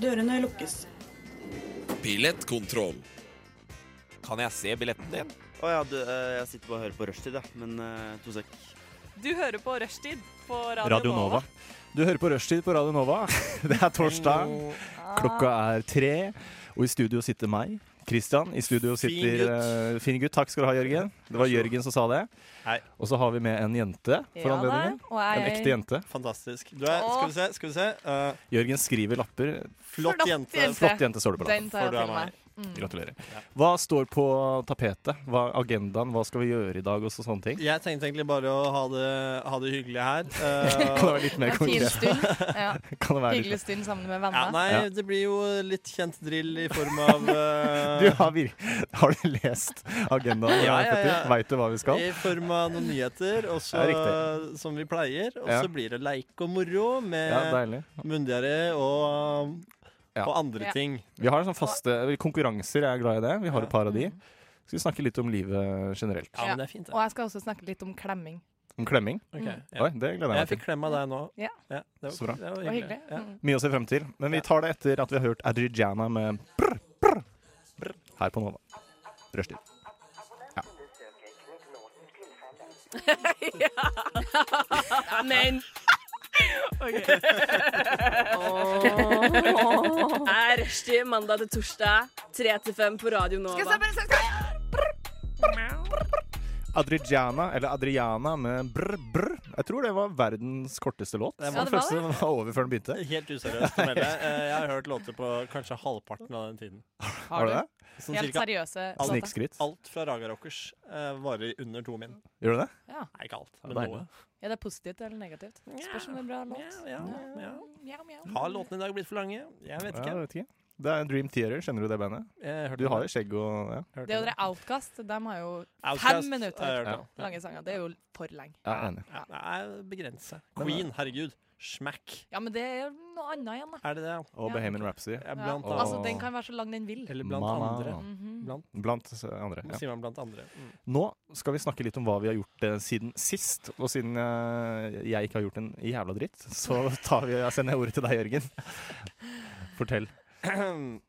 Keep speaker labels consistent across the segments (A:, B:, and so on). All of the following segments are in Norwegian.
A: Dørene lukkes.
B: Billettkontroll.
C: Kan jeg se billetten din?
D: Å ja, du, eh, jeg sitter bare og hører på rushtid, jeg. Men eh, to sek.
E: Du hører på Rushtid på Radio,
F: Radio Nova. Du hører på Rushtid på Radio Nova. Det er torsdag. Klokka er tre, og i studio sitter meg, Christian. I studio sitter eh, Fin gutt. Takk skal du ha, Jørgen. Det var Jørgen som sa det.
G: Hei.
F: Og så har vi med en jente for
E: Ja da,
F: anledningen.
E: og jeg-
F: En ekte jente.
G: Fantastisk. Du er, skal vi se, skal vi se. Eh,
F: Jørgen skriver lapper.
G: flott
E: Flott
G: jente.
E: jente.
F: Flott jente står det på lappen.
E: Den tar
G: For
E: jeg
G: du er
E: til meg.
F: Gratulerer. Hva står på tapetet? Hva er agendaen? Hva skal vi gjøre i dag? Og så sånne ting.
G: Jeg tenkte egentlig bare å ha det, ha det hyggelig her.
F: Kan det
G: Eh,
F: være litt mer
E: En fin
F: konkret?
E: stund. Ja.
F: Kan det være litt...
E: Hyggelig stund sammen med
G: ja,
E: venner.
G: nei,
F: Ja.
G: det blir jo litt kjent drill i form av eh,
F: Du har, vir... har du lest agendaen?
G: Ja, ja, ja.
F: Veit du hva vi skal?
G: I form av noen nyheter, og så,
F: Det er
G: som vi pleier. Og
F: Ja.
G: så blir det leik og moro med
F: Ja, deilig.
G: myndigere og,
F: Ja.
G: og andre
E: Ja.
G: ting.
F: Vi har sånn faste konkurranser, jeg er glad i det. Vi har et par av de.
G: mm.
F: Skal vi snakke litt om livet generelt?
G: Ja,
E: Ja.
G: men det er fint,
E: Og
G: det.
E: jeg skal også snakke litt om klemming.
F: Om klemming?
G: Ok,
E: Mm.
G: ja.
F: Oi, det gleder jeg
G: Jeg
F: meg til.
G: fikk klem av deg nå.
E: Ja.
G: det, var,
F: Så bra.
G: det var
E: Det var
G: hyggelig.
E: hyggelig.
G: Ja.
E: Mm.
F: Mye å se frem til. Men vi tar det etter at vi har hørt Adrijana med brr, brr, brr her på Nova. Rushtid.
H: Men er rushtid mandag til torsdag, 3 til 5 på Radio Nova.
F: Adrijana, eller Adriana med brr, brr. Jeg tror det var verdens korteste låt.
G: Det
E: var-
F: Den første var over før den begynte.
G: Helt useriøst å melde. Eh, Jeg har hørt låter på kanskje halvparten av den tiden.
F: Har du det?
G: Sånn
E: Helt
G: cirka
E: seriøse låter.
F: Snikskryt.
G: alt fra Raga Rockers eh, varer under to min.
F: Gjør du det?
G: Nei, ikke alt, men
F: Deilig.
G: noe.
E: Ja, det er positivt eller negativt. Spørs om det er bra låt.
G: Ja, ja, ja.
E: Mjau, mjau.
G: Har låtene i dag blitt for lange? Jeg vet
F: Ja,
G: ikke.
F: jeg vet ikke. Det er Dream Theater, kjenner du det bandet?
G: Jeg hørte
F: Du har jo skjegg og ja.
G: hørte
E: Det å dere
G: det.
E: Outcast, dem har jo
G: Outkast,
E: fem minutter.
G: eh, jeg hørte
F: Ja.
G: det.
E: lange sanger. Det er jo for lenge.
F: Jeg er enig.
G: Ja, nei, begrense.
F: Men, eh,
G: Queen, herregud. Smack.
E: Ja, men det er noe annet igjen, da.
G: Er det det?
E: Ja.
F: Og Bohemian Rhapsody.
G: Ja,
E: Ja.
G: blant
F: Åh.
G: annet.
E: Altså, den kan være så lang den vil.
G: Eller blant
F: Mama.
G: andre.
E: Mhm.
G: Blant,
F: Blant eh, andre. Ja.
G: sier man blant andre. Mm.
F: Nå skal vi snakke litt om hva vi har gjort eh, siden sist. Og siden eh, jeg ikke har gjort en jævla dritt, så tar vi, jeg sender jeg ordet til deg, Jørgen. Fortell.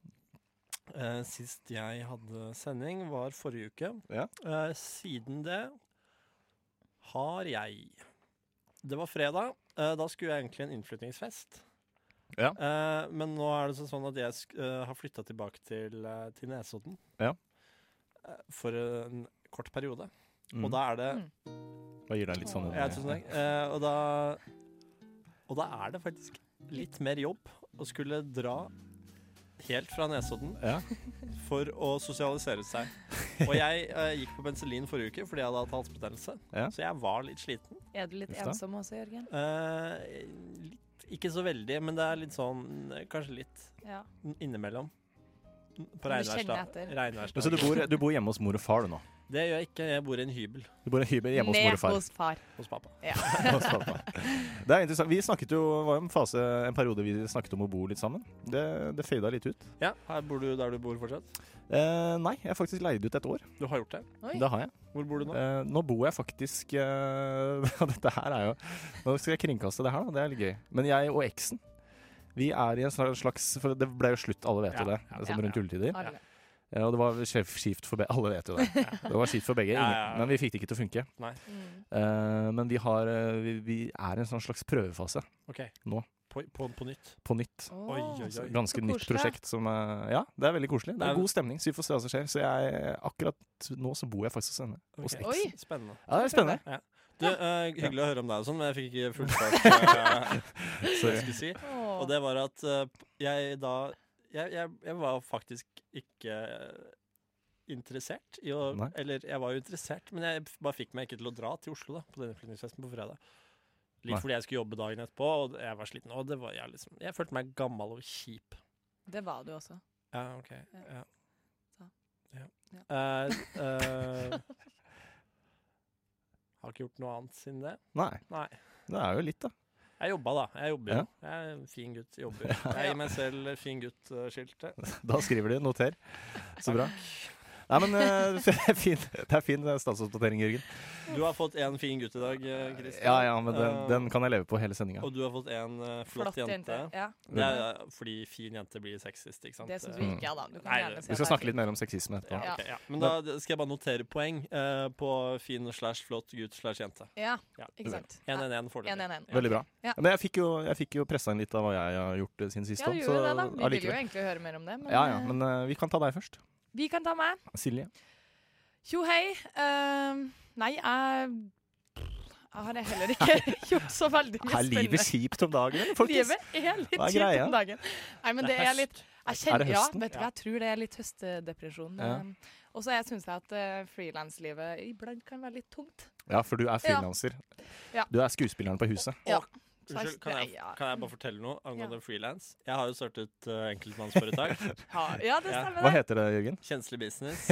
G: Eh, sist jeg hadde sending, var forrige uke.
F: Ja.
G: Eh, siden det har jeg Det var fredag. Eh, da skulle jeg egentlig en innflytningsfest.
F: Ja.
G: Eh, men nå er det så- sånn at jeg sk eh, har flytta tilbake til, eh, til Nesodden.
F: Ja.
G: Eh, for en kort periode.
F: Mm.
G: Og da er det
F: Bare gir deg litt sånn
G: ja, tusen takk. Eh, og, da, og da er det faktisk litt mer jobb å skulle dra helt fra Nesodden
F: Ja.
G: for å sosialisere seg. Og jeg eh, gikk på penicillin forrige uke fordi jeg hadde hatt halsbetennelse,
F: Ja.
G: så jeg var litt sliten.
E: Er du litt
F: Uff da.
E: ensom også, Jørgen?
G: Eh, litt, ikke så veldig, men det er litt sånn eh, Kanskje litt
E: Ja.
G: innimellom.
E: Du
G: På
E: kjenner etter.
G: regnværsdag.
F: Men Så du
G: regnværsdag.
F: bor, du bor hjemme hos mor og far, du nå?
G: Det gjør jeg ikke. Jeg bor i en hybel
F: Du bor i hybel hjemme hos
E: Ned
F: mor og far.
E: hos far.
G: hos pappa.
F: Hos pappa. Det er interessant. Vi snakket jo, var jo en fase, en periode vi snakket om å bo litt sammen. Det, det fada litt ut.
G: Ja, her Bor du der du bor fortsatt?
F: Eh, nei, jeg har faktisk leid ut et år.
G: Du har gjort det?
E: Oi.
F: Det har jeg.
G: Hvor bor du nå?
F: Eh, nå bor jeg faktisk eh, og Dette her er jo Nå skal jeg kringkaste det her, da. Det er litt gøy. Men jeg og eksen vi er i en sla- slags For det ble jo slutt, alle vet jo
G: Ja,
F: det, sånn
E: ja.
F: rundt juletider.
E: Alle.
F: Eh, og det var skjev- kjipt for begge. Alle vet jo det. Det var kjipt for begge,
G: Ja,
F: ingen,
G: ja, ja.
F: men vi fikk det ikke til å funke.
E: Mm.
F: Eh, men vi, har, eh, vi, vi er i en sånn slags prøvefase
G: Ok.
F: Nå.
G: På, på, på nytt.
F: på nytt.
G: Oi, oi,
E: Åh.
G: oi.
F: Ganske
E: Så
F: nytt
E: koselig.
F: prosjekt som eh, Ja, det er veldig koselig. Det
G: Det er-
F: er god stemning, så vi får se hva som skjer. Så jeg, akkurat nå så bor jeg faktisk hos henne. Hos
G: Ok.
F: eksen.
E: Oi.
G: Spennende.
F: Ja, det er spennende.
G: Du, eh, hyggelig å høre om deg og sånn, men jeg fikk ikke fullført eh, det jeg skulle si.
E: Åh.
G: Og det var at eh, jeg da jeg, jeg, jeg var faktisk ikke eh, interessert i å
F: Nei.
G: Eller jeg var jo interessert, men jeg f- bare fikk meg ikke til å dra til Oslo da, på denne flytningsfesten på fredag. Litt
F: Nei.
G: fordi jeg skulle jobbe dagen etterpå, og jeg var sliten. Og det var, jeg, liksom, jeg følte meg gammel og kjip.
E: Det var du også.
G: Ja, ok. Ja.
E: Ja. Så.
G: Ja.
E: Ja.
G: Eh, eh, har ikke gjort noe annet siden det.
F: Nei.
G: Nei.
F: Det er jo litt, da.
G: Jeg jobba, da. Jeg jobber
F: Ja.
G: jo. Jeg er en fin gutt. Jobber. Jeg gir meg selv fin gutt-skiltet.
F: Da skriver de 'noter'. Så bra. Nei, men eh, fin, det er fin eh, statsoppdatering, Jørgen.
G: Du har fått en fin gutt i dag, eh, Kristin.
F: Ja, ja, men den,
G: Eh,
F: den kan jeg leve på hele sendinga.
G: Og du har fått en eh, flott, jente.
E: Ja,
G: Det er eh, fordi fin jente blir sexist, ikke sant?
E: det syns du ikke, ja da. Du kan
G: Nei,
E: gjerne
G: det-
E: si at
F: Vi skal
E: det er
F: snakke litt mer om sexisme
G: ja,
F: etterpå.
E: Ja.
G: ok, ja. Men da skal jeg bare notere poeng eh, på fin slash flott gutt slash jente.
E: fint. Ja,
G: Ja.
E: ikke sant.
G: 1-1-1 foreløpig.
E: 1-1-1.
F: Veldig bra.
E: Ja.
F: Men jeg fikk jo, jeg fikk jo pressa inn litt av hva jeg har gjort eh, siden sist.
E: Ja, du
F: da,
E: gjorde det, da. Vi
F: så
E: ville jo
F: allikevel.
E: egentlig høre mer om det, men,
F: ja, ja,
E: eh,
F: men eh, vi kan ta deg først.
E: vi kan ta meg.
F: Silje.
E: Tjo hei. Ehm, nei, jeg jeg har heller ikke gjort så veldig mye
F: Er livet
E: spennende.
F: kjipt om dagen, eller, folkens?
E: Livet er litt
F: Hva er
E: kjipt
F: greia?
E: om dagen. Nei, men det er litt jeg
F: Er
E: kjenner,
F: det
E: ja,
F: høsten?
E: vet du, hva, jeg tror det er litt høstdepresjon.
F: Ja.
E: ehm, Og så syns jeg at uh, frilanslivet iblant kan være litt tungt.
F: Ja, for du er frilanser.
E: Ja.
F: Du er skuespilleren på huset.
E: Ja. Så
G: Unnskyld, kan jeg,
E: ja,
G: kan jeg bare fortelle noe angående frilans? Jeg har jo startet eh, enkeltmannsforetak.
E: ja, ja, det
G: Ja.
E: stemmer.
F: Hva
E: det.
F: heter det, Jørgen?
G: Kjenselig business.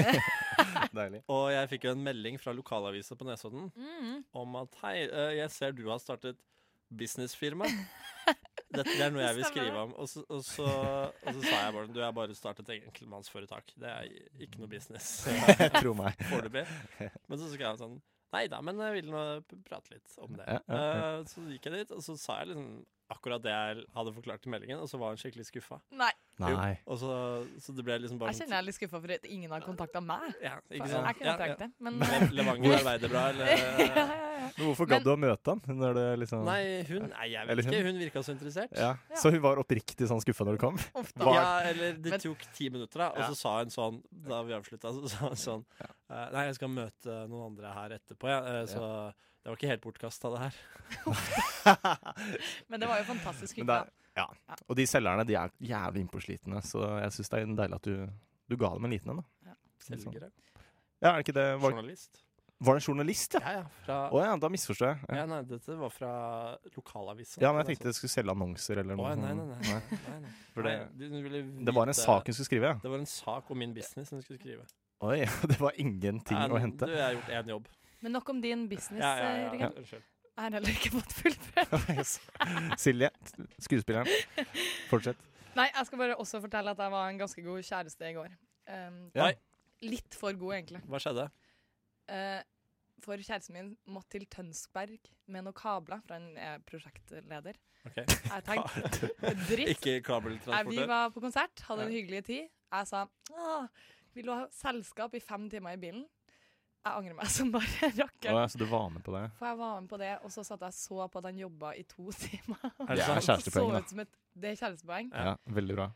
F: Deilig.
G: Og jeg fikk jo en melding fra lokalavisa på Nesodden
E: Mm.
G: om at hei, eh, jeg ser du har startet businessfirma. Dette det er noe jeg vil
E: Stemmer det.
G: skrive om. Og så, og så, og så sa jeg bare du jeg har bare startet et enkeltmannsforetak. Det er ikke noe business eh,
F: Tro meg.
G: foreløpig. Men så skrev jeg sånn Nei da, men jeg vil nå p- prate litt om det.
F: Ja, ja, ja.
G: Eh, Så gikk jeg dit, og så sa jeg liksom akkurat det jeg hadde forklart i meldingen, og så var hun skikkelig skuffa.
E: Nei,
F: Nei.
G: Og så, så det ble liksom bare sånn,
E: jeg kjenner jeg er litt skuffa for at ingen har kontakta meg.
G: ja,
E: Jeg
G: ikke sant?
E: kunne
G: Ja, ja.
E: trengt det, men
G: Le- Levanger arbeider bra,
E: ja,
G: eller
E: ja, ja.
F: Men hvorfor gadd du å møte han? Når det liksom
G: Nei, hun Nei, jeg
F: Eller
G: vet ikke. Hun virka så interessert.
F: ja. Så hun var oppriktig sånn skuffa når du kom?
E: Uff da.
G: Ja, eller Det
E: Men-
G: tok ti minutter, da, og
F: Ja.
G: så sa hun sånn da vi avslutta så sa hun sånn eh, Nei, jeg skal møte noen andre her etterpå, ja, eh, så det var ikke helt bortkasta, det her.
E: Men det var jo fantastisk
F: Men
E: hyggelig. da.
F: det er, ja. Og de selgerne de er jævlig innpåslitne, så jeg syns det er deilig at du, du ga dem en liten en. da. Ja,
G: Selgere.
F: er Sånn. det ikke det? Var,
G: Journalist.
F: var det en journalist, ja?
G: Ja, ja. Fra,
F: Å ja, da misforstår jeg. Ja.
G: ja, nei, dette var fra lokalavisen. sånn-
F: ja, men jeg tenkte jeg skulle selge annonser eller
G: Å,
F: noe.
G: nei, nei,
F: sånt.
G: nei. nei, nei.
F: For det-
G: Nei, du ville
F: Det var en
G: vite-
F: sak hun skulle skrive, ja.
G: Det var en sak om min business hun skulle skrive.
F: Oi, det var ingenting
G: Nei,
F: å hente.
G: Du, jeg har gjort én jobb.
E: Men nok om din business,
G: Ja, ja, ja,
E: Jørgen.
G: ja. Unnskyld.
E: Jeg har heller ikke fått fullført.
F: altså. Silje, skuespilleren. Fortsett.
E: Nei, jeg skal bare også fortelle at jeg var en ganske god kjæreste i går. Um,
F: Ja.
G: Oi.
E: Litt for god, egentlig.
G: Hva skjedde?
E: Eh, for kjæresten min måtte til Tønsberg med noen kabler, for han er prosjektleder.
G: Ok.
E: Jeg tenkte dritt.
G: Ikke
E: Nei, vi
G: kabeltransportør?
E: var på konsert, hadde en
G: Ja.
E: hyggelig tid. Jeg sa Åh, vil du ha selskap i fem timer i bilen? Jeg angrer meg som bare
F: Å,
E: rakker.
F: ja, så du var med på det?
E: For jeg var med på det, og så satt jeg og så på at han jobba i to timer.
G: Er det
F: Det er
G: sant?
F: kjærestepoeng,
E: Så
F: da.
E: ut som et, det er kjærestepoeng.
F: Ja, veldig bra.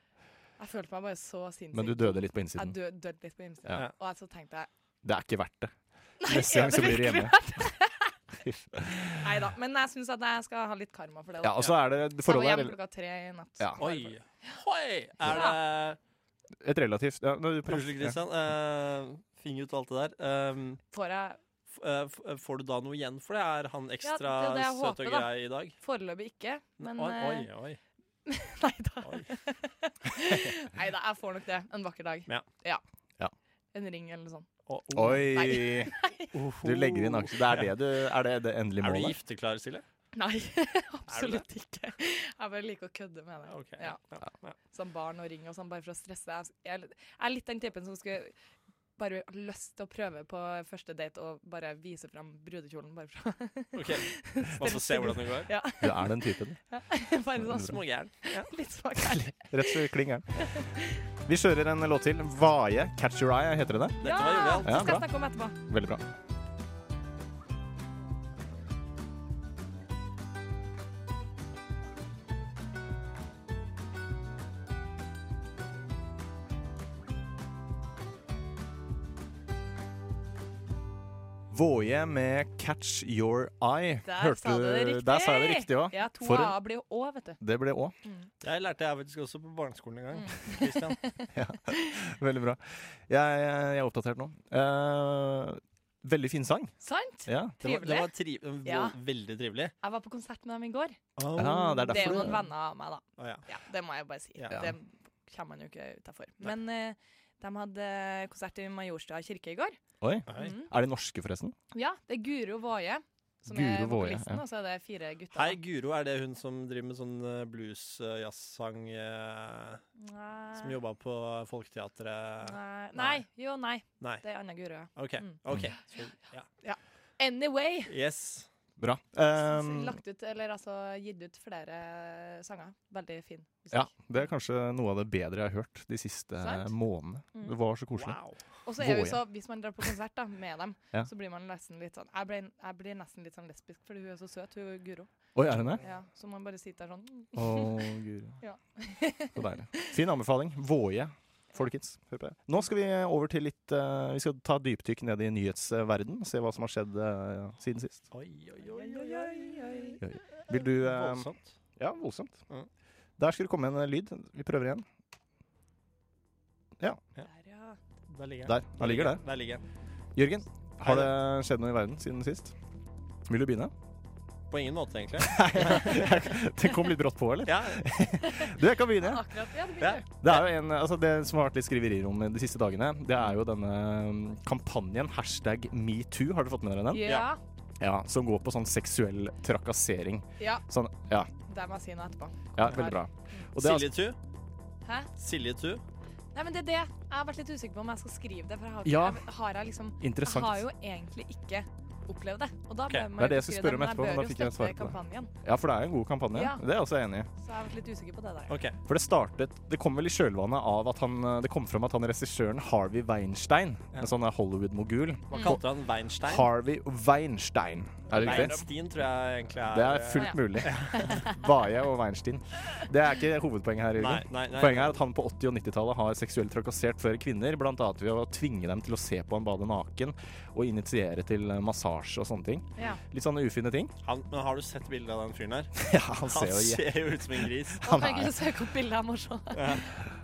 E: Jeg følte meg bare så sinnssyk.
F: Men du døde litt på
E: Jeg
F: innsiden.
E: dø, døde litt på innsiden.
F: Ja.
E: Og jeg- så tenkte jeg
F: Det er ikke verdt det. Neste gang
E: er det
F: så blir du
E: virkelig
F: hjemme.
E: Nei da. Men jeg syns at jeg skal ha litt karma for det.
F: Ja,
E: Da.
F: og så er det
E: jeg var
F: forholdet
E: hjemme
F: er
E: klokka tre i natt.
F: Ja.
G: Oi! Hoi! Er det
F: et relativt ja, nå, du prater-
G: Unnskyld, Kristian. Eh, fing ut alt det der. Ehm,
E: Får jeg
G: f- eh, f- eh, får du da noe igjen for det? Er han ekstra
E: det er det jeg
G: søt
E: håper,
G: og
E: da.
G: grei i dag?
E: foreløpig ikke, men
G: oi, oi,
E: eh,
G: oi.
E: Nei da.
G: oi.
E: Nei da, jeg får nok det en vakker dag.
G: Ja.
F: Ja.
E: En ring eller noe sånt.
G: Å, oh.
F: Oi!
G: Oho.
F: Du legger inn aksjer. Det er det, du, er det, det endelige
G: Er du
F: målet?
G: gifteklar, Silje?
E: Nei, absolutt ikke. Jeg bare liker å kødde med det.
G: Ok.
E: Ja.
G: Ja, ja.
E: Sånn barn og ring og sånn, bare for å stresse. Jeg er- Jeg er litt- jeg er litt den typen som skulle bare ha lyst til å prøve på første date og bare vise fram brudekjolen, bare for å
G: Ok, Bare for å se hvordan det går.
F: Du er den typen.
E: Bare sånn
G: Smågæren. Ja.
E: litt smak.
F: Rett og slett kling gæren. Vi kjører en låt til. Vaie. Catch your eye, heter det det?
G: Dette var jovialt.
E: Ja, det skal
F: Ja, bra.
E: jeg snakke om etterpå.
F: Veldig bra. Våje med 'Catch Your Eye'.
E: Der
F: Hørte
E: sa du det riktig.
F: Der sa jeg det riktig òg.
E: Ja, to
F: Ah, For-
E: A blir jo Å, vet du.
F: Det ble Å.
G: Jeg lærte jeg faktisk også på barneskolen en gang.
E: Mm.
G: Christian.
F: Veldig bra. Jeg, jeg er oppdatert nå. Eh, veldig fin sang.
E: Sant?
F: Ja.
G: Det var, det var triv vo-
E: Ja.
G: veldig trivelig.
E: Jeg var på konsert med dem i går.
G: Oh.
F: Ja, det er
E: Det er jo
F: derfor
E: noen venner av meg, da.
G: Å, ja.
E: Ja, det må jeg bare si.
G: Ja.
E: Det kommer man jo ikke utafor. Men eh, de hadde konsert i Majorstua kirke i går.
F: Oi.
G: Oi.
E: Mhm.
F: Er de norske, forresten?
E: Ja, det er Guro Våje som
F: Guro
E: er
F: Våre,
E: vokalisten,
F: ja.
E: og så er det fire gutter.
G: Hei, Guro, er det hun som driver med sånn eh, blues, eh, jazzsang eh, Som
E: Nei.
G: jobba på Folketeatret?
E: Nei. Nei. Jo, nei.
G: Nei.
E: Det er Anna Guro, ja.
G: OK.
E: Mm.
G: ok Så, ja.
E: Anyway.
G: Yes.
F: Bra.
G: Um,
F: Ehm,
E: lagt ut, eller altså gitt ut flere sanger. Veldig fin musikk.
F: ja, det er kanskje noe av det bedre jeg har hørt de siste
E: Sant?
F: månedene.
E: Mm.
F: Det var så koselig.
G: Wow.
E: Og så er vi
F: Våje.
E: så, hvis man drar på konsert da, med dem,
F: Ja.
E: så blir man nesten litt sånn jeg, ble, jeg blir nesten litt sånn lesbisk, fordi hun er så søt, hun Guro.
F: Oi, er hun det?
E: Ja, så man bare sitter der sånn mm.
F: Å, guri.
E: Ja.
F: Så deilig. Fin anbefaling. Våje, folkens. Hør på det. Nå skal vi over til litt eh, Vi skal ta et dypdykk ned i nyhetsverden og se hva som har skjedd eh, siden sist.
G: Oi, oi, oi, oi, oi, oi.
F: Vil du eh,
G: Voldsomt.
F: Ja, voldsomt.
G: Mm.
F: Der skulle det komme en eh, lyd. Vi prøver igjen.
E: Der, ja.
G: Der ligger
F: Der. Han ligger der.
G: Der ligger den.
F: Jørgen, har
G: Hei,
F: det skjedd noe i verden siden sist? Vil du begynne?
G: På ingen måte, egentlig.
F: Det kom litt brått på, eller?
G: Ja,
F: Du, jeg kan begynne. jeg.
E: Akkurat. Ja, det
G: Ja.
E: blir det.
F: Det, er jo en, altså det som har vært litt skriverier om de siste dagene, det er jo denne mm, kampanjen hashtag metoo. Har dere fått med dere den?
E: Ja.
F: Ja, Som går på sånn seksuell trakassering.
E: ja.
F: Sånn, ja,
E: Der må jeg si noe etterpå.
F: ja veldig bra. Og det er altså,
G: Silje Tu.
E: Hæ?
G: Silje Tu.
E: Nei, men det er det. Jeg har vært litt usikker på om jeg skal skrive det, for jeg har,
F: Ja.
E: jeg, har jeg liksom Jeg
F: altså interessant.
E: har jo egentlig ikke opplevd det. Og da
G: Ok,
E: bør man
F: det er det
E: jo
F: jeg skulle spørre om
E: men
F: etterpå, men da
E: jeg
F: fikk
E: bør
F: jeg
E: jo støtte
F: svaret på det.
E: kampanjen.
F: Ja, for det er en god kampanje.
E: Ja.
F: Det er jeg også enig i.
E: Så jeg har vært litt usikker på det der.
G: OK.
F: For det startet Det kom vel i kjølvannet av at han eh, Det kom fram at han regissøren Harvey Weinstein,
G: Ja.
F: en sånn Hollywood-mogul
G: Hva kalte han Weinstein?
F: Harvey Weinstein, er det riktig?
G: Weinstein tror jeg egentlig er
F: Det er
E: Ah,
F: fullt
E: ja.
F: mulig. Vaje og Weinstein. Det er ikke hovedpoenget her.
G: Nei,
F: Jørgen.
G: nei, nei.
F: Poenget er at han på 80- og 90-tallet har seksuelt trakassert flere kvinner, bl.a. ved å tvinge dem til å se på ham bade naken og initiere til eh, massasje og sånne ting.
E: Ja.
F: Litt sånne ufine ting.
G: Han, men har du sett bildet av den fyren her?
F: Ja, han
G: Han
F: ser jo
G: ser jo ut som en gris.
E: Han
F: Han
E: kan
F: er-
E: ikke søke opp bildet av morsom.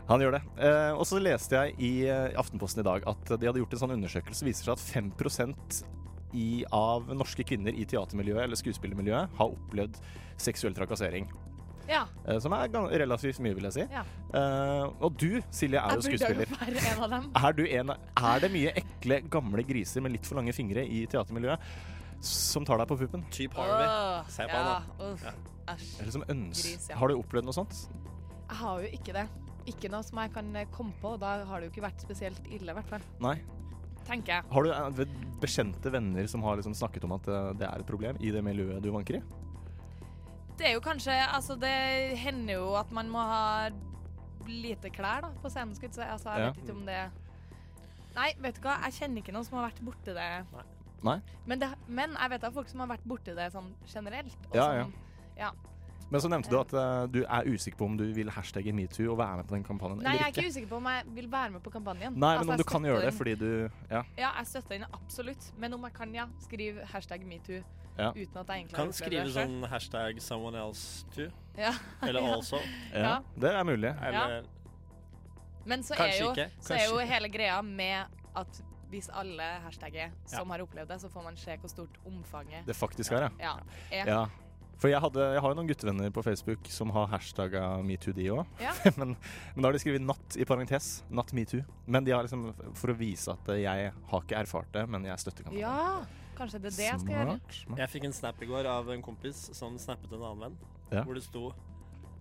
F: Han gjør det. Eh, og så leste jeg i eh, Aftenposten i dag at de hadde gjort en sånn undersøkelse. Det viser seg at 5 i, av norske kvinner i teatermiljøet eller skuespillermiljøet har opplevd seksuell trakassering.
E: Ja,
F: Eh, som er gan- relativt mye, vil jeg si.
E: Ja.
F: Eh, og du, Silje, er jo
E: jeg burde
F: skuespiller.
E: jo være en av dem.
F: Er, du en, er det mye ekle, gamle griser med litt for lange fingre i teatermiljøet som tar deg på puppen?
G: Typ Harvey.
E: Åh,
G: Se på
E: ja,
G: han,
E: uff, Æsj.
F: Eller som øns...
E: Gris, ja.
F: Har du opplevd noe sånt?
E: Jeg har jo ikke det. Ikke noe som jeg kan eh, komme på, og da har det jo ikke vært spesielt ille, i hvert fall.
F: Nei.
E: Tenker jeg.
F: Har du eh, ved- bekjente venner som har liksom snakket om at eh, det er et problem i det miljøet du vanker i?
E: Det er jo kanskje Altså, det hender jo at man må ha lite klær da, på scenen, skulle jeg si. Altså, jeg
F: Ja.
E: vet ikke om det Nei, vet du hva, jeg kjenner ikke noen som har vært borti det.
G: Nei.
F: Nei?
E: Men, det, men jeg vet av folk som har vært borti det sånn generelt. og
F: Ja,
E: sånn-
F: Men så nevnte du at eh, du er usikker på om du vil hashtagge metoo og være med på den kampanjen
E: Nei, jeg
F: eller
E: er
F: ikke.
E: ikke usikker på om jeg vil være med på kampanjen.
F: Nei, men
E: Altså,
F: om
E: jeg
F: du kan gjøre det
E: støtter
F: fordi du Ja.
E: den. Ja, jeg støtter den absolutt. Men om jeg kan, ja. Skriv hashtag metoo.
F: Ja.
E: Uten at jeg egentlig har
G: Kan
E: opplevd
G: skrive
E: det selv.
G: sånn hashtag someone else too.
E: Ja.
G: Eller
E: Ja.
G: also.
F: ja.
E: Ja.
F: Det er mulig.
G: Eller
E: Men så er,
G: sånn- kanskje
E: jo,
G: ikke.
E: så er
G: Kanskje
E: jo
G: ikke.
E: hele greia med at hvis alle hashtagger som har opplevd det, så får man se hvor stort omfanget
F: Det faktisk er, ja.
E: ja, er.
F: Ja. For jeg, hadde, jeg har jo noen guttevenner på Facebook som har hashtagga metoo, de òg.
E: Ja.
F: men, men da har de skrevet 'natt' i parentes. Natt metoo. Men de har liksom, for å vise at jeg har ikke erfart det, men jeg støtter kampanjen.
E: Ja, kanskje det er det jeg skal gjøre.
F: Smart, smart.
G: Jeg fikk en snap i går av en kompis som snappet en annen venn,
F: Ja.
G: hvor det sto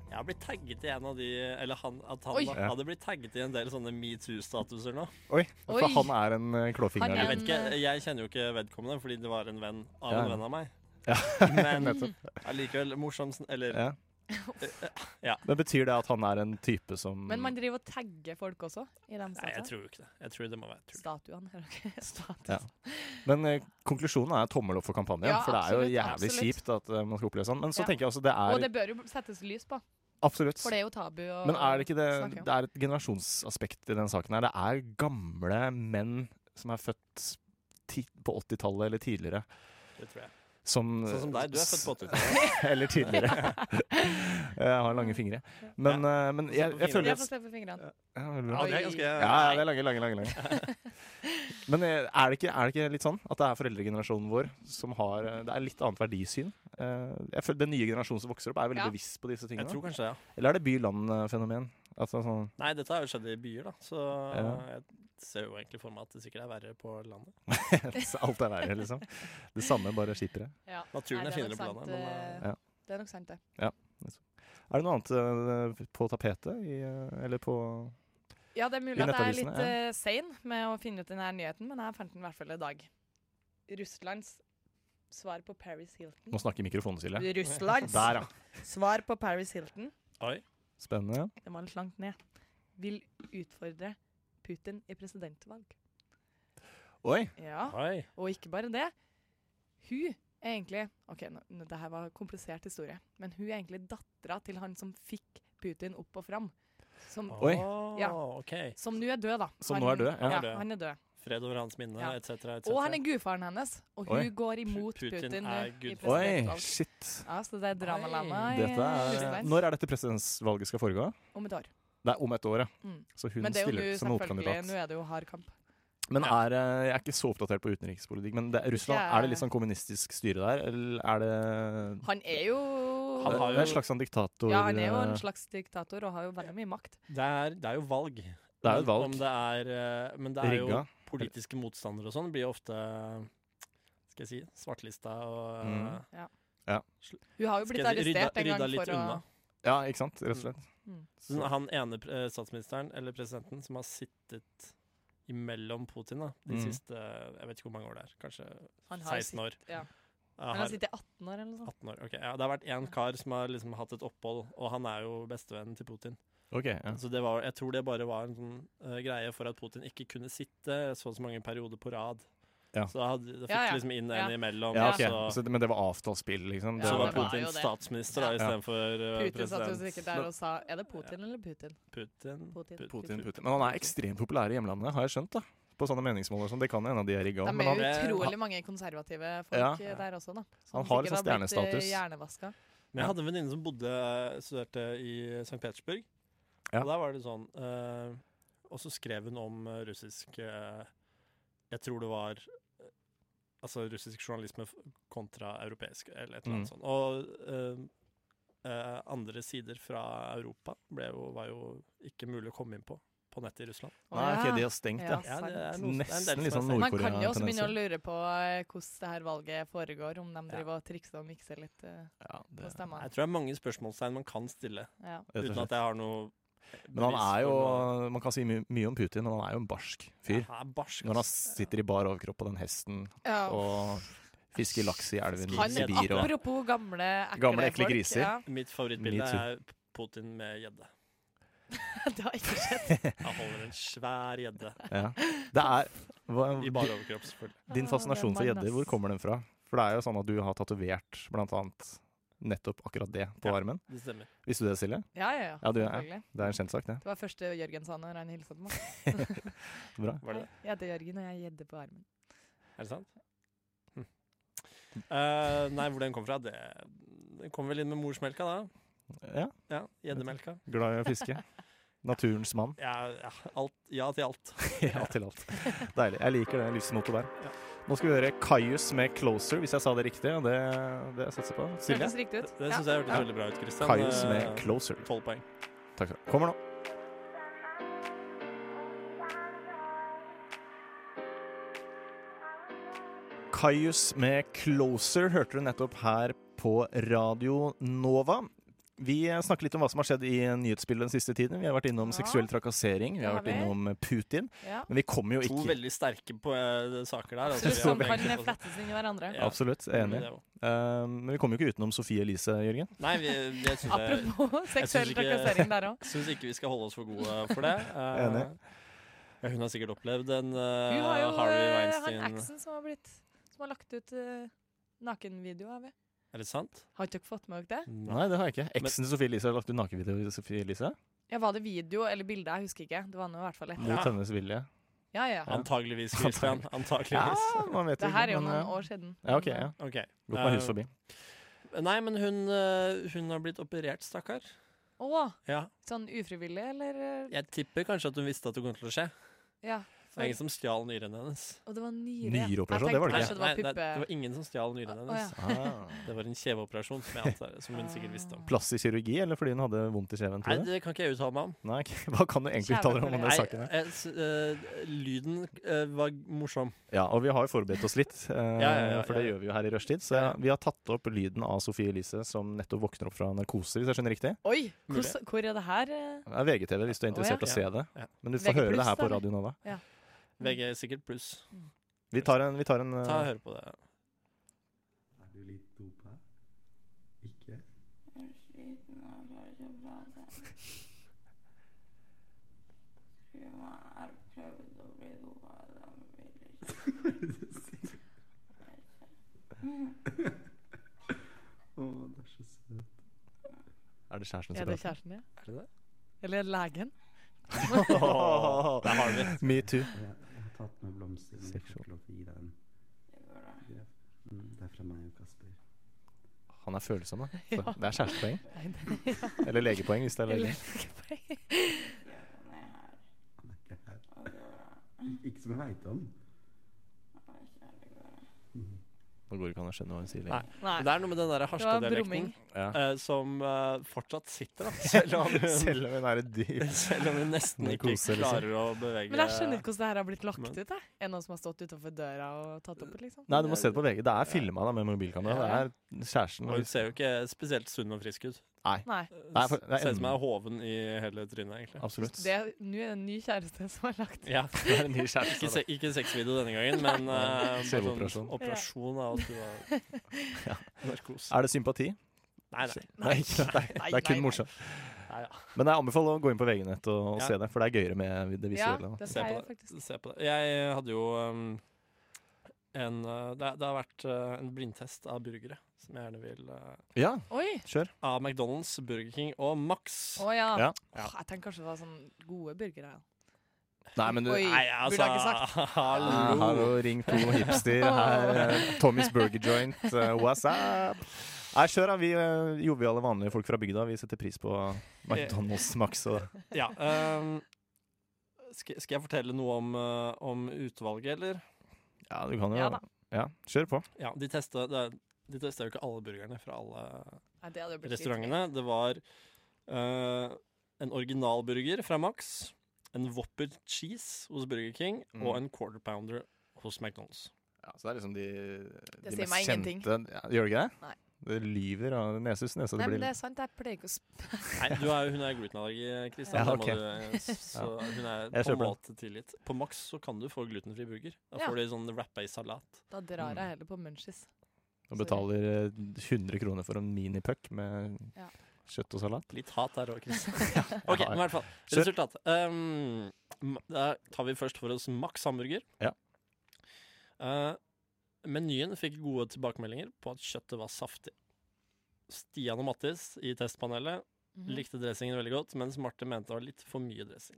G: jeg har blitt tagget i en av de Eller han, at han
E: Oi.
G: da,
F: Ja.
G: hadde blitt tagget i en del sånne metoo-statuser nå.
F: Oi, for
E: Oi.
F: han er en eh, klåfinger.
E: Han
G: Jeg
E: er-
F: eller?
G: vet ikke, jeg kjenner jo ikke vedkommende, fordi det var en venn av
F: Ja,
G: en
F: ja.
G: venn av meg.
F: Ja,
G: Men
F: nettopp.
G: allikevel morsom sn- Eller
F: Ja. Men betyr det at han er en type som
E: Men man driver og tagger folk også i de
G: Nei, jeg
E: statuene.
G: tror jo ikke det. Jeg tror det må være tull.
E: Statuene. her, ok. Status.
F: Ja. Men, eh, konklusjonen er tommel opp for kampanjen,
E: Ja,
F: for det er jo
E: absolutt,
F: jævlig
E: absolutt.
F: kjipt at eh, man skal oppleve sånn. Men så
E: Ja.
F: tenker jeg også det
E: Og
F: er
E: det bør jo settes lys på,
F: Absolutt.
E: for det er jo tabu å
F: Men er det ikke det
E: snakke om.
F: Det er et generasjonsaspekt i den saken her. Det er gamle menn som er født ti på 80-tallet eller tidligere,
G: Det tror jeg.
F: som
G: Sånn som deg. Du er født på 80-tallet.
F: Eller tidligere. jeg har lange fingre. Men, eh, men jeg, jeg føler
E: Jeg
F: at
E: får se på fingrene.
F: ja, veldig bra.
G: Ja, det er ganske
F: ja, ja, det er lange, lange, lange. lange. Men eh, er det, ikke, er det ikke litt sånn at det er foreldregenerasjonen vår som har eh, Det er litt annet verdisyn? Eh, Jeg føler Den nye generasjonen som vokser opp, er veldig
E: Ja.
F: bevisst på disse
G: Jeg
F: tingene.
G: tror kanskje det, ja.
F: Eller er det by-land-fenomen? Altså sånn
G: Nei, dette har jo skjedd i byer, da, så
F: Ja.
G: jeg ser jo egentlig for meg at det sikkert er verre på landet.
F: Alt er verre, liksom. Det samme, bare kjipere.
E: Ja.
G: Naturen
E: Nei,
G: er
E: det nok
G: finere på
E: sant,
G: landet. Men,
E: eh,
F: Ja.
E: Det er nok sant, det.
F: Er det noe annet eh, på tapetet? I, eh, eller på
E: Ja, det er mulig
F: I
E: at jeg er
F: nettavisene,
E: litt eh, sein med å finne ut denne nyheten, men jeg fant den i hvert fall i dag. Russlands svar på Paris Hilton.
F: Nå snakker mikrofonen, Silje.
E: Russlands
F: Der, ja.
E: svar på Paris Hilton.
G: eh, oi.
F: Spennende.
E: Den var litt langt ned. Vil utfordre Putin i presidentvalg.
F: Oi!
E: Ja,
G: eh, Oi.
E: og ikke bare det. Hun er egentlig Ok, nå, nå, det her var en komplisert historie, men hun er egentlig dattera til han som fikk Putin opp og fram. Som,
F: Oi.
G: Å,
E: Ja.
G: OK.
E: som nå er død, da.
F: Ah. Som nå er død, ja.
E: ja.
G: Han er død.
E: Han er død.
G: Fred over hans minne,
E: Ja.
G: etc., etc.
E: Og han er gudfaren hennes, og hun
F: Oi.
E: går imot
G: Putin
E: Putin, nå
G: er
E: i
G: gudfaren.
F: Oi,
E: presidentvalg.
F: shit.
E: Ja, så det er dramalandet i
F: Dette er,
E: Russland
F: når er dette presidentvalget skal foregå?
E: om et år.
F: Det er om et år, ja.
E: Mm.
F: Så hun
E: Men det er jo
F: stiller
E: nå
F: ikke som
E: selvfølgelig, nå
F: motkandidat.
E: er det jo hard kamp.
F: Men er, eh, jeg er ikke så oppdatert på utenrikspolitikk. Men det, Russland,
E: Ikke jeg.
F: er det litt sånn kommunistisk styre der, eller er det
E: Han er jo
G: Han har
F: Det er en
G: jo-
F: slags sånn diktator
E: Ja, han er jo
F: eh,
E: en slags diktator og har jo veldig mye makt.
G: Det er, det er jo valg.
F: Det er jo
G: Men
F: et valg.
G: Om det er, eh, men det er
F: Rigga.
G: jo politiske motstandere og sånn blir jo ofte skal jeg si, svartlista og
F: Mm.
G: eh,
E: Hun har jo blitt
G: skal jeg si, rydda,
E: arrestert en
G: rydda
E: gang
G: litt
E: for å
G: unna.
F: Ja, ikke sant? Rett og slett.
E: Mm.
G: Så sånn, han ene pr- eh, statsministeren, eller presidenten, som har sittet imellom Putin da, de
F: Mm.
G: siste eh, jeg vet ikke hvor mange år det er, kanskje
E: Han har
G: 16 år.
E: ja.
G: Ja,
E: Han
G: har
E: har sittet i 18 år eller noe sånt.
G: 18 år, ok. Ja, det har vært én kar som har liksom hatt et opphold, og han er jo bestevennen til Putin.
F: Ok, ja.
G: Så det var, jeg tror det bare var en sånn eh, greie for at Putin ikke kunne sitte så og så mange perioder på rad.
F: Ja.
G: Så da, hadde, da fikk
E: Ja, ja.
G: de liksom inn en
E: Ja.
G: imellom.
F: ja
G: og
F: ok.
G: Så,
F: Så, men det var avtalsspill, liksom?
E: Ja,
G: så
E: det
G: var
E: var
G: Putin
E: jo det.
G: statsminister da,
E: Ja.
G: istedenfor uh,
E: Putin satt jo sikkert
G: president.
E: der og sa Er det Putin eller Putin?
G: Putin,
E: Putin.
F: Putin, Putin. Men han er ekstremt populær i hjemlandet, har jeg skjønt. da På sånne meningsmåler og sånn. Det kan hende de er rigga.
E: Det
F: Men
E: er
F: han,
E: jo
G: han-
E: utrolig mange konservative
F: Ja.
E: folk eh, der også, da. Som
F: Han har
E: sikkert
F: liksom
E: har blitt, eh,
F: stjernestatus.
E: Hjernevaska.
G: Men jeg hadde en venninne som bodde, studerte i St. Petersburg.
F: Ja.
G: Og der var det sånn eh, Og så skrev hun om eh, russisk eh, Jeg tror det var eh, Altså russisk journalisme f- kontra europeisk, eller et eller annet
F: Mm.
G: sånt. Og eh, eh, andre sider fra Europa ble jo, var jo ikke mulig å komme inn på på nettet i Russland.
E: Å,
F: nei,
E: ja.
F: ok, de har stengt, ja.
E: Ja.
G: Ja, det er noe- det er en del
F: Nesten litt
G: som
F: sånn
G: er
E: Man kan jo også begynne å
F: Nord-Korea-tendenser.
E: lure på eh, hvordan det her valget foregår, om de driver og trikser og mikser litt eh,
F: Ja,
E: på
F: det-
E: stemmene.
G: Jeg tror det er mange spørsmålstegn man kan stille,
E: Ja.
F: rett og
G: uten
F: slett.
G: at jeg har noe
F: Men han
G: bevis
F: er jo
G: for
F: Man kan si my mye om Putin, men han er jo en barsk
G: noe.
F: fyr.
G: Ja, han er barsk,
F: Når han
G: ass.
F: sitter i bar overkropp på den hesten
E: Ja.
F: og fisker laks i elven i
E: Han,
F: Sibir og
E: apropos gamle, ekle,
F: Gamle, ekle
E: folk,
F: griser.
E: Ja.
G: Mitt
F: Me
G: favorittbilde
F: too.
G: er Putin med gjedde.
E: det har ikke skjedd.
G: Han holder en svær gjedde
F: ja. Det er hva,
G: i bare overkropp, selvfølgelig.
F: Din fascinasjon for
E: Det er mann,
F: gjedder, hvor
E: ass.
F: kommer den fra? For det er jo sånn at du har tatovert blant annet nettopp akkurat det på
G: Ja.
F: armen.
G: Det stemmer.
F: Visste du det, Silje?
E: Ja, ja, ja.
F: Ja, du er-
E: selvfølgelig.
F: Det er en kjent sak, det.
E: Det var første Jørgen sa når han hilsa på meg.
F: Bra.
G: Var det det?
E: Hei, Jeg heter Jørgen, og jeg er gjedde på armen.
G: Er det sant? Hm. Eh, nei, hvor den kom fra? Det, den kom vel inn med morsmelka, da.
F: Ja,
G: Ja, Gjeddemelka.
F: Glad i å fiske. Naturens mann.
G: Ja, ja, alt, ja til alt.
F: Ja, til alt. Deilig. Jeg liker det livsmottoet
G: Ja.
F: der. Nå skal vi høre Kaius med 'Closer', hvis jeg sa det riktig. og Det, det satser jeg på. Silje?
E: Hørtes riktig ut.
G: Det
E: Ja.
G: syns jeg hørtes veldig bra ut, Kristian.
F: Kaius med 'Closer'.
G: Tolv poeng.
F: Takk skal du ha. Kommer nå. Kaius med 'Closer' hørte du nettopp her på Radio Nova. Vi snakker litt om hva som har skjedd i nyhetsbildet den siste tiden. Vi har vært innom
E: Ja.
F: seksuell trakassering, vi
E: Det
F: har
E: har
F: vært
E: vi.
F: innom eh, Putin.
E: Ja.
F: Men vi kommer jo
G: To
F: ikke
G: veldig sterke på, eh, saker der.
E: Så
G: Altså,
E: det
G: vi
E: som
G: har
E: kan
G: egentlig fått-
E: flettes inn i hverandre.
G: Ja.
F: Absolutt, jeg er
E: Mm,
F: enig.
G: Det var-
F: Eh, Men vi kommer jo ikke utenom Sofie Elise, Jørgen.
G: Nei, vi, det syns jeg
E: Apropos seksuell
G: ikke-
E: trakassering der òg.
G: Syns ikke vi skal holde oss for gode for det. Eh,
F: Enig.
G: ja, hun har sikkert opplevd en eh,
E: Hun har jo
G: Harvey
E: eh,
G: Weinstein
E: han eksen som har blitt Som har lagt ut eh, nakenvideoer av henne.
G: Er det sant?
E: Har ikke dere fått med dere det?
F: Nei, det har jeg ikke. Eksen til Sofie Elise har lagt ut nakenvideo i Sofie Elise.
E: Ja, Var det video eller bilde? Jeg husker ikke. Det var nå i hvert fall et
F: Mot
E: eller annet.
F: hennes vilje.
E: Ja, ja.
G: Antageligvis, Christian.
F: Ja,
G: Antageligvis.
F: man vet
E: Det her er jo
F: men,
E: noen
F: ja.
E: år siden.
F: Ja, ok, ja.
G: Ok.
F: Gått meg
G: Eh,
F: hus forbi.
G: Nei, men hun, eh, hun har blitt operert, stakkar.
E: Å,
G: Ja.
E: sånn ufrivillig, eller?
G: Jeg tipper kanskje at hun visste at det kom til å skje.
E: Ja.
G: Det er ingen som stjal nyrene hennes.
E: Og det var nyre.
F: Nyreoperasjon, det var det
E: Jeg tenkte kanskje
F: ikke.
E: det
G: nei,
E: var
G: det
E: puppe...
G: var ingen som stjal nyrene
E: Å,
G: hennes.
E: ja.
F: Ah.
G: Det var en kjeveoperasjon, som, jeg antar, som hun sikkert visste om.
F: Plastisk kirurgi, eller fordi hun hadde vondt i kjeven?
G: Nei,
F: Tror du?
G: det kan ikke jeg uttale meg om.
F: Nei, ok. hva kan du egentlig uttale deg om
E: Nei,
F: den saken? her?
G: jeg s- eh, lyden eh, var morsom.
F: Ja, og vi har jo forberedt oss litt, eh,
G: ja, ja,
F: for det
G: ja.
F: gjør vi jo her i rushtid. Så
G: Ja, ja.
F: vi har tatt opp lyden av Sofie Elise som nettopp våkner opp fra narkose, hvis jeg skjønner riktig.
E: Oi!
G: Mulig.
E: Hvor, hvor er det her? eh?
F: Det er VGTV hvis du er
E: Å,
F: interessert i
G: ja.
F: å se det.
G: Ja.
F: Men du får
E: VG+,
F: høre det her på
E: da,
F: Radio Nova.
G: VG sikkert pluss.
F: Vi tar en, vi tar en eh,
G: Ta og Hør på det.
A: Er du litt dopa? Ikke? Å, det er så søt.
F: Er det kjæresten
E: Er det
F: som prater?
E: kjæresten din?
G: Er det det?
E: Eller legen?
F: Åh,
G: Der har vi det.
F: Me too.
A: Jeg, jeg har tatt med blomster. Men jeg
F: Sexual.
A: får ikke lov til å gi deg den. Ja. Mm, Det er fra meg og Kasper.
F: Han er følsom, da. Så
E: Ja.
F: Det er kjærestepoeng.
E: Nei, det
F: Eller legepoeng, hvis det er
E: er
F: lege.
E: legepoeng.
A: Han er ikke her. Ikke som jeg veit om.
F: Nå går det ikke an å skjønne hva hun sier.
G: Nei.
F: Lenge.
E: Nei.
G: Det er noe med den der
E: Det var
G: Harstad-dialekten
E: brumming.
F: Ja.
G: eh, som eh, fortsatt sitter, da. Selv om hun,
F: Selv om hun er et dyr.
G: selv om hun nesten ikke
F: Narkose, liksom.
G: klarer å bevege
E: Men jeg skjønner ikke hvordan det her har blitt lagt
G: Men-
E: ut. Jeg. Er det noen som har stått utenfor døra og tatt opp? liksom?
F: Nei, du må se det på VG. Det er filma da, med mobilkamera. Det er kjæresten.
G: Og hun ser jo ikke spesielt sunn og frisk ut.
E: Nei.
F: Nei, for- det er
G: Ser ut som
F: en-
G: jeg er hoven i hele trynet, egentlig.
F: Absolutt.
E: Det er nå er det en ny kjæreste som er lagt
G: Ja.
F: Det er en ny
G: Ikke,
F: kjæreste.
G: se, ikke sexvideo denne gangen, men eh, bare
F: Selvoperasjon.
G: Sånn, operasjon av at du har
F: Ja. Ah,
G: narkose.
F: Er det sympati?
G: Nei, nei.
F: Nei, ikke- nei,
E: Nei,
F: det er
E: nei,
F: kun morsomt.
G: nei ja.
F: Men jeg anbefaler å gå inn på VG-nett og, og
G: Ja.
F: se det, for det er gøyere med
E: Ja,
F: det visuelle.
E: det
G: Se
E: sier
G: på
E: jeg faktisk.
G: Se på det. Jeg hadde jo um, en uh, det, det har vært uh, en blindtest av burgere, som jeg gjerne vil uh,
F: Ja,
E: Oi!
F: kjør.
G: Av McDonald's, Burger King og Max.
E: Å ja.
F: Ja.
E: Åh, jeg tenker kanskje det var sånn gode burgere. ja.
F: Nei, men du
E: Oi.
G: Nei, altså
E: burde jeg ikke
F: Ah, Hallo,
G: Hallo.
F: ring to hipster her. eh, Tommy's Burger Joint, eh, what's up? Nei, kjør da. Vi eh, joviale, vanlige folk fra bygda, vi setter pris på McDonald's, Max og
G: Ja, um, skal, skal jeg fortelle noe om, uh, om utvalget, eller?
F: Ja, du kan jo
E: Ja da.
F: Ja, kjør på.
G: Ja, de testa det er- de testa jo ikke alle burgerne fra alle
E: Nei, det hadde jo blitt litt
G: restaurantene. Det var eh, en originalburger fra Max, en Whopper cheese hos Burger King
F: Mm.
G: og en quarter pounder hos McDonald's.
F: Ja, så det er liksom de,
E: Det sier meg ingenting.
F: ja, Gjør det ikke det?
E: Nei.
F: Det lyver av nesus. Nesa,
E: Nei,
F: det
E: men
F: blir
E: det er sant. Jeg pleier ikke å sp
G: Nei, du er, hun er glutenallergi, Kristian.
F: Ja,
G: det
F: ok.
G: må du, eh, så hun er
F: Jeg
G: på en
F: kjøper
G: måte tilgitt. På Max så kan du få glutenfri burger. Da
E: Ja.
G: får du sånn wrappa i salat.
E: Da drar jeg heller på munchies.
F: Og betaler eh, 100 kroner for en minipuck med
E: Ja.
F: kjøtt og salat.
G: Litt hat der òg, Kristian. Ok, men i hvert fall.
F: Kjør.
G: Resultat. Um, ma- da tar vi først for oss Max hamburger.
F: Ja.
G: Eh, menyen fikk gode tilbakemeldinger på at kjøttet var saftig. Stian og Mattis i testpanelet
F: Mm.
E: Mhm.
G: likte dressingen veldig godt, mens Marte mente det var litt for mye dressing.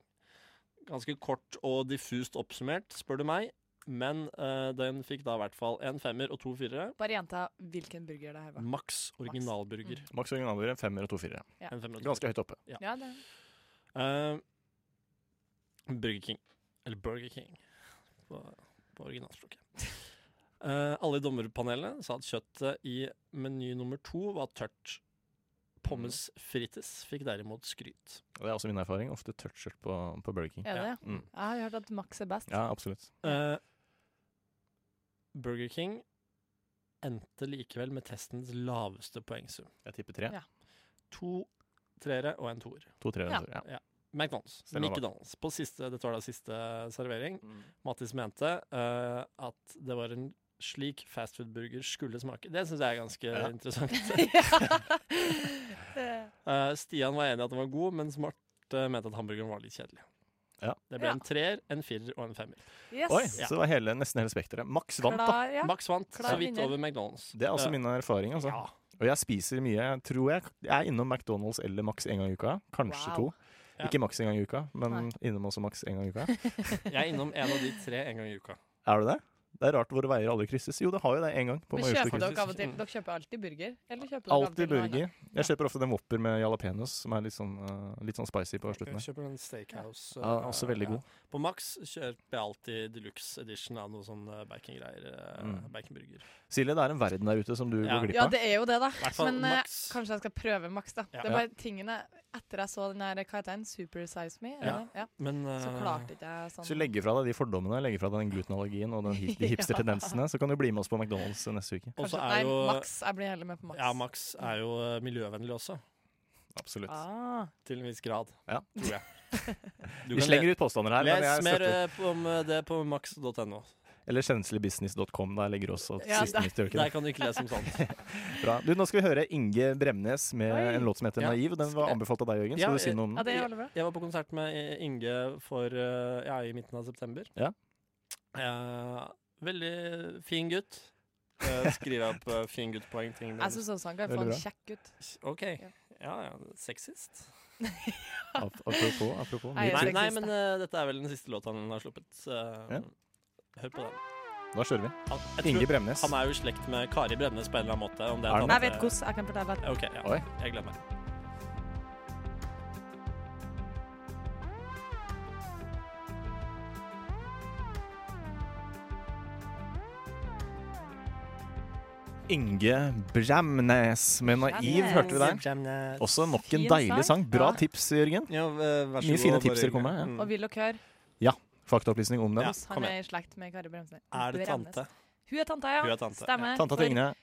G: Ganske kort og diffust oppsummert, spør du meg, men eh, den fikk da i hvert fall en femmer og to firere.
E: Bare gjenta hvilken burger det her
G: Mm.
E: var.
G: Maks originalburger.
F: Max originalburger, femmer og to firere.
G: En femmer og to firere.
F: Ganske høyt oppe.
E: Ja, det.
G: Eh, Burger King. Eller Burger King på, på originalspråket. Eh, alle i dommerpanelet sa at kjøttet i meny nummer to var tørt. Pommes
F: Mm.
G: frites fikk derimot skryt.
F: Og det er også min erfaring. Ofte tørt skjørt på, på Burger King.
E: Er det det?
F: Mm.
E: Jeg har hørt at Max er best.
F: Ja, absolutt.
G: Eh, Burger King endte likevel med testens laveste poengsum.
F: Jeg tipper tre.
E: Ja.
G: To treere og en toer.
F: To, tre,
E: Ja.
F: en tur, ja.
G: McDonald's.
F: Stella bak.
G: McDonald's. På siste, dette var da siste servering. Mattis mente eh, at det var en slik fastfood-burger skulle smake. Det syns jeg er ganske
F: Ja.
G: interessant.
E: Eh,
G: Eh, Stian var enig i at den var god, mens Marte mente at hamburgeren var litt kjedelig.
F: Ja.
G: Det ble
E: Ja.
G: en treer, en firer og en femmer.
E: Yes.
F: Oi,
G: Ja.
F: så det var hele, nesten hele spekteret. Maks vant, da.
E: Klar, ja.
G: Max vant
E: Klar
G: så vidt
E: vinner.
G: over McDonald's.
F: Det er også
G: Eh,
F: min erfaring. altså.
G: ja.
F: Og jeg spiser mye. Jeg tror jeg, jeg er innom McDonald's eller Max en gang i uka. Kanskje
E: Wow.
F: to.
G: Ja.
F: Ikke Max en gang i uka, men
E: Nei.
F: innom også Max en gang i uka.
G: Jeg er innom en av de tre en gang i uka.
F: Er du det? Det er rart våre veier aldri krysses. Jo, det har jo det en gang. på
E: Men
F: Majorstuen
E: kjøper
F: krysses.
E: dere av og til
G: Mm.
E: Dere kjøper alltid burger? Eller kjøper dere av og
F: Alltid
E: til noe annet?
F: burger. Jeg kjøper ofte dem Whopper med jalapeños, som er litt sånn, eh, litt sånn spicy på slutten.
G: Jeg
F: der.
G: kjøper en steakhouse.
F: Ja,
G: eh,
F: også veldig
G: ja.
F: god.
G: På Max kjøper jeg alltid deluxe edition av noe sånn eh, bacongreier. eh,
F: Mm.
G: Baconburger.
F: Silje, det er en verden der ute som du
G: Ja.
F: går glipp
E: Ja,
F: av.
E: det er jo det, da.
G: hvert fall
E: Men eh,
G: Max.
E: kanskje jeg skal prøve Max, da.
G: Ja.
E: Det er bare tingene Etter jeg så den her, hva heter den, Super Size Me, er det det? ja.
G: Men
E: så
G: eh,
E: klarte ikke jeg
F: Hvis du
E: sånn
F: legger fra deg de fordommene, legger fra deg den glutenallergien og den hip de hipstertendensene, så kan du bli med oss på McDonald's neste uke.
G: Og så
E: Kanskje,
G: er
E: Nei,
G: jo-
E: Max. Jeg blir heller med på Max.
G: ja, Max er jo eh, miljøvennlig også.
F: Absolutt.
E: Ah.
G: Til en viss grad.
F: Ja.
G: Tror jeg. Du
F: Vi
G: kan
F: slenger ut påstander her, men
G: Les
F: jeg
G: mer
F: støtter.
G: eh, på- om eh, det på max.no.
F: Eller kjenslebusiness.com. Der legger også
E: Ja,
F: siste
E: der-
F: nytt. gjør ikke
G: Der
F: det?
G: kan du ikke lese om sånt.
F: Bra. Du, nå skal vi høre Inge Bremnes med
E: Oi.
F: en låt som heter
G: Ja.
F: 'Naiv'. Den var anbefalt av deg, Jørgen.
G: Ja,
F: Skal du si noe om
E: ja,
F: den?
E: det er veldig bra.
G: Jeg var på konsert med I- Inge for, eh, ja, i midten av september.
F: Ja.
G: Eh, veldig fin gutt. Eh, skriver opp eh, fin gutt-poeng. ting der.
E: Jeg syns også han kan få
F: Veldig
E: en
F: bra.
E: kjekk ut.
G: OK.
E: Altså, Ja.
G: Ja, ja. Sexist?
F: Ap- Apropos, apropos.
E: Nei,
F: Ny
G: Nei,
E: sexist,
F: ting.
G: nei
E: da.
G: men eh, dette er vel den siste låta han har sluppet. så, eh,
F: Ja.
G: Hør på den.
F: Da kjører vi.
G: Han, jeg
F: Inge
G: tror,
F: Bremnes.
G: han er jo i slekt med Kari Bremnes på en eller annen måte. Om det
F: Er
G: at
F: han
G: han,
E: Jeg vet
G: eh,
E: hvordan jeg kan fortelle.
G: Ok, ja.
F: Oi.
G: Jeg gleder meg.
F: Inge Bremnes med 'Naiv',
E: Bremnes.
F: hørte vi der. Også nok en
E: Fin
F: deilig sang.
E: sang.
F: Bra
E: Ja.
F: tips, Jørgen.
G: Ja, vær
F: så Mye god, fine tips dere kom med, ja.
E: Og vil dere høre
F: Faktaopplysning om den.
G: Ja,
E: hvordan
G: kom
E: han er
G: igjen.
E: i slekt med Kari Bremsnes?
G: Er det
E: Bremnes.
G: tante?
E: Hun er tante, ja.
G: Hun er tante, ja.
E: Stemmer.
F: Tanta
E: For
F: til Inge.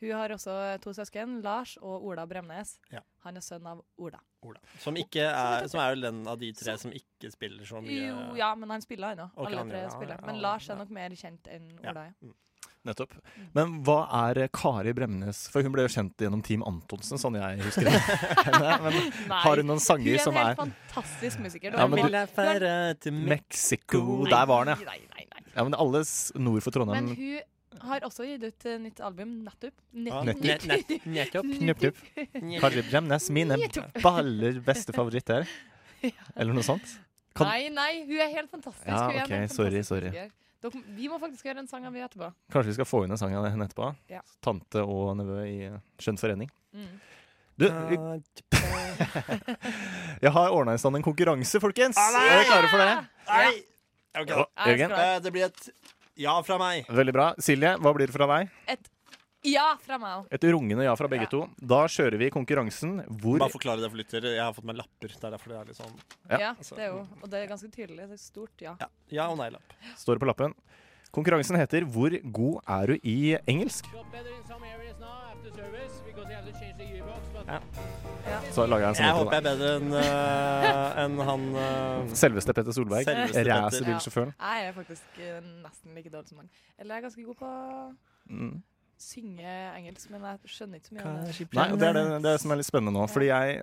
E: Hun har også to søsken, Lars og Ola Bremnes.
G: Ja.
E: Han er sønn av Ola.
G: Ola. Som, ikke er, som er vel den av de tre som ikke spiller så mye
E: Jo, ja, men han spiller ennå.
G: Ok,
E: Alle
G: han
E: tre
G: gjør det. Ja,
E: spiller.
G: ja,
E: Men
G: ja,
E: Lars er
G: ja.
E: nok mer kjent enn
G: Ja.
E: Ola. Ja.
F: Nettopp. Men hva er eh, Kari Bremnes? For hun ble jo kjent gjennom Team Antonsen, sånn jeg husker henne. Men
E: Nei,
F: har hun noen
E: hun
F: sanger
E: er
F: som
E: en helt
F: er
E: fantastisk musiker.
F: Ja, men du-
G: jeg fære til
F: Mexico Der var den, ja.
E: Nei, nei, nei.
F: ja men alle s- nord for
E: Men
F: Trondheim
E: hun har også gitt ut eh, nytt album nettopp.
G: Ja,
E: Nett-
G: nett- nett- Nettopp.
F: Knupp, knupp. Kari Bremnes, mine baller beste favoritter. Eller noe sånt. Kan-
E: Nei, nei, hun er helt fantastisk.
F: Ja,
E: Hun er en
F: ok,
E: helt
F: sorry,
E: fantastisk
F: sorry.
E: musiker. Dere, vi må faktisk gjøre en sang av henne etterpå.
F: Kanskje vi skal få inn en sang av henne etterpå?
E: Ja.
F: Tante og nevø i eh, skjønn forening.
E: Mm.
F: Du, vi- jeg har ordna i stand en konkurranse, folkens!
G: Ah,
F: Er dere klare for det?
G: Nei! Ok,
F: Ja,
E: Jeg er
F: Jørgen,
E: klar.
G: eh, det blir et ja fra meg.
F: veldig bra. Silje, hva blir det fra deg?
E: Ja, fra meg òg.
F: Et rungende ja fra begge
E: Ja.
F: to. Da kjører vi konkurransen hvor
G: Bare forklare det for lytter. Jeg har fått meg lapper. Det er derfor det er litt sånn
F: Ja.
E: Ja, det er jo, og det er ganske tydelig. Det er stort, ja.
G: ja, ja og nei-lapp.
F: står det på lappen. Konkurransen heter 'Hvor god er du i engelsk?'
E: Ja.
F: Så lager jeg en
G: Jeg
F: sånn til
G: håper jeg er bedre enn eh, enn han
F: deg.
G: eh,
F: sånn- Selveste Petter Solberg.
G: Selveste Petter.
F: Racerbilsjåføren.
E: Jeg er faktisk eh, nesten like dårlig som han. Eller jeg er ganske god på å
F: Mm.
E: synge engelsk, men jeg skjønner ikke så mye av det.
F: Nei, og det er det, det er det som er litt spennende nå. Fordi jeg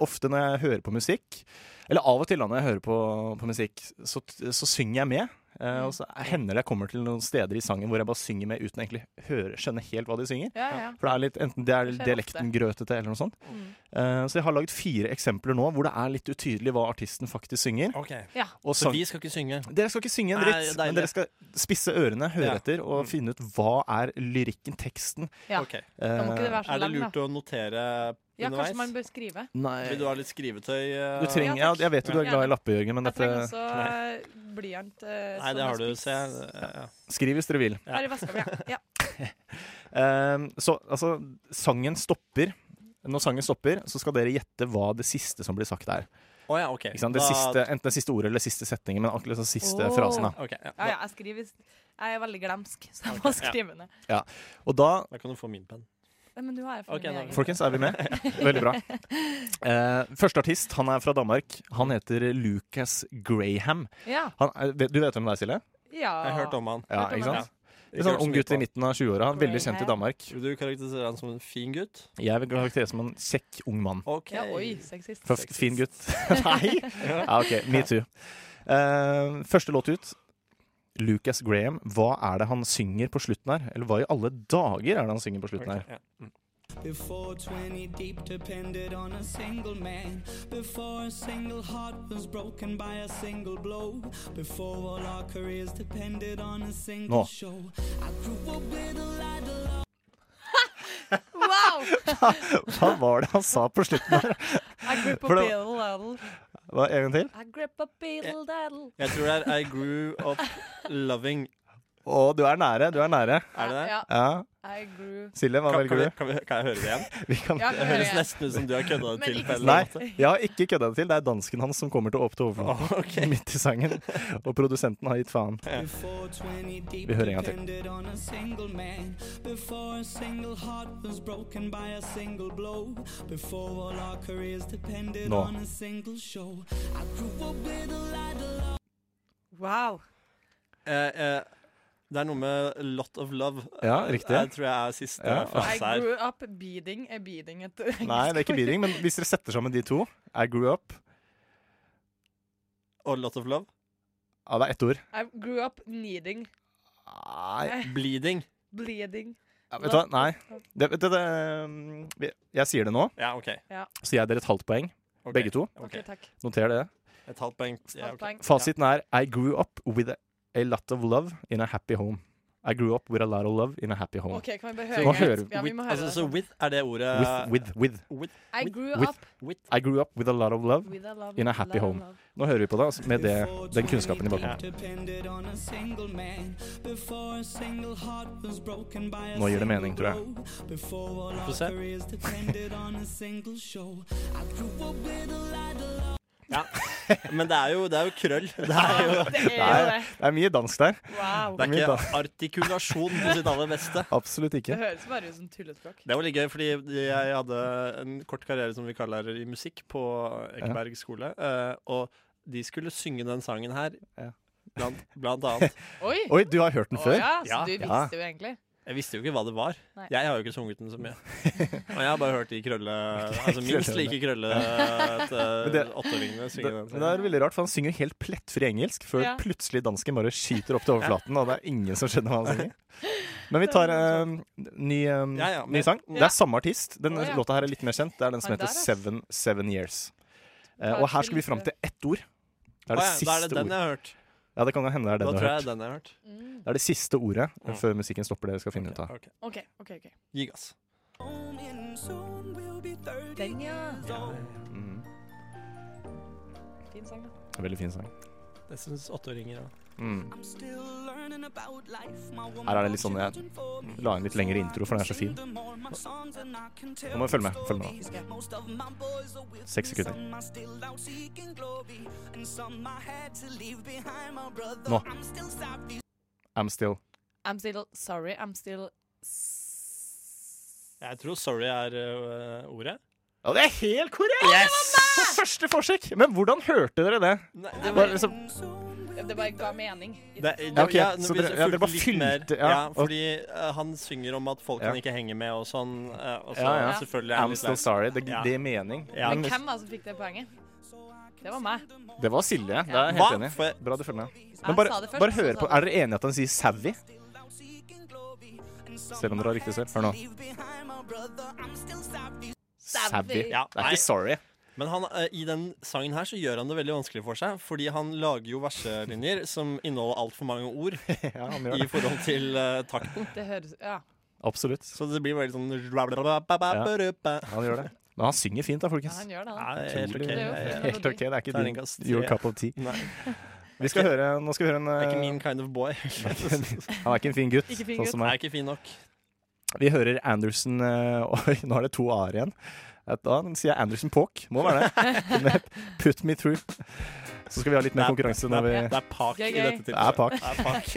F: ofte når jeg hører på musikk, eller av og til da når jeg hører på, på musikk, så, så synger jeg med. Eh, og så hender det jeg kommer til noen steder i sangen hvor jeg bare synger med uten egentlig høre, skjønne helt hva de synger.
E: Ja, ja.
F: For det er litt, enten det er
E: Det skjer
F: dialekten grøtete eller noe sånt.
E: Mm.
F: Eh, så jeg har laget fire eksempler nå hvor det er litt utydelig hva artisten faktisk synger.
G: OK.
E: ja.
F: Og
G: Så
F: sang-
G: vi skal ikke synge.
F: dere skal ikke synge en
G: Nei,
F: dritt,
G: deilig.
F: men dere skal spisse ørene, høre
G: Ja.
F: etter og
G: Mm.
F: finne ut hva er lyrikken, teksten.
E: Ja.
G: Ok.
E: Da må ikke det
F: Eh,
E: være så
G: Er det
E: lang,
G: lurt
E: da.
G: å notere
E: Ja, kanskje man
G: underveis?
E: bør skrive.
G: Vil
F: nei,
G: du ha litt skrivetøy? eh?
F: Du trenger,
E: Ja,
F: ja,
E: takk.
F: jeg vet jo du er
E: Ja.
F: glad i lapper, Jørgen, men
E: Jeg trenger
F: dette
E: også eh, blyant. eh,
G: Nei,
E: som
G: det
E: er
G: har du.
E: spiss.
G: Se. eh,
F: Skriv hvis dere vil.
G: Ja.
E: Her i veska mi, ja. ja.
F: Ehm, så altså, sangen stopper. Når sangen stopper, så skal dere gjette hva det siste som blir sagt er.
G: Å ja, OK.
F: Ikke sant? Det
G: Da-
F: siste, enten det siste ordet eller det siste setningen, men akkurat den siste
E: Åh.
F: frasen. Da.
G: Ok, ja.
E: Ah, Ja,
G: Da,
E: jeg skriver Jeg er veldig glemsk, så jeg må
G: ja.
E: skrive ned.
F: Og da,
G: da kan du få min penn.
E: Nei, Men du har jeg funnet
G: Ok, da-
E: egen.
F: folkens, er vi med? Veldig bra. Eh, første artist, han er fra Danmark. Han heter Lucas Graham.
E: Ja.
F: Han, er- vet- du vet hvem det er, Silje?
E: ja.
G: Jeg har hørt om han.
F: Ja,
E: Hørt om
F: ikke
E: han.
F: sant? En sånn ung gutt i midten av 20-åra. Veldig kjent i
E: Graham.
F: Danmark.
G: Vil du karakterisere han som en fin gutt?
F: Jeg vil karakterisere som en kjekk ung mann.
G: OK.
E: Ja, oi, sexist.
F: Fra f- fin gutt. Nei! Ja, ok, me too. Eh, første låt ut. Lucas Graham, hva er det han synger på slutten her? Eller hva i alle dager er det han synger på slutten her?
G: Ok, ja. Mm.
B: Before 20 deep depended on a single man. Before a single heart was broken by a single blow. Before all our careers depended on a single
F: Nå.
B: show. I grew up with a lot of
E: Wow!
F: Hva var det han sa på slutten der?
E: I grip a
F: For det-
E: bill daddle.
F: Hva, en gang til?
E: I grip a bill daddle.
G: Jeg tror det er I grew up loving.
F: Å, du er nære, du er nære.
G: Er det det?
E: Ja,
F: Ja.
E: I grew.
F: Silje, hva
G: Kan,
F: velger
G: kan, vi,
F: du?
G: kan, vi, kan jeg høre det igjen?
F: Vi kan,
E: Ja,
G: Det
E: kan vi
G: høres
E: gjøre det?
G: nesten ut som du har kødda det
E: Men
G: til.
E: ikke
G: på en
F: Nei,
G: eller annen måte.
F: jeg har ikke kødda det til. Det er dansken hans som kommer til å åpne overflaten
G: Å, ok.
F: midt i sangen. Og produsenten har gitt faen.
B: Before 20 deep
F: Vi hører en gang til.
B: depended on a single man. Before a single heart was broken by a single blow. Before all our careers depended
F: Nå.
B: on a single show. I grew up with a lot of love.
E: Wow.
G: Eh, eh, det er noe med 'lot of love'.
F: Ja, riktig.
G: Jeg tror jeg er siste
F: Ja.
E: I
G: frase Altså, her.
E: grew up beating a beating et
F: Nei, det er ikke beating, men hvis dere setter sammen de to I grew up
G: Og 'lot of love'.
F: Ja, det er ett ord.
E: I grew up needing,
F: Nei,
G: Bleeding.
E: bleeding.
F: ja, vet du hva? Nei. Det, vet du, det, um, vi- jeg sier det nå,
G: Ja, OK.
F: så gir jeg dere et halvt poeng.
G: Ok.
F: Begge to.
G: Ok.
E: Ok, takk.
F: Noter det.
G: Et halvt poeng. Ja, ok.
E: Halvpoeng.
F: Fasiten er I grew up with a, a lot of love in a happy home. I grew up with a lot of love in a happy home.
E: OK, kan vi bare
F: Så
E: høre
F: nå
E: greit?
F: hører-
E: Ja, vi må høre
G: Altså,
E: det.
G: så with er det ordet
F: With, with, with.
G: with,
E: I
G: with-
E: grew
F: with-
E: up
G: with.
F: I grew up with a lot of love.
E: with a love,
F: In a
E: lot
F: happy
E: of
F: home.
E: love.
F: Nå hører vi på det altså, med det, er-
B: Before
F: den kunnskapen i
B: 20
F: bakgrunnen.
B: deep depended on a single man. Before a single heart was broken by a
F: Nå gir det
B: single
F: mening, tror jeg.
B: blow. Before all
G: Få
B: our
G: se.
B: careers depended on a single show. I grew up with a lot of love.
G: Ja. Men det er jo, det er jo krøll. Det er,
E: Ja, det er jo det.
F: Det er mye dansk der.
E: Wow.
G: det er
F: Middag.
G: ikke artikulasjon på sitt aller beste.
F: Absolutt
E: Det
F: ikke.
E: høres bare ut som tullespråk.
G: Det var litt gøy, fordi jeg hadde en kort karriere som vikarlærer i musikk på Ekeberg skole. eh, Og de skulle synge den sangen her,
F: Ja.
G: blant, blant annet.
E: Oi!
F: Oi, du har hørt den
E: Å
F: før?
E: ja, så
G: Ja.
E: du
F: Ja.
E: visste jo egentlig.
G: Jeg visste jo ikke hva det var.
E: Nei.
G: Jeg har jo ikke sunget den så mye. Og jeg har bare hørt de krølle Altså minst
F: Krøllene.
G: like krøllete
F: Men det-
G: åtteåringene
F: Det,
G: synge den.
F: men det er veldig rart, for han synger helt plettfri engelsk før
E: Ja.
F: plutselig dansken bare skyter opp til overflaten, og det er ingen som skjønner hva han synger. Men vi tar en ny, eh,
G: Ja, ja, men-
F: ny sang.
G: Ja.
F: Det er samme artist. Den
E: Å, ja.
F: låta her er litt mer kjent. Det er den som
E: Han
F: heter
E: der, ass.
F: Seven, Seven Years. Eh,
E: Takk
F: og her
E: for
F: skal vi fram
E: lykke.
F: til ett ord. Det
G: Å
F: er det
G: ja, da er
F: siste
G: det den
F: ordet.
G: jeg har hørt.
F: Ja, det kan jo hende det er
G: Da
F: den du
G: tror
F: har
G: jeg
F: hørt.
G: den jeg har hørt.
E: Mm.
F: Det er det siste ordet
G: Ja.
F: før musikken stopper. Dere skal finne ut av
G: Ok,
E: OK, OK. ok
G: Gi gass.
B: Home and soon we'll be 30
E: Den, ja.
B: years old.
F: Mm.
E: Fin sang, da.
F: Veldig fin sang.
G: Det syns åtteåringer òg.
F: Mm.
B: I'm still learning about life. My woman
F: Her er det litt sånn jeg
B: watching for me.
F: La en litt lengre intro, for den er så fin. Nå
B: Nå
F: må vi følge med, følge med Seks sekunder. Nå. I'm still
E: I'm still sorry. I'm still
G: Jeg tror 'sorry' er øh, ordet.
F: Ja, det er helt korrekt! På første forsøk! Men hvordan hørte dere det?
G: Nei,
F: Det var liksom
E: Det bare ga mening.
G: Det,
F: Ja, ok,
G: ja, nå
F: så
G: blir
F: dere-
G: det
F: ja, dere
G: fulgt
F: bare
G: litt
F: fylte,
G: mer.
F: ja,
G: Ja,
F: og-
G: fordi eh, han synger om at folk
F: Ja.
G: kan ikke henge med og sånn. eh, og så
F: Ja, ja.
G: selvfølgelig
F: I'm
G: er det litt
F: still
G: leit.
F: sorry. Det,
G: Ja.
F: det gir mening.
G: Ja,
E: Men
F: Men
E: hvem var det som fikk det poenget? Det var meg.
F: det var Silje. Det er jeg
G: Hva?
F: helt enig.
G: For jeg-
F: i. Bra du følger med.
E: Jeg
F: Men
E: sa
F: bare,
E: det først,
F: bare
E: så
F: hør
E: sa du-
F: på. Er dere enige at han sier savvy? Selv om dere har riktig selv. Hør nå. Savvy.
E: Savvy.
F: Det
G: Ja,
F: er
G: nei.
F: ikke sorry.
G: Men han, eh, i den sangen her så gjør han det veldig vanskelig for seg, fordi han lager jo verselinjer som inneholder altfor mange ord
F: Ja, han gjør
G: i
F: det.
G: forhold til eh, takten.
E: Det høres Ja.
F: Absolutt.
G: Så det blir veldig sånn Ja,
F: Han gjør det. Men han synger fint, da,
E: ja,
F: folkens.
E: han gjør det, han.
G: det er helt ok.
E: Det er jo
G: Jeg- jeg-
E: flott.
F: Helt OK. Det er ikke din
G: Terningkast tre.
F: your cup of tea.
G: Nei,
F: Vi skal høre, nå skal vi høre en
G: det er ikke
F: eh,
G: min kind of boy.
F: Han er ikke en fin gutt,
E: Ikke fin
F: sånn
E: gutt.
F: som
G: Jeg
F: meg.
G: er ikke fin nok.
F: Vi hører Anderson eh, Oi, nå er det to a-er igjen. Eh, Da sier jeg Anderson Paak. Må være det. Med Put me through. Så skal vi ha litt mer
G: Det er-
F: konkurranse når vi
G: Det er pak i
E: Gøy, gøy.
G: dette tilfellet.
F: Det er pak.
G: Det er pak.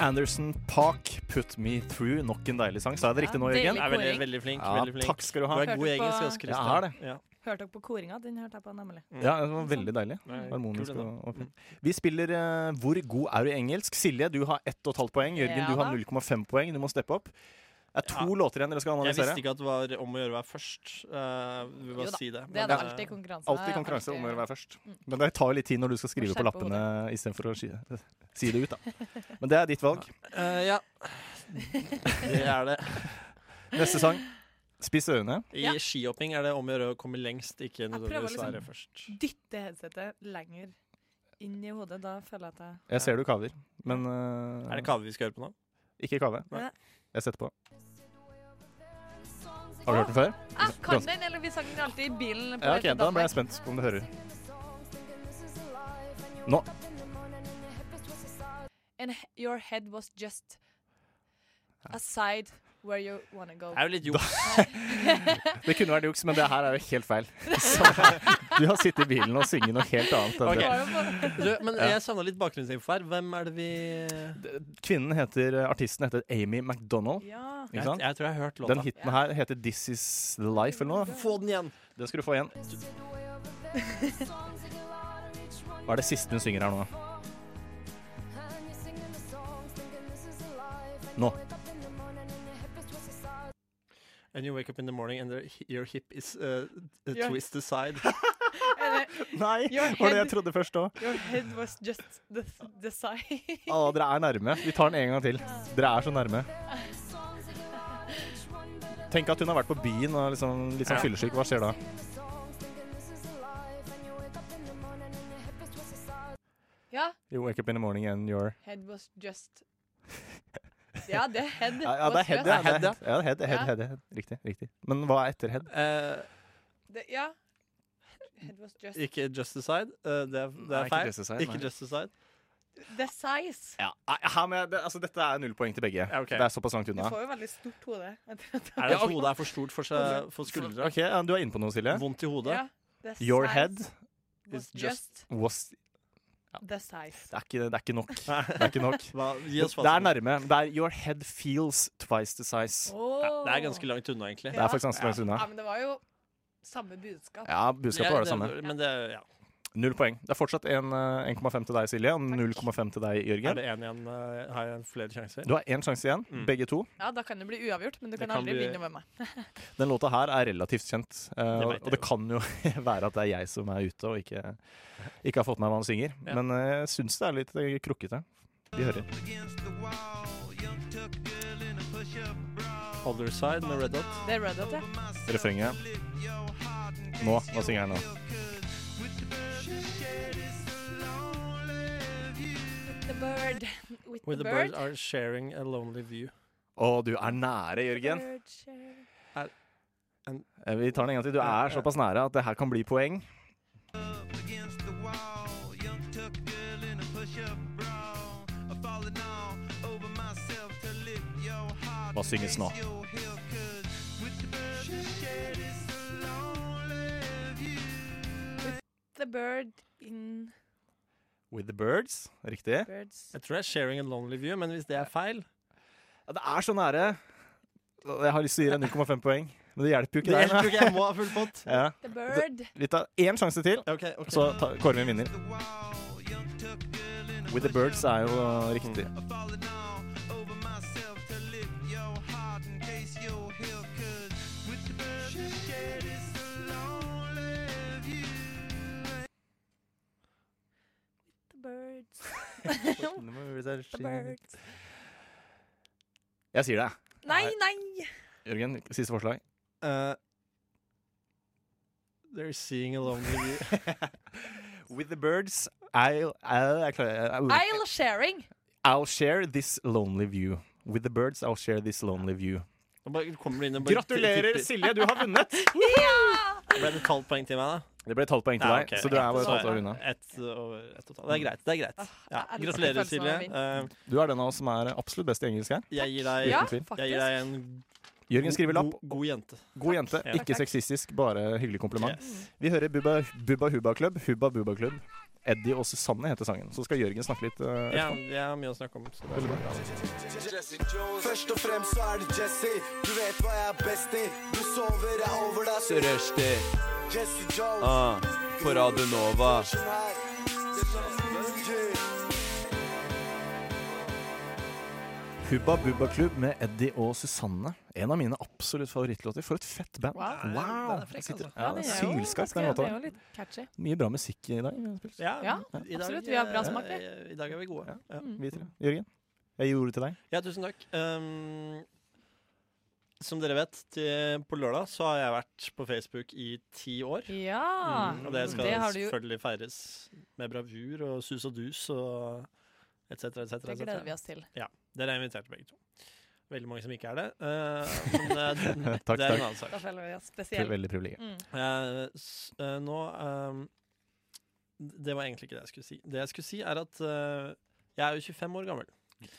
F: Anderson Paak, Put me through. Nok en deilig sang. Sa jeg det riktig nå,
E: Ja,
F: Jørgen?
E: deilig.
G: Er veldig, veldig flink.
F: Ja,
G: veldig flink.
F: takk skal du ha.
G: Du er
E: Hørte
G: god i
E: på-
G: engelsk også, Christian.
F: Jeg har det.
G: Ja.
E: Hørte dere på koringa? Den hørte jeg på, nemlig.
F: Mm. Ja, det
G: Mm.
F: var veldig deilig. Harmonisk
G: Kul, den
F: og, og fint. Vi spiller eh, Hvor god er du i engelsk? Silje, du har 1,5 poeng. Jørgen,
E: Ja
F: du har
E: da.
F: 0,5 poeng. Du må steppe opp. Det er to
G: Ja.
F: låter igjen dere skal
G: Jeg visste
F: analysere.
G: ikke at det var om å gjøre å være først. Eh, vi vil
E: Jo
G: bare
E: da,
G: si det.
E: Det er
G: Men,
E: det alltid
G: eh,
E: i konkurransen.
F: Alltid konkurranse om å være først.
G: Mm.
F: Men det tar jo litt tid når du skal skrive
E: Må
F: på
E: skjerpe
F: lappene istedenfor å si, si det ut, da. Men det er ditt valg.
G: eh, ja. Det er det.
F: Neste sang. Spiss ørene.
G: I
E: Ja.
G: skihopping er det om å gjøre å komme lengst, ikke
E: prøver
G: nødvendigvis
E: liksom-
G: være først.
E: Dytte headsetet lenger inn i hodet. Da føler jeg at jeg
F: Jeg ser du kaver, men eh,
G: Er det kave vi skal høre på nå?
F: ikke kave.
E: Nei.
F: Jeg setter på. Har du hørt den før?
E: Ah, kan
F: Ganske-
E: den, eller vi sang den alltid i bilen. På
F: Ja,
E: vei
F: ok,
E: til
F: Da ble
E: Danmark.
F: jeg spent på om du hører. Nå.
E: And he- your head was just aside where you wanna go.
G: Det er jo litt juks.
F: Det kunne vært juks, men det her er jo helt feil. Så, du har sittet i bilen og synget noe helt annet. enn
G: Ok.
E: Det
F: det.
E: var jo på-
G: Du, men jeg savna litt bakgrunnsinfo her. Hvem er det vi
F: Kvinnen heter, eh, Artisten heter Amy MacDonald.
E: Ja.
F: Ikke
G: jeg,
F: sant?
G: jeg tror jeg har hørt
F: Den
G: låta.
F: hiten her heter 'This Is The Life' eller noe.
G: Få den igjen!
F: Den skal du få igjen. Hva er det siste hun synger her nå? Nå.
G: And you wake up in the morning and the- your hip is uh,
E: Ja.
G: twisted aside.
E: Eller,
F: Nei,
E: Your
F: var det jeg
E: head-
F: trodde først òg.
E: your head was just the, the side.
F: Å, dere er nærme. Vi tar den en gang til. Dere er så nærme. Tenk at hun har vært på byen og liksom, litt sånn fyllesyk. Hva skjer da?
E: Ja.
F: You wake up in the morning and you're
E: Head was just Ja, det er head.
F: Ja, ja det er
E: was
F: head,
E: just.
F: ja. Det er head, ja, head, head,
E: Ja.
F: head, head. Riktig. riktig. Men hva er etter head?
G: Eh,
E: Det, ja. Head was just
G: ikke just aside. eh, det, er- det
F: Nei,
G: er
F: ikke
G: feil.
F: just aside, nei.
G: Ikke just aside.
E: The size.
F: Ja, her med, det, altså, dette er null poeng til begge.
G: Ja, ok.
F: Det er såpass langt
E: Du
F: unna.
E: får jo veldig stort hode.
G: Er det at hodet er for stort for, seg, for skuldra?
F: Ok, ja, Du er inne på noe, Silje.
G: Vondt i hodet?
E: Ja, the
F: Your
E: size
F: head
E: was
G: is
E: just
G: just-
F: was
E: the size.
F: Det er ikke, det er ikke nok. Det er ikke nok.
G: Hva, gi
F: Det
G: oss
F: det er
G: fasiten.
F: nærme. Det er your head feels twice the size.
G: Ja, det er ganske langt unna, egentlig.
F: Det er faktisk ganske langt unna.
E: Ja, men det var jo samme budskap.
F: Ja, budskapet var det samme.
G: Men det, ja.
F: Null poeng. Det er fortsatt en, eh, 1,5 til deg, Silje, og 0,5 til deg,
G: Er
F: Jørgen.
G: det en igjen? eh, Har jeg flere sjanser?
F: Du har én sjanse igjen,
G: Mm.
F: begge to.
E: Ja, Da kan det bli uavgjort, men du kan,
G: kan
E: aldri
G: bli-
E: vinne med meg.
F: Den låta her er relativt kjent, eh,
G: Det vet jeg
F: og det kan jo være at det er jeg som er ute og ikke, ikke har fått med meg hva han synger.
G: Ja.
F: Men eh, jeg syns det er litt eh, krukkete. Vi hører.
G: Other side med red dot.
E: Det er Red Hot, ja.
F: refrenget. Nå. Hva synger han nå?
E: The bird with,
G: With the
E: the
G: birds
E: bird.
G: are sharing a lonely view.
F: Å, du er nære, Jørgen.
E: Bird share.
F: Eh, Vi tar den en gang til. Du er såpass nære at det her kan bli poeng. Hva synges nå?
E: The bird in
F: With the Birds. Riktig.
E: birds.
G: Jeg tror det er sharing a lonely view, men hvis det er feil
F: Ja, det er så nære. Jeg har lyst til å gi deg 0,5 poeng, men det hjelper jo
G: Det
F: ikke deg.
G: hjelper jo ikke, jeg må ha full pott.
F: nei. Ja.
E: The bird.
F: Vi tar én sjanse til,
G: Ok, ok.
F: så ta- kårer vi en vinner. With the Birds er jo uh, riktig.
E: The birds. The
F: Jeg
E: birds.
F: sier det.
E: Nei, nei!
F: Jørgen, siste forslag.
G: Eh, they're seeing a lonely view.
F: With the birds I'll, I'll, jeg klarer- I'll,
E: Isle sharing.
F: I'll share this lonely view. With the birds I'll share this lonely view.
G: Nå bare kommer du inn og bare
F: Gratulerer,
G: tipper.
F: Silje, du har vunnet!
G: Ble det et halvt poeng til meg, da?
F: Det ble et halvt poeng til
G: Ja,
F: deg,
G: ok.
F: så du er bare et
G: Så
F: halvt år unna.
G: ett over ett totalt. Det er greit. det er greit ja.
E: jeg elsker
G: Gratulerer,
E: følelsen
G: Silje.
E: av å
G: Eh,
F: Du er den av oss som er absolutt best i engelsk her.
G: jeg gir deg,
E: Ja,
F: Uten
E: faktisk.
G: jeg gir deg en
F: Jørgen skriver lapp.
G: god, god jente.
F: God jente,
G: Ja.
F: ikke
E: Takk, takk.
F: sexistisk, bare hyggelig kompliment.
G: Yes.
F: Vi hører Bubba, Bubba Hubba Club. Hubba Bubba Club. Eddie og Susanne heter sangen. Så skal Jørgen snakke litt. eh,
G: Ja, jeg har mye å snakke om. Så det er bra.
I: Først og fremst så er det Jesse. Du vet hva jeg er best i. Du sover, jeg over deg. Så
D: Rushdie
I: Jesse Jones.
D: ah, på Radio Nova.
I: sånn.
F: Hubba Bubba Club med Eddie og Susanne. En av mine absolutt favorittlåter. For et fett band.
E: Wow.
G: Den er frekk,
F: Jeg sitter-
G: altså.
F: Ja, det er
E: jo
F: Sylskarp, den
E: ganske- det er
F: låta.
E: jo litt catchy.
F: Mye bra musikk i dag. vi har spilt.
G: Ja,
E: Ja,
G: i dag,
E: absolutt, vi har bra
G: eh,
E: smak, vi.
G: eh, I dag er vi gode. Ja,
F: Vi tre. Jørgen, jeg gir ordet til deg.
G: ja tusen takk. Um, som dere vet, til, på lørdag så har jeg vært på Facebook i ti år.
E: Ja!
G: Mm, og det skal
E: har du jo
G: selvfølgelig feires med bravur og sus og dus og etc. etc.
E: Det gleder vi oss til.
G: Dere er invitert begge to. Veldig mange som ikke er det. eh, men eh, det,
F: Takk,
G: det er
F: takk.
G: en annen sak.
E: Da føler vi oss
F: Pri-
E: spesielle.
F: Veldig privilegert.
E: Mm.
G: Eh, s- eh, nå eh, Det var egentlig ikke det jeg skulle si. Det jeg skulle si, er at eh, jeg er jo 25 år gammel.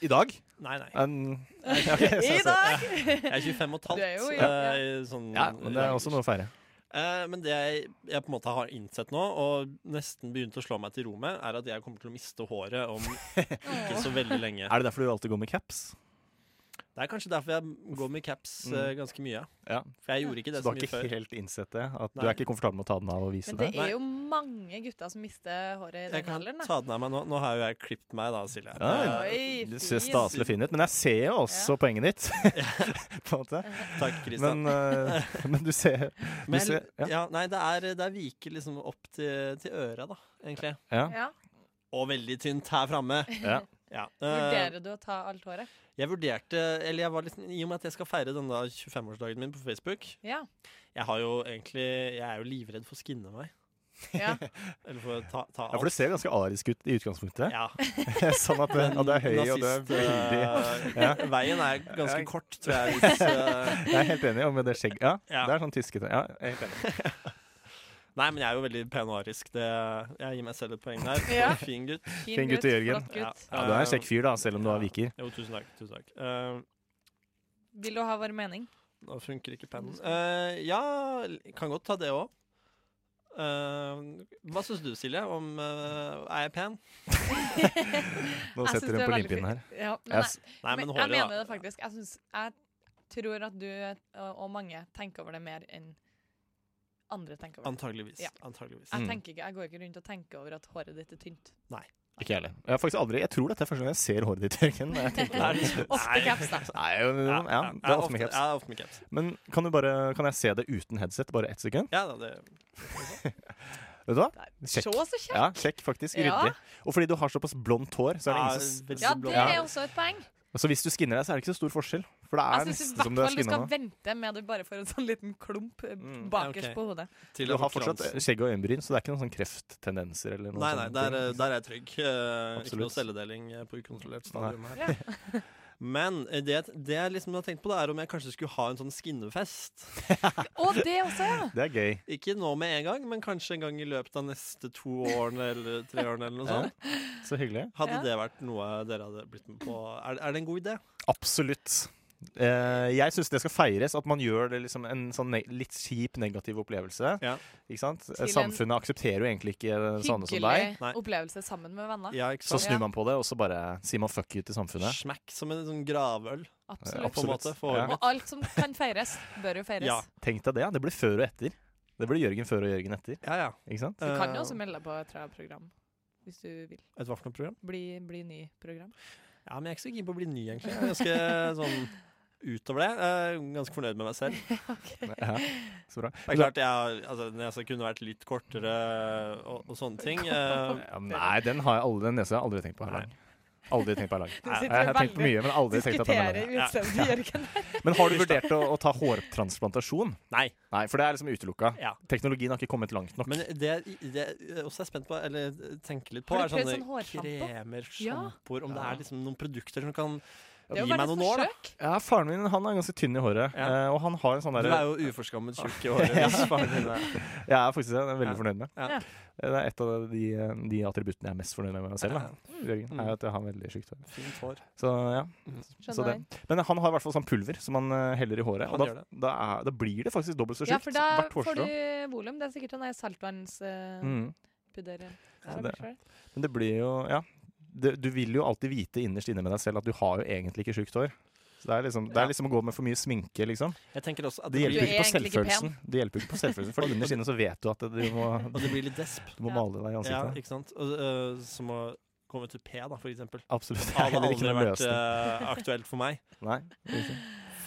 F: I dag?
G: Nei, nei.
F: En,
E: I dag!
G: Jeg er 25 og et halvt.
E: Du er jo-
G: eh,
E: ja.
G: i sånn,
F: ja, men det er også noe å feire.
G: Eh, men det jeg, jeg på en måte har innsett nå, og nesten begynt å slå meg til ro med, er at jeg kommer til å miste håret om ikke så veldig lenge.
F: Er det derfor du alltid går med caps?
G: Det er kanskje derfor jeg går med caps eh, ganske mye.
F: Mm. Ja.
G: For jeg gjorde ikke
F: Så du
G: det så
F: har
G: mye
F: ikke
G: før.
F: helt innsett det? At du
G: Nei.
F: er ikke komfortabel med å ta den av og vise
E: Men det
F: det?
E: er jo mange gutter som mister håret i
G: Jeg
E: den
G: kan
E: alderen. da.
G: ta den av meg nå. Nå har jo jeg klippet meg, da, Silje.
F: Ja,
G: Eh,
E: Oi,
F: Du ser
E: fin.
F: staselig fin ut, men jeg ser jo også poenget ditt. på en måte.
G: takk, Kristian.
F: Men, eh, men du ser
G: Men,
F: du ser-
G: ja.
F: ja.
G: nei, det er, det er viker liksom opp til, til øra, da, egentlig.
F: ja.
E: Ja.
G: Og veldig tynt her framme.
F: Ja.
G: Ja. eh,
E: Vurderer du å ta alt håret?
G: jeg vurderte, eller jeg var litt, i og med at jeg skal feire denne 25-årsdagen min på Facebook,
E: Ja.
G: Jeg har jo egentlig Jeg er jo livredd for å skinne meg.
E: ja.
G: Eller for å ta, ta
F: Ja, for du ser ganske arisk ut i utgangspunktet.
G: Ja,
F: sånn at det, at det er høy og det er
G: nazist,
F: veldig
G: eh, Veien er ganske
F: Ja.
G: kort, tror jeg. Hvis, eh,
F: Jeg er helt enig om det skjegget. Ja,
G: Ja.
F: det er sånn tyskete. Ja, jeg er helt enig.
G: nei, men jeg er jo veldig pen og arisk. Det, jeg gir meg selv et poeng der.
E: Ja.
G: Fin gutt.
F: Fin gutt, Jørgen.
E: Flott gutt.
F: Ja, du er en kjekk fyr, da, selv om du har viker.
G: eh, Jo, tusen takk. Tusen takk. Eh,
E: Vil du ha vår mening?
G: nå funker ikke pennen. Eh, ja, kan godt ta det òg. hva syns du, Silje? Om eh, Er jeg pen?
F: Nå
E: Jeg synes
F: setter
E: du
F: hun
E: er
F: på
E: veldig fin.
F: limpinnen her.
E: Ja, men
F: Jeg,
E: nei,
F: s-
G: Nei,
E: men
G: men
E: jeg
G: håret,
E: mener det
G: da.
E: faktisk. Jeg, synes, jeg tror at du og og mange tenker over det mer enn andre tenker over det.
G: Antageligvis.
E: Ja.
G: Antageligvis.
E: Jeg,
F: Mm.
E: tenker ikke, jeg går ikke rundt og tenker over at håret ditt er tynt.
F: ikke jeg heller. Jeg, har faktisk aldri, jeg tror dette er første gang jeg ser håret ditt, Jørgen. når jeg tenker over det.
E: Ofte caps, da.
F: Nei, jo, jo,
G: Ja,
F: ja,
G: ja,
F: det er ofte med caps.
G: Jeg er ofte med caps.
F: Men kan, du bare, kan jeg se det uten headset, bare ett sekund?
G: Ja, da, det
F: Vet du hva?
E: Se
F: Kjekk.
E: så kjekk!
F: Ja, kjekk, faktisk.
E: Ja.
F: Ryddig. Og fordi du har såpass blondt hår, så er det ingen som
E: Ja,
G: veldig blå.
E: det er også et poeng.
F: Så hvis du skinner deg, så er det ikke så stor forskjell. For det er
E: Jeg synes i
F: nesten
E: hvert fall
F: som du er
E: du
F: skinna
E: skal
F: nå.
E: vente med det bare for en sånn liten klump eh,
F: Mm.
E: bakerst
G: Ja, ok.
E: på hodet.
G: Til
F: Du
G: å
F: har
G: få
F: fortsatt eh,
G: kransen.
F: skjegg og øyenbryn, så det er ikke noen sånn krefttendenser eller noe
G: Nei, nei,
F: sånt.
G: der, er- der er jeg trygg. Eh, ikke noe
F: Absolutt.
G: celledeling eh, på ukontrollert stadium her. Men eh, det, det jeg liksom har tenkt på, da, er om jeg kanskje skulle ha en sånn skinnefest.
E: Og det også, ja!
F: Det er gøy.
G: Ikke nå med en gang, men kanskje en gang i løpet av neste to årene eller tre årene eller noe
F: Ja.
G: sånt.
F: Så hyggelig.
G: Hadde
E: Ja.
G: det vært noe dere hadde blitt med på? Er, er det en god idé?
F: Absolutt. Eh, jeg syns det skal feires, at man gjør det liksom en sånn ne litt kjip negativ opplevelse.
G: Ja.
F: Ikke sant? Eh,
E: en-
F: Samfunnet aksepterer jo egentlig ikke sånne som sånn deg.
E: Hyggelig
G: Nei.
E: opplevelse sammen med venner.
G: Ja, ikke
F: Så
G: sant?
E: Ja.
F: snur man på det, og så bare sier man fuck you til samfunnet. Eh,
G: Smack som en sånn gravøl,
E: Absolutt.
G: på en
F: Absolutt.
G: måte. For
F: Ja.
G: håret mitt.
E: Og alt som kan feires, bør jo feires.
G: Ja.
F: Tenk deg det. ja. Det blir før og etter. Det blir Jørgen før og Jørgen etter.
G: Ja, ja.
F: Ikke sant?
E: Du kan
G: Eh,
E: jo også melde deg på et program hvis du vil.
G: Et hva for noe program?
E: Bli, bli ny program.
G: Ja, men jeg er ikke så keen på å bli ny, egentlig. Jeg er ganske sånn utover det. eh, ganske fornøyd med meg selv.
F: Ja. Så bra.
G: Det er klart jeg, har- altså, nesa kunne vært litt kortere og, og sånne ting. eh,
F: Ja, men nei, den, har jeg aldri, den nesa har jeg aldri tenkt på her lang. Aldri tenkt på her lang.
E: Du sitter
F: Jeg har tenkt på
E: veldig-
F: mye, men aldri tenkt at den er lang.
E: Diskutere utseendet, Jørgen.
F: Men har du vurdert å, å ta hårtransplantasjon?
G: nei.
F: Nei, for det er liksom utelukka.
G: Ja.
F: Teknologien har ikke kommet langt nok.
G: Men det, det jeg også er spent på, eller tenker litt på,
E: Har
G: er
E: du prøvd
G: sånne
E: sånn hårsampo?
G: kremer,
E: Ja.
G: sjampoer Om det
F: Ja.
G: er liksom noen produkter som kan
E: Det er
G: gi
E: jo
G: meg
E: bare et
G: noen år, da.
E: forsøk.
F: Ja, Faren min han er ganske tynn i håret,
G: Ja.
F: eh, og han har en sånn
G: Du
F: derre
G: er jo uforskammet tjukk i håret. hvis faren din er-
F: Jeg er faktisk det, det er jeg veldig
G: Ja.
F: fornøyd med. Eh,
G: Ja.
F: Det er et av de, eh, de attributtene jeg er mest fornøyd med med meg selv. Da. Jørgen,
G: Mm.
F: er at jeg har veldig sjukt hår.
G: Fint hår.
F: Så, ja. så
E: Skjønner
F: det. Men han har i hvert fall sånn pulver som han eh, heller i håret.
G: Han
F: Og da,
G: gjør
F: da, er, da blir det faktisk dobbelt så
E: Ja,
F: sjukt
E: for da
F: hvert
E: får du
F: hårstrå.
E: volum. Det er sikkert den der eh, saltvannspuderen.
F: Mm.
E: eh,
F: Så det- Men det blir jo Ja. Det, du vil jo alltid vite innerst inne med deg selv at du har jo egentlig ikke sjukt hår. Så det er, liksom, det
G: Ja.
F: er liksom å gå med for mye sminke, liksom.
G: Jeg tenker også at
F: Det
G: det
E: Du er
F: hjelper jo ikke
G: blir,
F: på
E: egentlig ikke pen.
F: selvfølelsen. Det hjelper jo ikke på selvfølelsen For innerst inne så vet du at du må,
G: og det blir litt desp.
F: du må
E: Ja.
F: male deg i
G: Ja,
F: ansiktet.
G: ikke sant? Og, øh, som å komme til P, da, for eksempel.
F: Absolutt. Det er
G: Hadde
F: heller ikke
G: aldri
F: noen
G: vært
F: løsning.
G: øh, aktuelt for meg.
F: Nei, ikke.
E: Eh.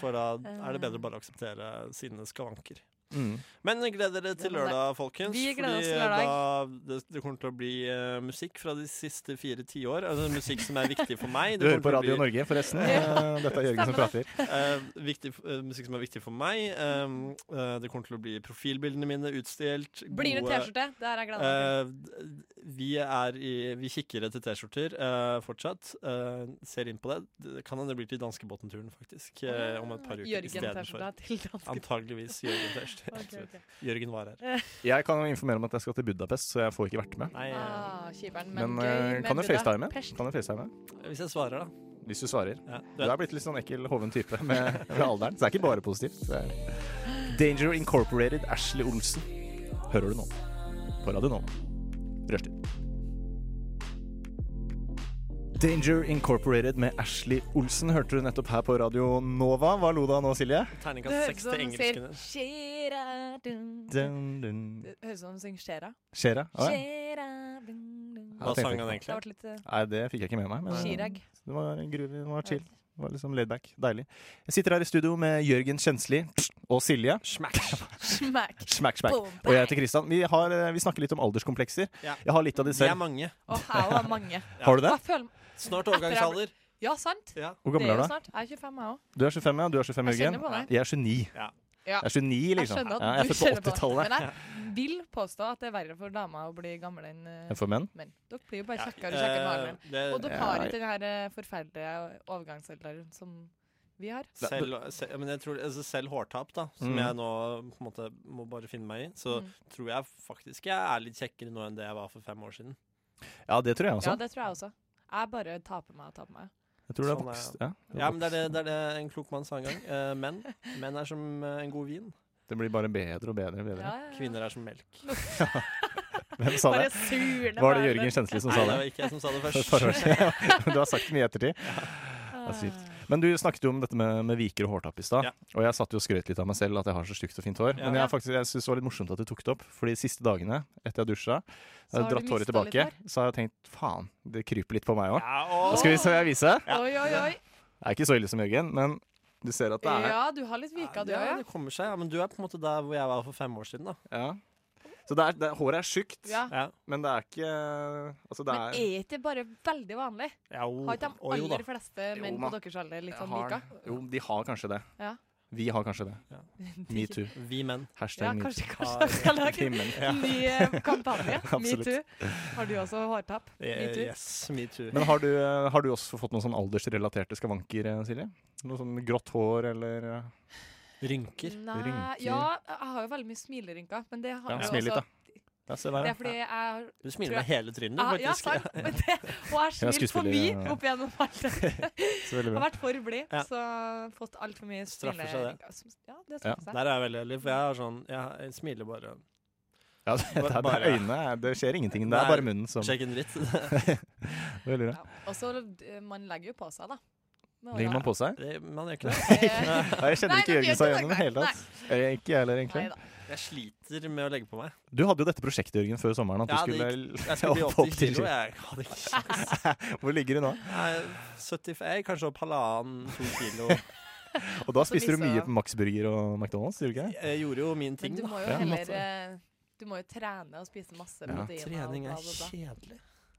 G: For da er det bedre å bare akseptere sine skavanker.
F: Mm.
G: Men gled dere til lørdag, folkens.
E: Vi gleder oss til
G: fordi, eh,
E: lørdag.
G: Da, det, det kommer til å bli eh, musikk fra de siste fire tiår. Altså, musikk som er viktig for meg.
F: Du hører på
G: kommer til
F: Radio
G: å bli,
F: Norge, forresten. Eh, Dette er Jørgen som
E: Stemmer
F: prater.
G: eh, viktig, f- eh, musikk som er viktig for meg. Um, eh, det kommer til å bli profilbildene mine utstilt.
E: Blir det
G: gode-
E: T-skjorte? Det er jeg glad til.
G: Eh, d- vi er i Vi kikker etter T-skjorter eh, fortsatt. Eh, ser inn på det. Det kan hende det blir til danskebåten-turen, faktisk. eh, om et par uker
E: Ah, Jørgen T-skjorta
G: istedenfor.
E: til danske.
G: Antageligvis Jørgen T-skjorte. rett og
E: Ok,
G: slett.
E: ok.
G: Jørgen var her.
F: Jeg kan jo informere om at jeg skal til Budapest, så jeg får ikke vært med.
G: Nei, eh,
E: Ah, kjiperen, men,
F: Men
E: gøy
F: eh,
E: med
F: kan du
E: Buddha.
F: facetime?
E: Pers-
F: Kan du facetime?
G: eh, hvis jeg svarer, da.
F: Hvis du svarer.
G: Ja,
F: Du er blitt litt sånn ekkel, hoven type med, med alderen. Så det er ikke bare positivt. Det er Danger Incorporated, Ashley Olsen. Hører du nå? På Radio Nova. Rushtid. Danger Incorporated med Ashley Olsen hørte du nettopp her på Radio Nova. Hva lo du av nå, Silje?
E: Det
G: Terningkast
E: høres ut
G: seks
E: som
G: til
E: hun
G: engelskene.
E: sier Shira dun. Det
F: Dun, dun.
E: høres ut som hun synger Shera.
F: Skjer'a? Å, ja.
E: Shera dun, dun.
G: Hva
F: tenkte
G: sang
F: jeg
G: han
F: ikke.
E: Det
G: egentlig?
E: ble litt eh,
F: Nei, det fikk jeg ikke med meg. Men
E: Chirag.
F: det var en groovy, det var chill. Det var liksom laidback. Deilig. Jeg sitter her i studio med Jørgen Kjensli og Silje. Smack.
E: Smack.
F: Smack, smack.
E: Boom,
F: Og jeg heter Kristian. Vi, har, eh, vi snakker litt om alderskomplekser.
G: Ja.
F: Jeg har litt av de
G: Vi er
F: selv.
G: mange.
E: Og her var mange.
F: Har du det?
E: Jeg føler,
G: Snart overgangsalder.
E: ja, sant.
G: Ja.
F: Hvor
E: Det
F: gammel
E: er
F: er
E: jo
F: du?
E: snart. Jeg er 25, jeg òg.
F: Du er 25, ja. Du er 25,
E: Jeg
F: Jørgen.
E: kjenner på meg.
F: Jeg er 29.
G: Ja.
E: Ja.
F: Jeg er 29,
E: Jeg
F: liksom.
E: skjønner at
F: Ja, jeg er
E: du
F: født på
E: kjenner på det.
F: 80-tallet.
E: Men jeg vil påstå at det er verre for damer å bli gamle enn eh,
F: For menn.
E: menn. Dere blir jo bare kjekkere og kjekkere med alderen.
G: Eh, det-
E: Og dere har ikke den her eh, forferdelige overgangsalderen som vi har.
G: Selv, selv, men jeg tror, altså selv hårtap, da, som
F: Mm.
G: jeg nå på en måte må bare finne meg i, så
E: Mm.
G: tror jeg faktisk jeg er litt kjekkere nå enn det jeg var for fem år siden.
F: Ja, det tror jeg
E: Ja,
F: også.
E: det tror jeg også. Jeg bare taper meg og taper meg.
F: Jeg tror det er
G: Sånn er
F: vokst. Ja, det,
G: Ja,
F: er vokst.
G: men det er det, det, er det en klok mann sa en gang. Eh, menn menn er som eh, en god vin.
F: det blir bare bedre og bedre og bedre.
E: Ja, ja, ja.
G: Kvinner er som melk.
F: Hvem sa det?
E: Bare surner
F: Var det
E: bare. sånn.
F: Jørgen Kjensli som
G: Nei,
F: sa
G: det
F: det?
G: var ikke jeg som sa det
F: For et par år
G: først.
F: siden. Du har sagt mye i ettertid. Det er sykt. Men du snakket jo om dette med, med viker og hårtapp i stad.
G: Ja.
F: Og jeg satt jo og skrøt litt av meg selv at jeg har så stygt og fint hår.
G: Ja.
F: Men jeg,
G: Ja.
F: er faktisk, jeg synes det var litt morsomt at du tok det opp. For de siste dagene etter jeg dusja, jeg
E: Så har
F: har
E: du
F: dratt håret
E: mistet litt
F: tilbake, så har jeg tenkt faen, det kryper litt på meg òg.
G: Ja, og,
F: Skal vi se hva jeg viser?
G: Ja.
E: Oi, oi, oi.
F: Det er ikke så ille som Jørgen, men du ser at det er
E: Ja, du har litt vika, du
G: ja,
E: òg.
G: det kommer seg. Ja, men du er på en måte der hvor jeg var for fem år siden, da.
F: Ja. Så det er, det, håret er tjukt,
E: Ja.
G: Ja.
F: men det er ikke Altså, det
E: Men e-
F: er
E: er ikke det bare veldig vanlig?
G: Ja, jo.
E: Har ikke de
G: Å, jo da.
E: aller fleste menn
F: Jo,
E: på
F: ma.
E: deres alder litt sånn
F: har-
E: vika?
F: Jo, de har kanskje det.
E: Ja.
F: Vi har kanskje det.
G: Ja.
F: Metoo.
G: Vi menn.
E: Ja,
F: Hashtag
E: kanskje, kanskje
G: Ja,
E: dere skal lage
F: metoo. Men-
E: en ny eh, kampanje.
F: Absolutt.
E: Metoo. Har du også hårtapp?
G: Eh,
E: Metoo.
G: Yes, metoo.
F: Men har du, eh, har du også fått noen sånn aldersrelaterte skavanker, eh, Silje? Noe sånn grått hår eller eh,
G: Rynker.
E: Nei,
F: Rynker.
E: ja, jeg har jo veldig mye smilerynker, men det har
F: Ja,
E: jeg
F: smil litt,
E: også.
F: da. Ja, se
E: Det
F: der, ja.
E: er fordi jeg har
G: Du smiler
E: Tror jeg-
G: med hele trynet,
E: ah,
G: du,
E: Ja,
G: faktisk.
E: sant. Men det, og jeg
F: Jeg er
E: har smilt for
F: skuespiller,
E: mye
F: ja.
E: opp gjennom alt.
F: Så
E: Jeg
F: veldig bra.
E: har vært for blid,
G: Ja.
E: så fått altfor mye
G: Straffer seg det.
E: smilerynker. Ja, det
F: Ja.
E: straffer seg.
G: Der er jeg veldig heldig, for jeg har sånn Jeg jeg smiler bare.
F: Ja, det, det, er- det
G: Bare-
F: er øynene. eh, Det skjer ingenting. Det er
G: Nei.
F: bare munnen som
G: Sjekk en dritt.
F: Veldig bra.
E: Ja. Og så eh, man legger jo på seg, da. Med
F: Legger man
E: åra.
F: på seg?
G: Det- Man gjør ikke det.
E: Eh,
F: Nei, jeg kjenner
E: Nei,
F: ikke
E: det gjør
F: Jørgen seg
E: ikke
F: igjen i det
E: Norge.
F: hele tatt. Eh, Ikke jeg heller, egentlig.
E: Neida.
G: Jeg sliter med å legge på meg.
F: Du hadde jo dette prosjektet, Jørgen, før sommeren. At du
G: Ja, det
F: skulle
G: Jeg skal bli
F: opp- opp
G: 80
F: til
G: kilo. Jeg hadde ikke sjans.
F: Hvor ligger du nå?
G: Jeg er 75, jeg er kanskje opp halvannen, to kilo.
F: Og
E: Og
F: da
E: så
F: spiste du
E: mista-
F: mye på Max Burger og McDonald's, gjorde du ikke det?
G: Jeg gjorde jo min ting,
E: Men du
G: da.
E: må jo
F: Ja,
E: heller
F: masse.
E: eh, Du må jo trene og spise masse
F: Ja.
E: proteiner. og
G: Trening
E: bla,
G: er
E: bla, bla.
G: kjedelig.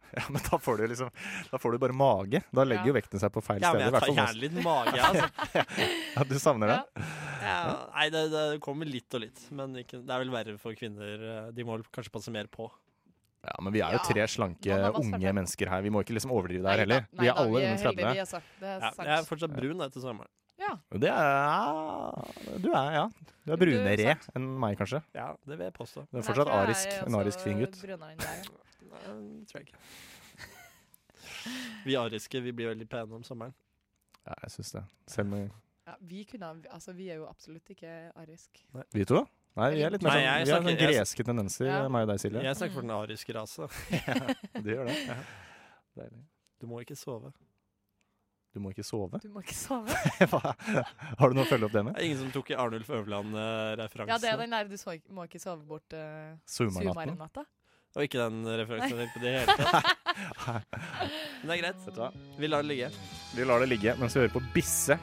F: Ja, men da får du liksom Da får du bare mage. Da legger jo vekten seg på feil steder.
G: Ja, men
F: i
G: jeg
F: hvert
G: tar
F: fall
G: gjerne
F: nå.
G: litt mage, altså.
F: Ja, du savner det?
E: Ja.
G: Ja, nei, det, det kommer litt og litt. Men ikke, det er vel verre for kvinner. eh, De må vel kanskje passe mer på.
F: Ja, men vi er jo
E: Ja.
F: tre slanke
E: Noen av oss er
F: unge
E: det.
F: mennesker her. Vi må ikke liksom overdrive det
E: Neida,
F: her heller. Vi er
E: neida,
F: alle under
E: heldige,
F: 30.
E: vi, altså. Det er
G: Ja,
E: sant.
G: jeg er fortsatt brun da, etter sommeren.
F: Det er Du er, ja. Du er
E: Du er
F: brunere
E: sant.
F: enn meg, kanskje.
G: Ja, det vil jeg påstå.
F: Du
E: Men
F: er fortsatt
E: tror jeg
F: arisk,
E: er
F: en arisk
E: også
F: fin gutt.
E: brunere enn deg, ja.
G: Nei, det tror jeg ikke. Vi ariske vi blir veldig pene om sommeren.
F: Ja, jeg syns det. Selv med
E: Ja, vi, kunne, ha- altså, vi er jo absolutt ikke arisk.
F: vi to. Nei, vi er litt mer
G: Nei,
F: sånn,
G: jeg
F: vi har
G: snakker-
F: sånn
G: jeg-
F: greske tendenser,
E: Ja.
F: meg og deg, Silje.
G: Jeg snakker for den ariske rase.
F: Du gjør det. Deilig.
G: Du må ikke sove.
F: Du må ikke sove.
E: Du må ikke sove.
F: Hva? Har du noe å følge opp det
G: Det
F: med?
G: er ingen som tok i Arnulf Øverland-referansen.
E: Ja, det er den der du så, må ikke sove bort uh,
F: Sumarnatten.
E: sumarnatta.
G: Og ikke den referansen jeg tenkte på det hele tatt. Men det er greit.
F: Vet du hva?
G: Vi lar det ligge.
F: Vi lar det ligge mens vi hører på Bisse.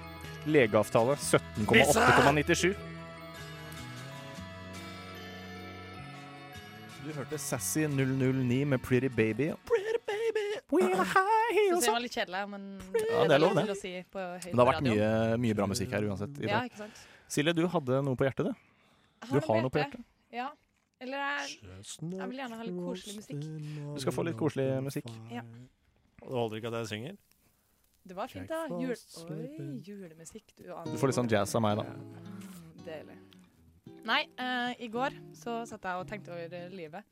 F: Legeavtale 17,8,97. Du hørte Sassy 009 med Pretty Baby. Pretty Baby, we are high
E: Synes
F: heels
E: jeg var litt kjedelig, men
F: Ja, det er lov, det.
E: Til å si på høy
F: Men det har vært
E: radio.
F: mye, mye bra musikk her uansett. I
E: Ja,
F: dag.
E: ikke sant?
F: Silje, du hadde noe på hjertet, du.
E: Jeg
F: Du har noe på hjertet.
E: Ja. Eller jeg, jeg vil gjerne ha litt koselig musikk.
F: Du skal få litt koselig
E: Mm.
F: musikk.
E: Ja.
G: Det holder ikke at jeg synger.
E: Det var fint, da. Jul, oi, julemusikk. Du, aner
F: Du får litt sånn jazz av meg, da.
E: Mm, Deilig. Nei, eh, i går så satt jeg og tenkte over eh, livet.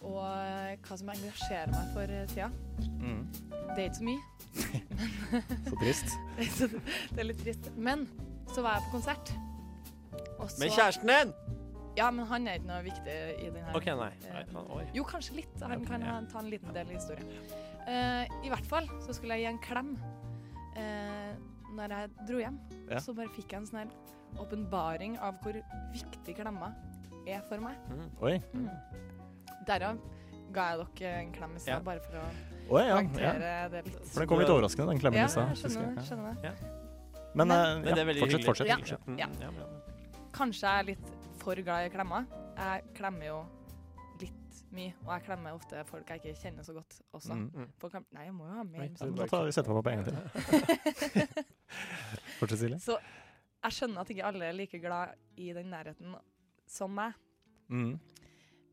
E: Og eh, hva som engasjerer meg for eh, tida.
F: Mm.
E: Det er ikke så mye.
F: Så trist.
E: Så det er litt trist. Men så var jeg på konsert. Og så-
G: Med kjæresten din!
E: Ja, men han er ikke noe viktig i den her.
G: OK, nei. nei
E: eh,
G: faen, oi.
E: Jo, kanskje litt. Han
G: ok,
E: kan
G: ja.
E: ha- ta en liten del i historien. Eh, I hvert fall så skulle jeg gi en klem eh, når jeg dro hjem.
F: Ja.
E: Så bare fikk jeg en sånn her åpenbaring av hvor viktig klemmer er for meg.
F: Oi.
E: Derav ga jeg dere en klem i sted,
G: Ja.
E: bare for å
F: Oi, ja. ja.
E: poengtere det litt.
F: For den kom litt overraskende, den klemmen
E: Ja,
F: i stad.
E: jeg
F: husker
E: skjønner,
F: jeg.
E: skjønner det.
F: Ja. Men
E: Men-
F: eh,
G: Men det er
F: ja,
G: veldig
F: fortsett,
G: hyggelig.
F: fortsett.
E: Ja.
G: Fortsett. Mm,
E: ja.
G: ja, ja.
E: Kanskje jeg er litt for glad i klemmer. Jeg klemmer jo litt mye, og jeg klemmer ofte folk jeg ikke kjenner så godt også.
F: Mm.
E: Folk kan- Nei, jeg må jo ha mer sånn.
F: Så
E: musikk.
F: Da tar vi setter vi på på en gang til. Fortsett, Silje.
E: Så jeg skjønner at ikke alle er like glad i den nærheten som meg.
F: Mm.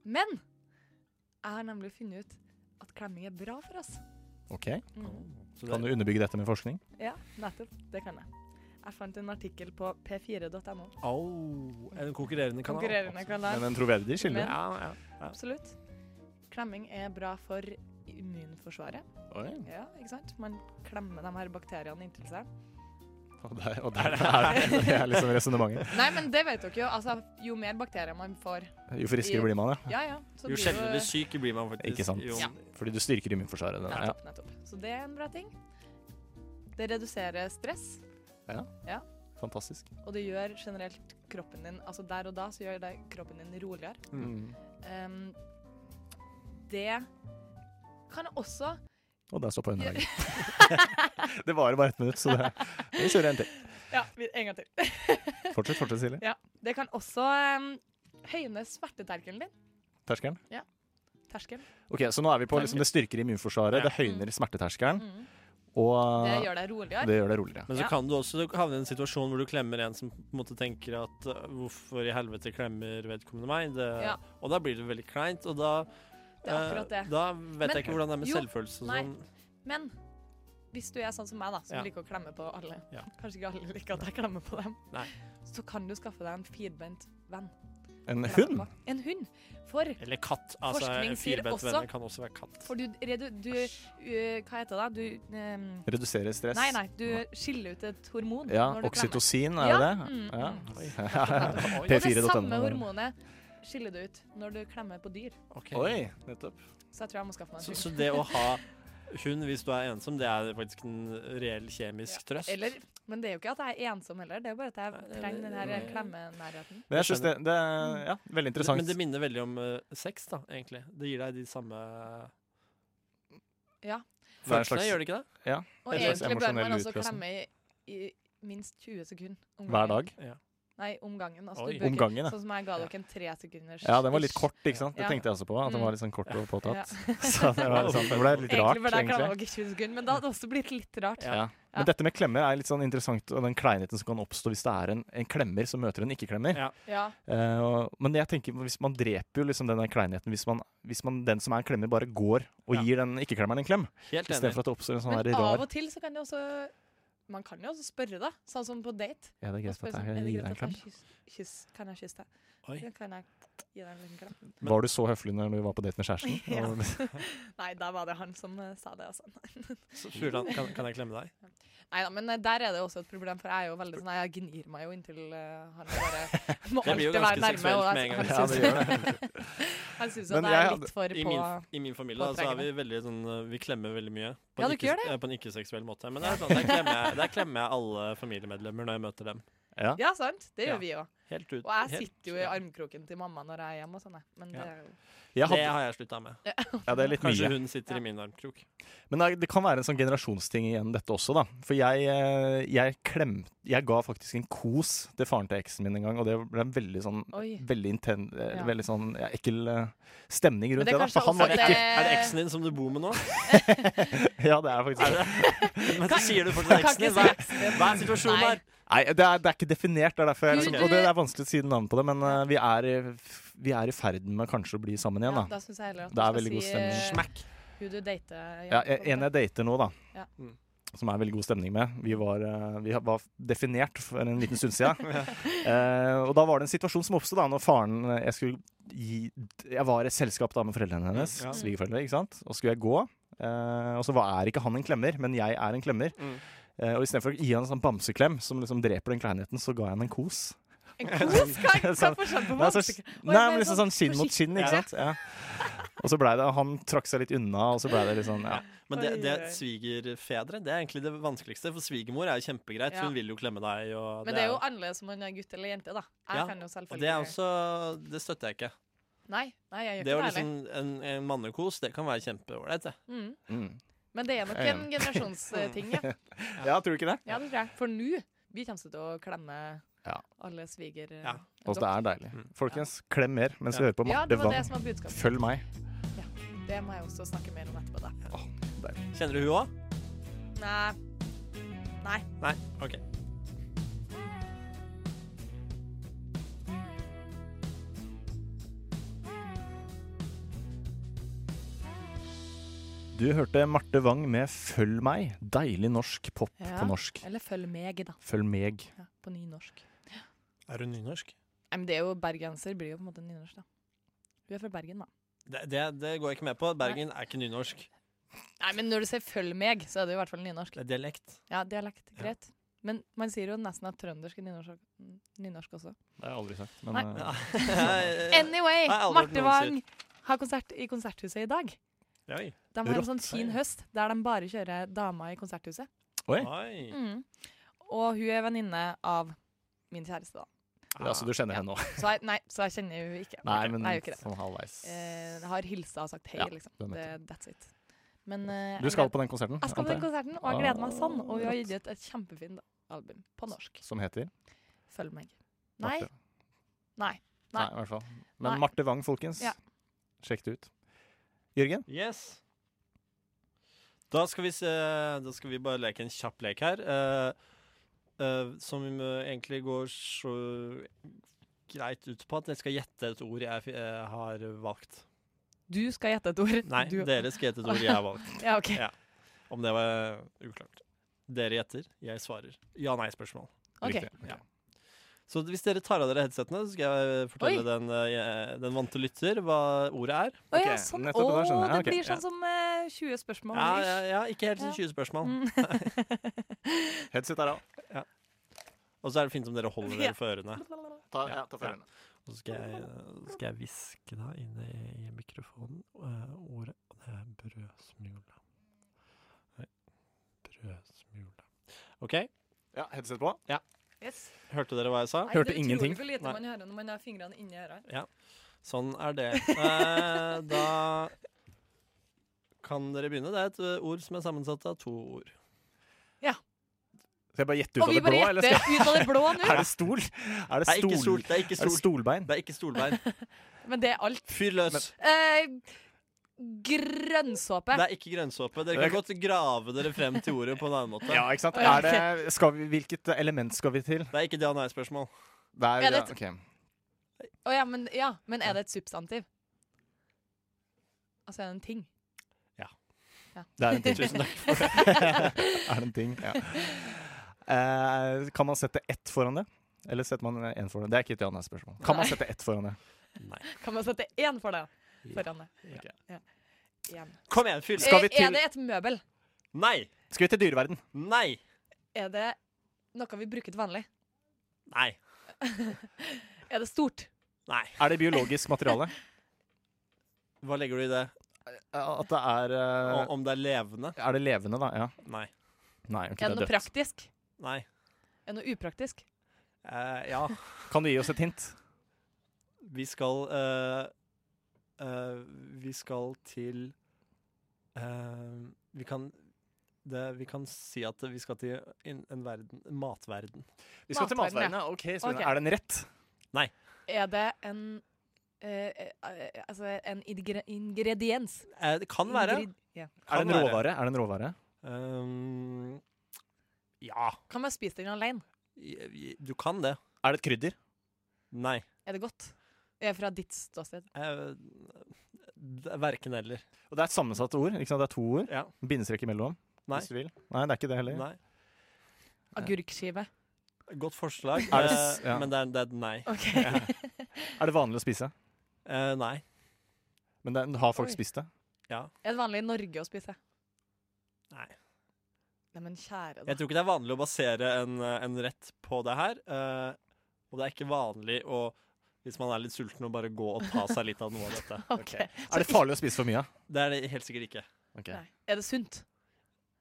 E: Men jeg har nemlig funnet ut at klemming er bra for oss.
F: OK.
E: Mm.
G: Så
F: Kan
G: det,
F: du underbygge dette med forskning?
E: Ja, nettopp. Det kan jeg. Jeg fant en artikkel på p4.no.
G: au, er det en konkurrerende kanal?
E: Konkurrerende kanal.
F: Men en troverdig kilde.
E: Men-
G: Ja, ja.
E: Absolutt. Klemming er bra for immunforsvaret.
F: Oi.
E: Ja, ikke sant? Man klemmer de her bakteriene inntil seg.
F: Og der, og der er det. Det er liksom resonnementet.
E: Nei, men det vet dere jo. Altså, jo mer bakterier man får
F: Jo friskere blir man, ja.
E: Ja, ja. så
G: Jo
E: blir
G: sjeldnere syk blir man faktisk.
F: Ikke sant.
G: Jo,
E: Ja.
F: Fordi du styrker immunforsvaret. den der. Ja.
E: Nettopp, nettopp. Så det er en bra ting. Det reduserer stress,
F: Fantastisk.
E: og det gjør generelt kroppen din Altså der og da så gjør det kroppen din roligere.
F: Mm.
E: Ehm, det kan også
F: Og der stoppa underlaget. det varer bare ett minutt, så det vi kjører en til.
E: Ja, vi- en gang til.
F: Fortsett, fortsett, Silje.
E: Det kan også ehm, høyne smerteterkelen din.
F: Terskelen.
E: Terskel.
F: Ok, Så nå er vi på liksom, det styrker immunforsvaret, det høyner smerteterskelen,
E: Mm.
F: og
E: Det gjør deg roligere.
F: Ah. det gjør det roligere.
G: Men så
E: Ja.
G: kan du også havne i en situasjon hvor du klemmer en som på en måte tenker at eh, hvorfor i helvete klemmer vedkommende meg? Det,
E: Ja.
G: Og da blir det veldig kleint, og da
E: Det er akkurat
G: eh,
E: det.
G: Da vet
E: Men-
G: jeg ikke hvordan det er med
E: jo,
G: selvfølelse og
E: nei.
G: sånn.
E: Men hvis du er sånn som meg, da, som
G: Ja.
E: liker å klemme på alle
G: Ja.
E: Kanskje ikke alle liker at jeg klemmer på dem.
G: Nei.
E: Så kan du skaffe deg en firbeint venn.
F: En hund?
E: En hund. For,
G: Eller katt. Altså,
E: Forskning sier
G: firbent
E: også-
G: venner kan også være katt.
E: for du, redu, du eh, Hva heter det? da? Du ehm,
F: Reduserer stress.
E: Nei, nei. Du skiller ut et hormon
F: Ja,
E: når du klemmer.
F: oksytocin, er
E: Ja,
F: det
E: mm,
F: det? Ja.
G: Oi.
E: Og det
F: P4.no.
E: samme hormonet skiller du ut når du klemmer på dyr.
G: Ok.
F: Oi, nettopp.
E: Så jeg tror jeg må skaffe meg
G: Så,
E: en hund.
G: så det å ha hund hvis du er ensom, det er faktisk en reell kjemisk trøst.
E: Eller, men det er jo ikke at jeg er ensom heller, det er jo bare at
G: Nei,
E: jeg
G: det-
E: trenger den her
G: det-
E: klemmenærheten.
F: Men jeg synes det, det ja, veldig interessant.
G: Men det minner veldig om eh, sex, da, egentlig. Det gir deg de samme
E: Ja.
F: Det er en
G: følelsene,
F: slags-
G: gjør det ikke det?
E: Og
F: En slags
E: egentlig bør man
F: emosjonell
E: også
F: utpressing.
E: klemme i, i minst 20 sekunder. om
F: Hver
E: gangen.
F: dag.
E: Nei, om gangen. Altså,
G: Oi.
E: du bør
F: Om
E: ikke-
F: gangen, ja.
E: Sånn som jeg ga dere en tre sekunders
F: Ja, den var litt kort, ikke sant? Det
E: Ja.
F: tenkte jeg også på, at den
E: Mm.
F: var litt sånn kort og påtatt.
E: Ja.
F: Så det var litt sånn, det ble litt rart,
E: Egentlig burde jeg klemme
F: egentlig.
E: dere 20 sekunder, men det hadde også blitt litt rart.
F: Ja. Men dette med klemmer er litt sånn interessant, og den kleinheten som kan oppstå hvis det er en, en klemmer som møter en ikke-klemmer.
G: Ja.
E: Ja.
F: Eh, og- men jeg tenker, hvis man dreper jo liksom den der kleinheten hvis man, hvis man, den som er en klemmer, bare går og
G: Ja.
F: gir den ikke-klemmeren en klem.
G: Helt
F: I stedet
G: enig.
F: for at det oppstår en sånn
E: Men
F: der
E: av
F: rar
E: og til så kan det også Man kan jo også spørre, da. Sånn som på date.
F: Ja,
E: Og
F: det er greit
E: spørre
F: at
E: sånn,
F: jeg
E: er det
F: gir deg en
E: greit at
F: klem.
E: jeg kyss, kyss, kan jeg kysse deg?
G: Oi.
E: Ja, Kan jeg gi deg en liten klem?
G: Men-
F: Var du så høflig når du var på date med kjæresten?
E: Ja.
F: Og-
E: Nei, da var det han som eh, sa det, altså.
G: Så Furlan, kan, kan jeg klemme deg?
E: Nei da, men eh, der er det også et problem, for jeg er jo veldig sånn Jeg gnir meg jo inntil eh, han bare må
G: Det blir jo
E: alltid
G: ganske
E: være nærme. Og jeg, han
G: seksuelt med en gang.
F: Ja, det
E: syns-
F: gjør det.
E: han syns
F: Men
E: at jeg er
F: jeg
E: litt for
G: I
E: på
G: min, I min familie da, så er vi veldig sånn eh, Vi klemmer veldig
E: Ja,
G: mye. en
E: dere gjør
G: ikke- eh, På en ikke-seksuell måte. Men det er sånn, der, klemmer jeg, der klemmer jeg alle familiemedlemmer når jeg møter dem.
F: Ja.
E: Ja, sant? Det
G: Ja.
E: gjør vi òg.
G: Helt ut.
E: Og jeg
G: helt-
E: sitter jo i
G: ja.
E: armkroken til mamma når jeg er hjemme og sånn, jeg. men det
G: Ja.
E: er jo
F: Jeg
G: Det
F: hadde,
G: har jeg slutta med.
F: ja, det er litt
G: Kanskje
F: mye.
G: hun sitter i min armkrok.
F: Men det er- det kan være en sånn generasjonsting igjen, dette også, da. For jeg, eh, jeg klem... Jeg ga faktisk en kos til faren til eksen min en gang, og det ble en veldig sånn
E: Oi.
F: Veldig inten... eh,
E: Ja.
F: Veldig sånn ja, ekkel eh, stemning rundt
E: Men
F: det,
E: det er
F: da.
E: kanskje
F: For han
E: også
F: var
E: at
F: ekkel.
E: det-
G: Er det eksen din som du bor med nå?
F: Ja, det er faktisk
G: Er det? Men så sier du fortsatt
E: Kan ikke
G: eksen din.
E: si
G: Hva er,
E: eksen din.
G: hva er situasjonen
E: Nei.
G: der?
F: Nei, det er, det er ikke definert, det er derfor jeg
E: Du,
F: liksom,
E: du-
F: Og det er vanskelig å si navnet på det, men eh, vi, er, i- vi er i ferd med kanskje å bli sammen igjen,
E: Ja,
F: da.
E: da syns jeg heller at
F: Det er
E: du
F: veldig
E: skal
F: god
E: si
F: stemning.
E: eh,
G: Smack.
E: hun du dater.
F: Ja, en jeg dater nå, da.
E: Ja.
G: Mm.
F: Som er veldig god stemning med. Vi var, eh, vi var definert for en liten stund siden. Eh, og da var det en situasjon som oppstod da når faren eh, Jeg skulle gi Jeg var i et selskap da med foreldrene hennes,
G: Ja.
F: svigerforeldre, ikke sant. Og skulle jeg gå. eh, og så var, er ikke han en klemmer, men jeg er en klemmer.
G: Mm.
F: Eh, og istedenfor å gi han en sånn bamseklem som liksom dreper den kleinheten, så ga jeg han en kos.
E: En kos? Hva hva er forskjellen på
F: Nei, sånn- så,
E: vanskelig?
F: nei, men liksom sånn skinn mot skinn, ikke
G: Ja.
F: sant? Ja. Og så blei det Han trakk seg litt unna, og så blei det litt sånn ja.
G: Men det,
E: Oi,
G: det
E: oi.
G: svigerfedre det er egentlig det vanskeligste. For svigermor er jo kjempegreit.
E: Ja.
G: Hun vil jo klemme deg. Og
E: Men det er jo annerledes om man er gutt eller jente, da. Jeg
G: Ja,
E: kan jo
G: og det er
E: selvfølgelig
G: også Det støtter jeg ikke.
E: Nei, nei, jeg gjør
G: Det
E: ikke
G: var
E: det
G: liksom
E: heller.
G: en, en mannekos. Det kan være kjempeålreit, det.
E: Mm.
F: Mm.
E: Men det er nok
F: Jeg er
E: en generasjonsting, ja.
F: ja, tror du ikke det?
E: ja det tror jeg. For nå vi kommer til å klemme
F: Ja.
E: alle sviger... eh,
G: Ja.
F: Og Altså, det er deilig.
G: Mm.
F: Folkens, klem mer mens vi hører på
E: ja,
F: Marte
E: det var det
F: Wang.
E: som var budskapet.
F: Følg meg.
E: Det må jeg også snakke mer om etterpå. Da.
G: Kjenner du hun òg?
E: Nei,
G: Nei? OK.
F: Du hørte Marte Wang med 'Følg meg'. Deilig norsk pop
E: Ja.
F: på norsk.
E: eller følg meg, da.
F: Følg meg.
E: Ja, på nynorsk. Nei,
G: Er hun nynorsk?
E: men det er jo bergenser blir jo på en måte nynorsk, da. Hun er fra Bergen, da.
G: Det, det, det går jeg ikke med på. Bergen er ikke nynorsk.
E: Nei, men når du sier 'følg meg', så er det jo i hvert fall nynorsk.
G: Det er dialekt.
E: Ja, dialekt, greit. Men man sier jo nesten at trøndersk er nynorsk, nynorsk også.
F: Det har jeg aldri sagt. Men,
E: Nei.
F: eh,
G: Ja.
E: Anyway,
G: Nei, aldri hørt
E: Marte
G: noen
E: Wang har konsert i Konserthuset i dag.
G: Oi.
E: De har en sånn
F: Rått.
E: fin høst der de bare kjører dama i Konserthuset.
F: Oi!
G: Oi.
E: Mm. Og hun er venninne av min kjæreste, da.
F: Ja, så du kjenner henne nå?
E: Så jeg, nei, så jeg kjenner jo ikke.
F: Nei, men
E: jeg gjør ikke det.
F: sånn halvveis.
E: Eh, jeg har hilsa og sagt hei,
F: Ja,
E: liksom.
F: det er
E: Det, that's it. Men eh,
F: Du
E: jeg
F: skal
E: gleder-
F: på den konserten?
E: Jeg skal på den
F: antar jeg,
E: konserten, og jeg
F: Ah,
E: gleder meg sånn. Og hun har gitt ut et kjempefint album på norsk.
F: Som heter?
E: Følg meg. Nei.
F: Marte.
E: Nei.
F: Nei,
E: Nei.
F: i hvert fall. Men
E: Nei.
F: Marte Wang, folkens.
E: Ja.
F: Sjekk det ut. Jørgen?
G: Yes. Da skal vi se Da skal vi bare leke en kjapp lek her. eh, eh, som eh, egentlig går så greit ut på at dere skal gjette et ord jeg fi- eh, har valgt.
E: Du skal gjette et ord.
G: Nei,
E: du.
G: dere skal gjette et ord jeg har valgt.
E: Ja, ok.
G: Ja. Om det var uklart. Dere gjetter, jeg svarer. Ja-nei-spørsmål.
E: Ok.
F: Riktig.
G: Ja. Så hvis dere tar av dere headsetene, så skal jeg fortelle
E: Oi.
G: den, eh, jeg- den vante lytter hva ordet er.
E: Å ja,
F: Ok,
E: sånn. Å,
F: nettopp, da skjønner jeg.
E: det
F: Ok,
E: blir
G: ja.
E: sånn som eh, 20 spørsmål.
G: Ja,
E: ish.
G: ja, ja, ikke helt sånn 20 spørsmål.
E: Mm.
F: Headset er av.
G: Og så er det fint om dere holder
E: Ja.
G: dere for ørene.
F: Ta,
G: Ja,
F: ta
G: ja. Og så skal jeg, skal jeg viske deg inn i, i mikrofonen eh, ordet Og det er brødsmule. Nei, brødsmule. OK,
F: Ja, headset på.
E: Yes.
G: hørte dere hva jeg sa?
E: Nei,
F: Hørte
E: det er utrolig
F: ingenting.
E: hvor lite
G: Nei.
E: man hører når man har fingrene inni ørene.
G: Sånn er det. Eh, da kan dere begynne. Det er et eh, ord som er sammensatt av to ord.
F: Skal jeg bare gjette ut
E: Og
F: av
E: vi
F: det blå?
E: bare
F: Eller
E: gjetter
F: skal...
E: ut av det blå nå.
F: Er det stol? Er det
G: Nei, ikke
F: stol?
G: stol. Det er ikke
F: Er det
G: stol.
F: stolbein?
G: Det er ikke stolbein.
E: Men det er alt.
G: Fyr løs.
E: Eh, grønnsåpe.
G: Det er ikke grønnsåpe. Dere kan godt grave dere frem til ordet på en annen måte.
F: Ja, ikke sant?
E: Ja,
F: Er det, skal vi, hvilket element skal vi til?
G: Det er ikke ja- nei-spørsmål.
F: Det er,
E: Ja, det-
F: ok.
E: Å ja, men, ja, men er det et substantiv? Altså er det en ting?
F: Det er en ting.
G: Tusen takk.
F: er det en ting? Ja. Eh, kan man sette ett foran det? Eller setter man én foran det? Det er ikke et ja-nei-spørsmål. Kan man sette ett foran det?
E: Kan man sette én for det? Foran det.
G: Ja.
E: Ja. Én.
G: Kom igjen, fyr løs.
F: Skal vi
E: Eh,
F: til-
E: Er det et møbel?
G: Nei!
F: Skal vi til dyreverden?
G: Nei!
E: Er det noe vi bruker til vanlig?
G: Nei.
E: Er det stort?
G: Nei.
F: Er det biologisk materiale?
G: Hva legger du i det?
F: At det er
G: O-
F: eh,
G: Om det er levende?
F: Er det levende, da? Ja.
G: Nei.
F: Nei, ok,
E: Er det
F: det
E: noe
F: er dødt.
E: praktisk?
G: Nei.
E: Er det noe upraktisk?
G: Eh, ja,
F: Kan du gi oss et hint?
G: vi skal eh, eh, Vi skal til eh, Vi kan det, Vi kan si at vi skal til en, en verden Matverden.
F: Vi skal til
E: Matverden,
F: matverdenen. ja. Ok, spennende.
E: Ok.
F: Er den rett?
E: Er det en eh, eh, Altså en ingre ingrediens?
G: Eh, det kan være.
E: Ingrid- ja.
F: Er
G: Kan
F: det en
G: være.
F: råvare? Er det en råvare?
G: Um, ja,
E: Kan man spise den alene?
G: i- i- du kan det.
F: Er det et krydder?
G: Nei.
E: Er det godt? Eh, Fra ditt ståsted.
G: Eh, det er verken eller.
F: Og det er et sammensatt ord. ikke sant? Det er to ord.
G: Ja.
F: Bindestrek imellom.
G: Nei.
F: Hvis du vil. Nei, det er ikke det heller.
G: Nei.
E: Agurkskive.
G: Godt forslag,
F: Er det s-
G: eh,
F: ja.
G: men det er, det er et nei.
E: OK.
F: Er det vanlig å spise?
G: Eh, nei.
F: Men det, har folk
E: Oi.
F: spist det?
E: Er det vanlig i Norge å spise?
G: Nei.
E: Nei, men kjære
G: Jeg
E: da.
G: tror ikke det er vanlig å basere en, eh, en rett på det her. eh, og det er ikke vanlig å, hvis man er litt sulten, å bare gå og ta seg litt av noe av dette.
E: Ok. Så
F: Er det farlig å spise for mye av?
G: Det er det helt sikkert ikke.
F: Ok.
E: Nei. Er det sunt?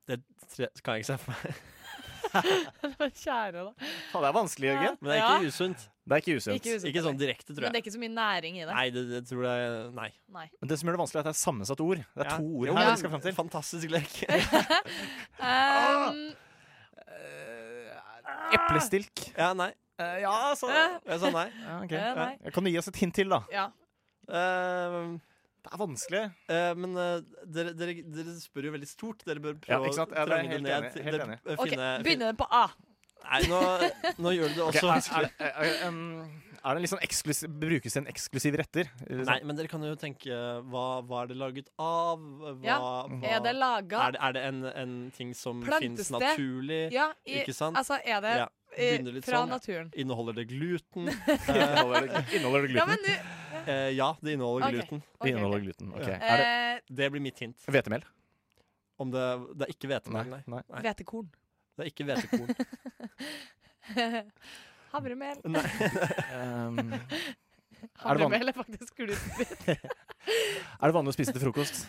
G: Det tre- kan jeg ikke se for meg.
E: Men kjære da.
F: Faen, Det er vanskelig, Jørgen.
G: Men det er ikke usunt.
F: Det er ikke usunt.
E: Ikke usunt.
G: Ikke sånn direkte, tror
E: Men det
G: jeg.
E: er ikke så mye næring i det.
G: Nei, det, det tror jeg Nei.
E: Nei.
F: Men det som gjør det vanskelig, er at det er sammensatt ord. Det er
G: Ja.
F: to ord
G: Jo,
F: her.
G: men
F: vi skal frem til.
G: Fantastisk lek.
E: Um,
F: Eplestilk.
G: Ja, nei.
F: Eh, ja, så
G: Jeg sa nei.
F: ja, ok.
E: Eh, nei.
F: Ja. Kan du gi oss et hint til, da?
E: ja.
G: Eh,
F: Det er vanskelig.
G: eh, men eh, dere, dere, dere spør jo veldig stort. Dere bør
F: Ja,
G: prøve
F: ikke sant? Ja,
G: å
F: det er
G: trenge det
F: helt
G: ned.
F: enig, helt
G: Dere,
F: enig.
G: eh,
E: OK,
G: finne-
E: begynner den på A.
G: Nei, nå, nå gjør du det
F: Ok,
G: også
F: er, er,
G: vanskelig.
F: det- er, er, um, Altså, er det en litt sånn eksklusiv, Brukes det en eksklusiv retter? Eller
G: Nei,
F: sånn?
G: men dere kan jo tenke hva, hva er det laget av? Hva,
E: Ja,
G: hva,
E: Er det laga
G: er det, er det en, en ting som
E: Plantes
G: fins
E: det?
G: naturlig?
E: Ja, i,
G: Ikke sant?
E: altså er det
G: Ja,
E: eh,
G: begynner litt
E: fra
G: sånn, ja.
E: naturen?
G: Inneholder det gluten?
F: Inneholder det- Inneholder det gluten?
E: Ja, men du
G: Eh, ja, det inneholder
E: Ok.
G: gluten.
E: ok,
F: Det inneholder
E: ok.
F: gluten. ok.
G: Ja.
F: Er det
E: Eh,
G: Det blir mitt hint.
F: hvetemel?
G: Om det, det er ikke hvetemel, nei.
F: nei.
E: Eh,
G: Nei.
E: Hvetekorn.
G: Det er ikke hvetekorn.
E: Havremel.
F: Um, er
E: Havremel er faktisk glutenfritt.
F: det vanlig å spise til frokost?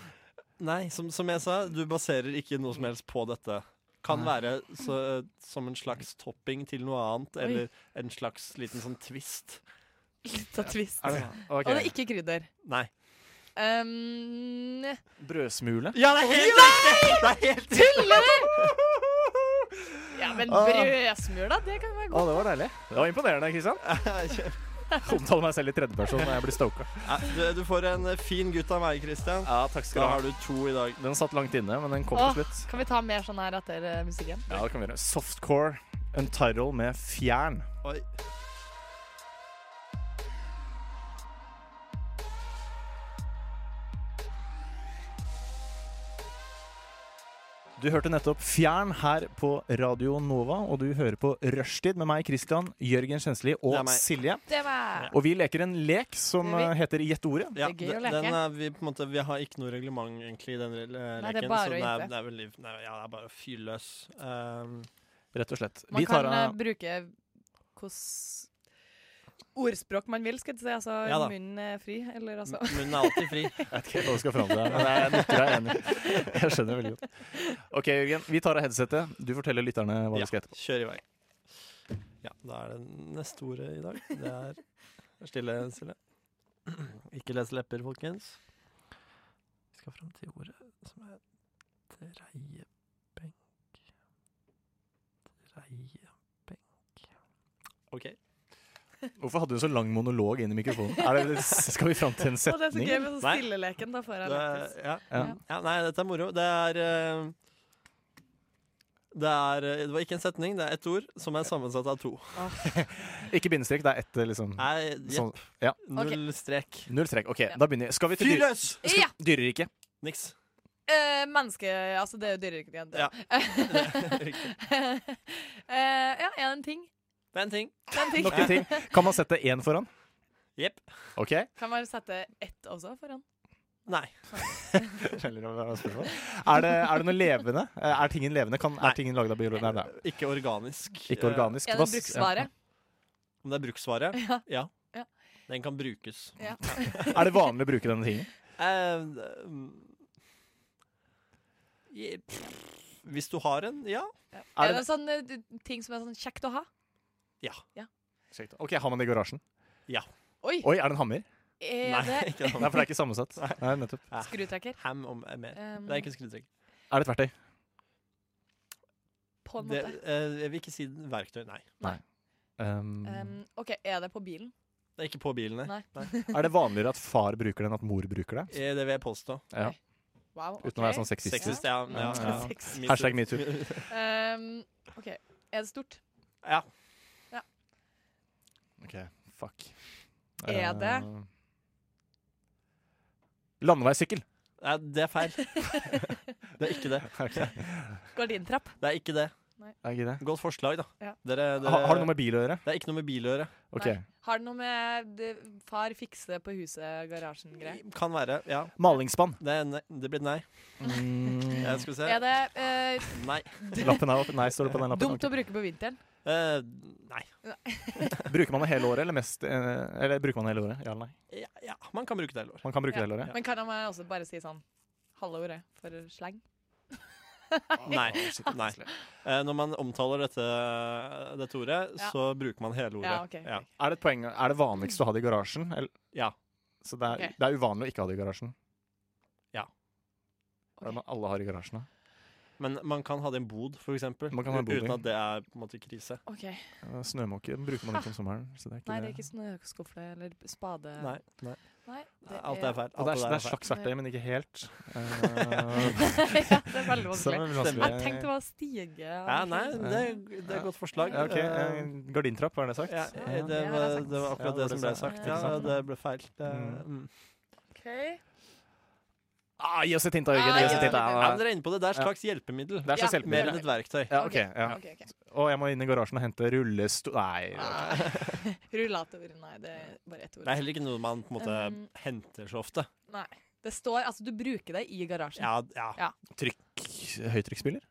G: nei, som, som jeg sa, du baserer ikke noe som helst på dette. Kan
F: Nei.
G: være så, eh, som en slags topping til noe annet,
E: Oi.
G: eller en slags liten sånn twist.
E: Litt av twist.
F: Er det,
E: Og det er ikke krydder.
G: Nei.
E: Um,
F: Brødsmule?
G: Ja, det er helt riktig! Det er helt
E: Tuller du?! Ja, men
F: Ah.
E: brødsmula, det kan være
F: Å,
E: godt.
F: det var deilig. Det var imponerende, Kristian. Omtaler meg selv i tredjeperson når jeg blir stoka.
G: Nei, Du, du får en eh, fin gutt av meg, Christian.
F: Ja, takk
G: Da har du to i dag.
F: Den satt langt inne, men den kom
E: Åh.
F: til Ah, slutt.
E: Kan vi ta mer sånn her etter eh, musikken?
F: Ja, det kan vi gjøre. Softcore Untitled med fjern.
G: Oi.
F: Du hørte nettopp Fjern her på Radio Nova, og du hører på Rushtid med meg, Christian, Jørgen Kjensli og
G: Det er meg.
F: Silje.
E: Det var
F: Og vi leker en lek som
E: Det er vi.
F: eh, heter Gjett ordet.
G: Ja,
E: Det er gøy å
G: de- den
E: leke.
G: er vi, på en måte, vi har ikke noe reglement egentlig i den re- leken.
E: det er bare
G: så
E: å
G: det er,
E: gjette.
G: det er veldig, nei, ja, det er bare å fyre løs. Um,
F: Rett og slett.
E: Man
F: Vi tar
E: kan eh,
F: av
E: bruke hvordan ordspråk man vil, skal jeg si. Altså
G: Ja da.
E: munnen er fri, eller altså
F: Mm.
G: munnen er alltid fri.
F: Jeg vet ikke helt hva du skal fram til her, men jeg nikker deg enig. Jeg skjønner veldig godt. Ok, Jørgen. Vi tar av headsetet. Du forteller lytterne hva
G: Ja,
F: du skal hete.
G: kjør i vei. Ja, da er det neste ordet i dag. Det er Vær stille, Silje. Ikke les lepper, folkens. Vi skal fram til ordet som er dreiebenk. Dreiebenk OK.
F: Hvorfor hadde du så lang monolog inn i mikrofonen? Er det, skal vi fram til en
E: Å, Det er så
F: setning?
E: gøy med sånn
G: Nei.
E: stilleleken. Da får jeg
G: Det
E: lettest.
G: er, ja.
F: Ja.
G: ja, nei, dette er moro. Det er eh, det, er, eh, det var ikke en setning, det er ett ord som er sammensatt av to.
F: Ikke bindestrek, det er ett, liksom.
G: Nei,
F: Sånn.
G: jepp.
F: Ja.
G: Null
E: Ok.
G: strek.
F: Null strek. OK,
E: Ja.
F: da begynner jeg. Skal vi til
G: Fyr
F: dyr
G: løs!
E: Ja!
F: dyreriket?
G: Niks.
E: Eh, menneske Altså, det er jo dyreriket igjen.
G: Ja. Riktig.
E: Eh, ja, er det en ting?
G: Det er en ting.
E: Det er en ting.
F: Nok en ting. Kan man sette én foran?
G: Jepp.
F: OK?
E: Kan man sette ett også foran?
G: Nei.
F: Skjønner du hva jeg spør om? Er det, er det noe levende? Eh, Er tingen levende? Kan,
G: Nei. Eh,
F: er tingen laget av biologi? Nei, nei.
G: Ikke organisk.
F: Ikke organisk.
E: Er det
F: Hva
E: en
F: s-
E: bruksvare?
G: Eh, Om det er bruksvare?
E: Ja.
G: Ja.
E: Ja.
G: Den kan brukes.
E: Ja.
F: Ja. Er det vanlig å bruke denne tingen?
G: Eh, mm. Je- pff, Hvis du har en, ja.
E: Ja.
F: Er
E: Er
F: det-
E: det en sånn eh, du- ting som er sånn kjekt å ha?
G: Ja. Sjekk det.
F: Ok, Har man det i garasjen?
E: Oi!
F: Oi, er det en hammer?
E: Er
G: Nei,
E: det
G: ikke
F: Nei,
G: det.
F: for det er ikke sammensatt. Nei, nettopp.
E: skrutrekker?
G: Ham om eh, mer.
E: Um,
G: Det er ikke en skrutrekker.
F: Er det et verktøy?
E: På en
G: Det,
E: måte.
G: eh, jeg vil ikke si verktøy, nei.
F: Um,
E: Um, OK, er det på bilen?
G: Det er ikke på bilene.
E: Nei.
F: er det vanligere at far bruker det enn at mor bruker det?
G: Eh, Det vil jeg påstå.
F: Ja,
E: Wow.
F: uten
E: ok.
F: å være sånn sexist.
G: Sexist, ja. ja,
F: Ja,
G: ja.
F: ja.
G: Me too.
F: Hashtag metoo.
E: Um, OK. Er det stort?
G: Ja.
F: Ok, fuck.
E: Er
F: Eh,
E: det-
F: Landeveissykkel.
G: Nei, det er feil. Det er ikke det.
E: Gardintrapp?
G: Det er ikke det.
F: Er ikke det?
G: Godt forslag, da.
E: Ja.
G: Dere, dere,
F: Ha, har det noe med bil å gjøre?
G: Det er ikke noe med bil å gjøre.
F: Ok.
E: Nei. Har det noe med det, far fikse på huset, garasjen-greier?
G: Kan være. Ja.
F: Malingsspann.
G: Det, er ne det blir nei. Jeg skal vi se.
E: Er det eh,
G: Nei.
F: Mm, Lappen er oppe. Nei, står det på den lappen?
E: dumt å bruke på vinteren?
G: Eh, nei.
F: Ok. Bruker man det hele året, eller mest eh, Eller bruker man det hele året? Ja eller nei?
G: Ja, ja, man kan bruke det hele året.
F: Man kan bruke
E: Ja.
F: det hele året.
E: Men kan man også bare si sånn Halve ordet for sleng?
G: Nei. nei. Eh, når man omtaler dette, dette ordet,
E: Ja.
G: så bruker man hele ordet.
E: Ja, ok,
G: ja.
E: ok.
F: Er det et poeng Er det vanligst å ha det i garasjen? Eller?
G: Ja.
F: Så det er,
E: Ok.
F: det er uvanlig å ikke ha det i garasjen?
G: Ja.
F: Hva er det man alle har i garasjen, da?
G: Men man kan ha det i en bod, for eksempel.
F: Man kan ha en bod,
G: uten
F: ja.
G: at det er på en måte krise.
E: OK. Nei,
F: Eh, Snømåke den bruker man ikke om sommeren. Så det er ikke
E: det er ikke sånn snøskuffle eller spade.
G: Nei. nei.
E: Nei,
G: Alt er feil.
F: Og det
G: Alt
F: er,
G: det
F: det er
G: der er
F: et
G: feil.
F: slags verktøy, men ikke helt. Eh,
E: ja, det er veldig
F: Så det
E: vanskelig.
F: er veldig
E: Jeg
F: vanskelig.
E: tenkte det var stige.
G: Ja, nei, det, det er et godt forslag.
F: Ja, ok, eh, Gardintrapp, var det sagt?
G: Ja, eh, det,
E: Ja,
G: var,
E: det er sagt.
G: det var akkurat
F: Ja,
G: det
F: det
G: som
F: ble sagt.
G: ble sagt.
E: Ikke
G: Ja,
F: sant?
G: det ble feil. Det, mm.
F: Mm.
E: Ok.
F: Ah, gi oss et hint, da, Jørgen. Gi oss et hint,
E: Ah,
G: Ja, men
F: da.
G: dere er inne på det. Det er et slags hjelpemiddel.
F: Det er slags
E: Ja,
G: Mer
F: hjelpemiddel.
G: enn et verktøy.
F: Ja, ok, ja.
E: ok, ok.
F: Å, jeg må inn i garasjen og hente rullestol Nei.
E: Ah, Rullator. Nei, det er bare ett ord.
G: Det er heller ikke noe man på en måte
E: Um,
G: henter så ofte.
E: Det står Altså, du bruker det i garasjen.
G: Ja, ja.
E: Ja.
F: Trykk Høytrykksspyler?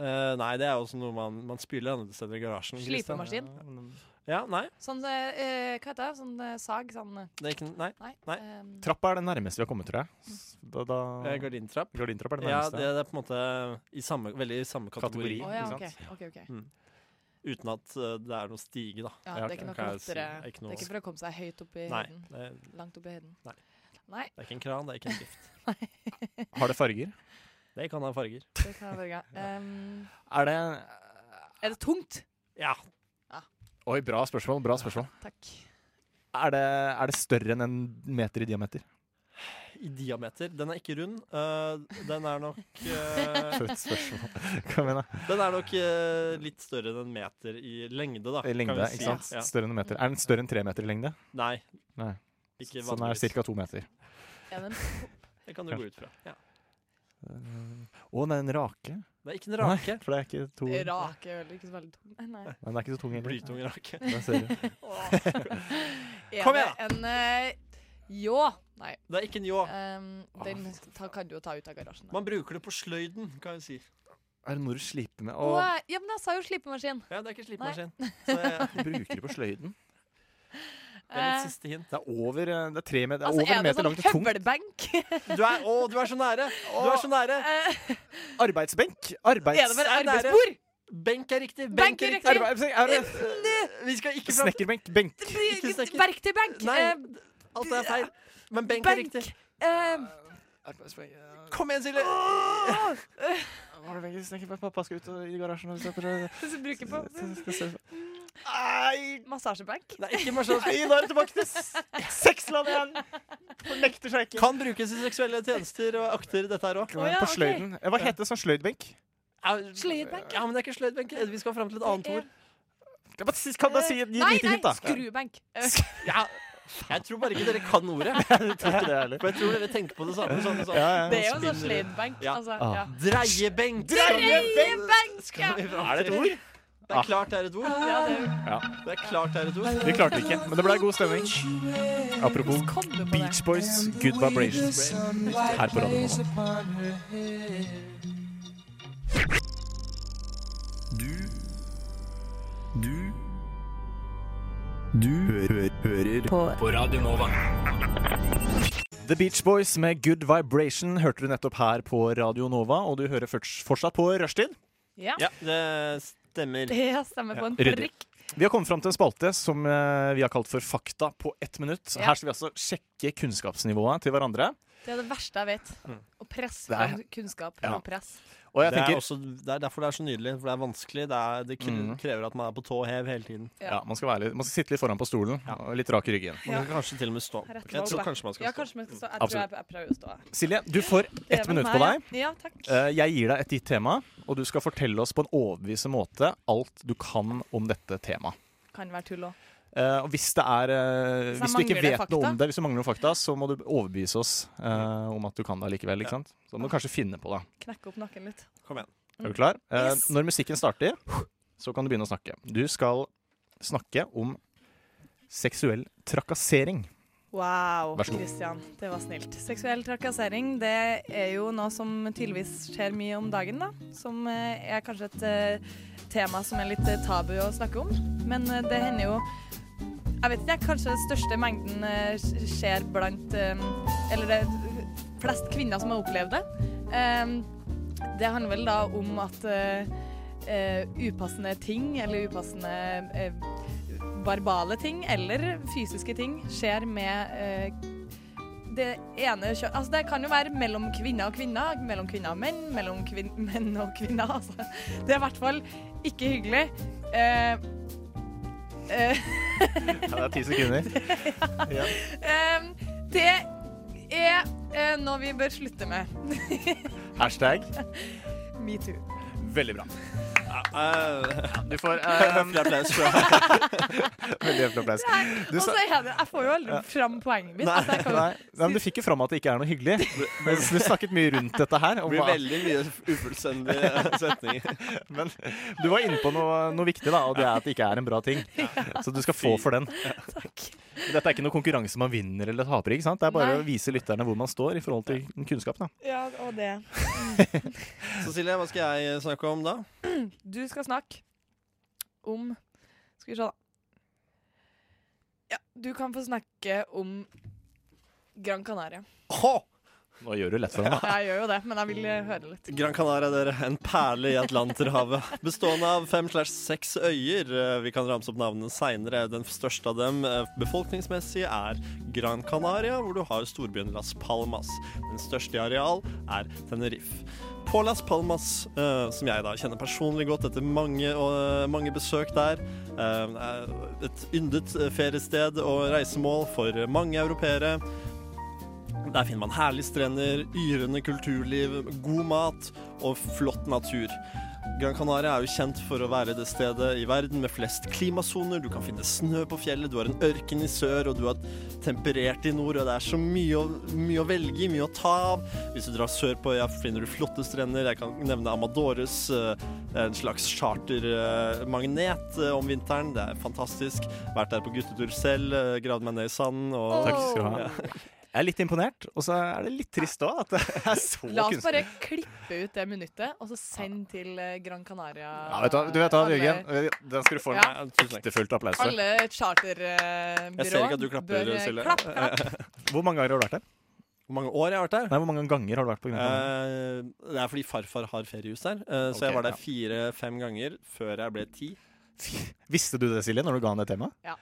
G: Eh, nei, det er også noe man, man spyler andre steder i garasjen. Kristian.
E: Slipemaskin.
G: Ja, nei.
E: Sånn eh, Hva heter det? Sånn eh, sag? Sånn eh,
G: Det er ikke, nei.
E: Nei.
G: Nei.
E: ehm,
F: Trappa er det nærmeste vi har kommet, tror jeg. Da, da...
G: Eh, Gardintrapp.
F: Gardintrapp er det
G: Ja,
F: nærmeste.
G: det, det er på en måte i samme, veldig i samme kategori.
F: Kategori.
E: Å ja,
F: ikke
E: OK.
F: sant?
E: ok, ok.
G: Uten at eh, det er noe stige, da.
E: Ja,
F: Ja,
E: det er
F: ok,
E: ikke noe
G: kan jeg si.
E: klatre.
G: Det er ikke
E: Det
G: noe-
E: er ikke for å komme seg høyt opp i
G: Nei.
E: høyden.
G: Det er,
E: Langt opp i høyden.
G: Nei.
E: Nei,
G: det er ikke en kran, det er ikke en lift.
F: Har det farger?
G: Det kan ha farger.
E: det kan jeg velge. Ehm,
F: Er det
E: er det tungt?
G: Ja.
F: Oi, bra spørsmål. Bra spørsmål.
E: Takk.
F: Er det, er det større enn en meter i diameter?
G: I diameter. Den er ikke rund. eh, den er nok eh,
F: For et spørsmål. Hva mener jeg?
G: Den er nok eh, litt større enn en meter i lengde, da.
F: I
G: kan vi
F: lengde,
G: si.
F: ikke sant?
G: Ja.
F: Større enn en meter. Er den større enn tre meter i lengde?
G: Nei.
F: Nei.
G: Ikke
F: Så den er
G: vanligvis.
F: ca. to meter.
E: Er det en
G: Det kan du gå ut fra. Ja.
F: Å, den er en rake.
G: Det er ikke en rake.
F: For det er ikke to
E: Det er rake eller ikke så veldig tung? Nei, Nei.
F: Men den er ikke så tung heller.
G: Blytung rake.
F: Der ser du.
E: Er
G: Kom igjen,
E: det En eh, ljå? Nei.
G: Det er ikke en ljå.
E: ehm, den ta, kan du jo ta ut av garasjen. da.
G: Man bruker det på sløyden, kan jeg si.
F: Er det noe du sliper med?
E: Å,
F: Å,
E: ja, men jeg sa jo slipemaskin.
G: Ja, det er ikke slipemaskin. Så eh,
F: du bruker det på sløyden.
G: det er
E: Eh,
G: mitt siste hint.
F: Det er over eh, Det er tre meter, det er
E: altså,
F: over
E: er
F: en
E: det
F: meter
E: sånn
F: langt og tungt.
E: høvelbenk?
G: Du er, å, du er så nære! Du er så nære!
E: Eh,
F: Arbeidsbenk!
E: er det bare
F: Arbeids...
G: er nære.
E: arbeidsbord?
G: Benk er riktig.
E: Benk
G: Benk
E: er
G: er riktig.
E: riktig.
F: Arbeidsbenk er det
G: Vi skal ikke fram
F: Snekkerbenk. Benk.
G: Ikke snakke.
E: Verktøybenk?
G: Nei,
E: eh,
G: alt er feil. Men benk er
E: benk.
G: riktig.
E: eh,
F: Arbeidsbenk eh,
G: Kom igjen, Silje!
F: Var det benken? Snekkerbenk? Pappa skal ut og- i garasjen og se på det.
E: Så bruker på
F: Skal se på-
G: Nei!
E: massasjebenk.
G: Det er ikke marsjonsby.
F: Nei, Da er det tilbake til s- sexland igjen! Fornekter seg ikke.
G: Kan brukes i seksuelle tjenester og akter dette her òg.
E: Å, ja,
F: på
E: ok.
F: sløyden. Eh, Hva heter det sånn sløydbenk?
E: Sløydbenk?
G: Ja, men det er ikke sløydbenk. Vi skal fram til et annet ord.
F: Kan bare si- kan bare si et
E: Eh, Nei,
F: lite
E: nei,
F: hint, da.
E: skrubenk. Eh,
G: Ja, jeg tror bare ikke dere kan ordet.
F: Jeg tror ikke det er heller.
G: For jeg tror dere tenker på det samme. Sånn, sånn.
F: Ja, ja.
E: Det er jo en sånn
G: Spinner.
E: sløydbenk.
G: Ja.
E: Altså,
F: Ah.
E: ja.
G: Dreiebenk!
E: Dreiebenk!
G: Skal vi fram
F: Er det et
G: til.
F: ord?
G: Det er klart det er et ord.
E: Ja, det er jo
G: Det er klart det er et ord.
F: Vi klarte det ikke, men det ble god stemning. Apropos
E: Kom du på det.
F: Beach Boys, Good Vibrations her på Radio Nova.
I: Du Du Du hører på.
F: The Beach Boys med Good Vibration hørte du nettopp her på Radio Nova, og du hører først- fortsatt på Rushtid.
E: Ja,
G: Ja, det stemmer.
E: det stemmer på en
F: Ryddig.
E: prikk.
F: Vi har kommet fram til en spalte som eh, vi har kalt for Fakta på ett minutt.
E: Ja.
F: Her skal vi altså sjekke kunnskapsnivået til hverandre.
E: Det er det verste jeg vet. Å presse
F: Mm. Det er-
E: fram kunnskap
F: Ja.
E: og press.
F: Og jeg
G: det, er
F: tenker
G: også, det er derfor det er så nydelig, for det er vanskelig. Det, er, det kre-
F: Mhm.
G: krever at man er på tå hev hele tiden.
F: ja, man, skal være litt, man skal sitte litt foran på stolen og litt rak i ryggen.
G: Man
E: Ja.
G: kan kanskje til og med stå.
E: Rett
G: Jeg
E: valg,
G: tror
E: da.
G: kanskje man skal
E: Ja,
G: stå.
E: kanskje man skal stå. Jeg tror jeg,
F: Absolutt.
E: jeg prøver å stå. her.
F: Silje, du får
E: Dæven
F: ett minutt
E: meg,
F: på deg.
E: Ja, Ja, takk.
F: Eh, Jeg gir deg et ditt tema, og du skal fortelle oss på en overbevisende måte alt du kan om dette temaet.
E: Kan være tull òg.
F: Eh, og hvis, det er, eh,
E: Hvis jeg
F: hvis du ikke
E: mangler
F: vet noe
E: fakta.
F: om det, hvis du mangler noen fakta, så må du overbevise oss eh, om at du kan det likevel. Ikke sant? Så må du kanskje finne på det.
E: Knekke opp nakken litt.
G: Kom igjen.
F: Er du klar? Eh,
E: Yes.
F: Når musikken starter, så kan du begynne å snakke. Du skal snakke om seksuell trakassering.
E: Wow,
F: Vær så god.
E: Christian. Det var snilt. Seksuell trakassering det er jo noe som tydeligvis skjer mye om dagen, da. Som eh, er kanskje et eh, tema som er litt eh, tabu å snakke om. Men eh, det hender jo Jeg vet ikke, jeg, kanskje den største mengden eh, sk- skjer blant eh, Eller det er flest kvinner som har opplevd det. Eh, Det handler vel da om at eh, eh, upassende ting eller upassende eh, verbale ting eller fysiske ting skjer med eh, det ene kjønn Altså, det kan jo være mellom kvinner og kvinner, mellom kvinner og menn, mellom kvin menn og kvinner. Altså. Det er i hvert fall ikke hyggelig. Eh, eh,
F: Ja, det er ti sekunder.
E: eh, det er eh, noe vi bør slutte med.
F: Hashtag.
E: Metoo.
F: Veldig bra.
G: Eh,
F: Du får eh,
G: Høflig applaus fra
F: veldig høflig applaus. Du
E: Og så
F: sa-
E: er det Jeg får jo aldri fram poenget mitt. Altså, jeg kan jo
F: Nei, nei, men Du fikk jo fram at det ikke er noe hyggelig. Men Du snakket mye rundt dette her. om
G: Det blir
F: hva-
G: veldig mye eh, ufullstendige setninger.
F: men du var inne på noe, noe viktig, da, og det er at det ikke er en bra ting. Så du skal få for den.
E: takk.
F: Dette er ikke noe konkurranse man vinner eller taper. ikke sant? Det er bare
E: Nei.
F: å vise lytterne hvor man står i forhold til kunnskapen. da.
E: Ja, og det.
G: Så Silje, hva skal jeg snakke om da?
E: Du skal snakke om Skal vi se, da. Ja, du kan få snakke om Gran Canaria.
G: Åh!
F: Nå gjør du lett for ham, da.
E: Jeg gjør jo det, men jeg vil eh, høre litt.
G: Gran Canaria, dere. En perle i Atlanterhavet. Bestående av fem slash seks øyer. Eh, Vi kan ramse opp navnene seinere. Den største av dem eh, befolkningsmessig er Gran Canaria, hvor du har storbyen Las Palmas. Den største i areal er Tenerife. På Las Palmas, eh, som jeg da kjenner personlig godt etter mange, eh, mange besøk der, eh, er et yndet eh, feriested og reisemål for mange europeere. Der finner man herlige strender, yrende kulturliv, god mat og flott natur. Gran Canaria er jo kjent for å være det stedet i verden med flest klimasoner. Du kan finne snø på fjellet, du har en ørken i sør, og du har temperert i nord. Og det er så mye å, mye å velge i, mye å ta av. Hvis du drar sør på øya, finner du flotte strender. Jeg kan nevne Amadores, eh, en slags chartermagnet eh, om vinteren. Det er fantastisk. Vært der på guttetur selv, eh, gravd meg ned i sanden og
E: Åh.
F: Takk skal du ha. Jeg er litt imponert, og så er det litt trist òg, at det er så
E: La oss
F: kunstig.
E: bare klippe ut det minuttet, og så send til eh, Gran Canaria
F: Ja, vet du, hva- du vet hva,
E: Alle-
F: Jørgen, den skal du få en
E: Ja.
G: Ja, tusen takk.
F: ektefullt applaus for.
E: Alle charterbyrå
G: Jeg ser ikke at du klapper,
E: bør, eh,
G: Silje.
E: Klapp, klapp.
F: Hvor mange ganger har du vært der?
G: Hvor mange år jeg har vært der?
F: Nei, hvor mange ganger har du vært på Grønland?
G: Eh, det er fordi farfar har feriehus der, eh, så
F: Ok,
G: jeg var der
F: ja.
G: fire-fem ganger før jeg ble ti.
F: Visste du det, Silje, når du ga han det temaet?
E: Eh. Ja.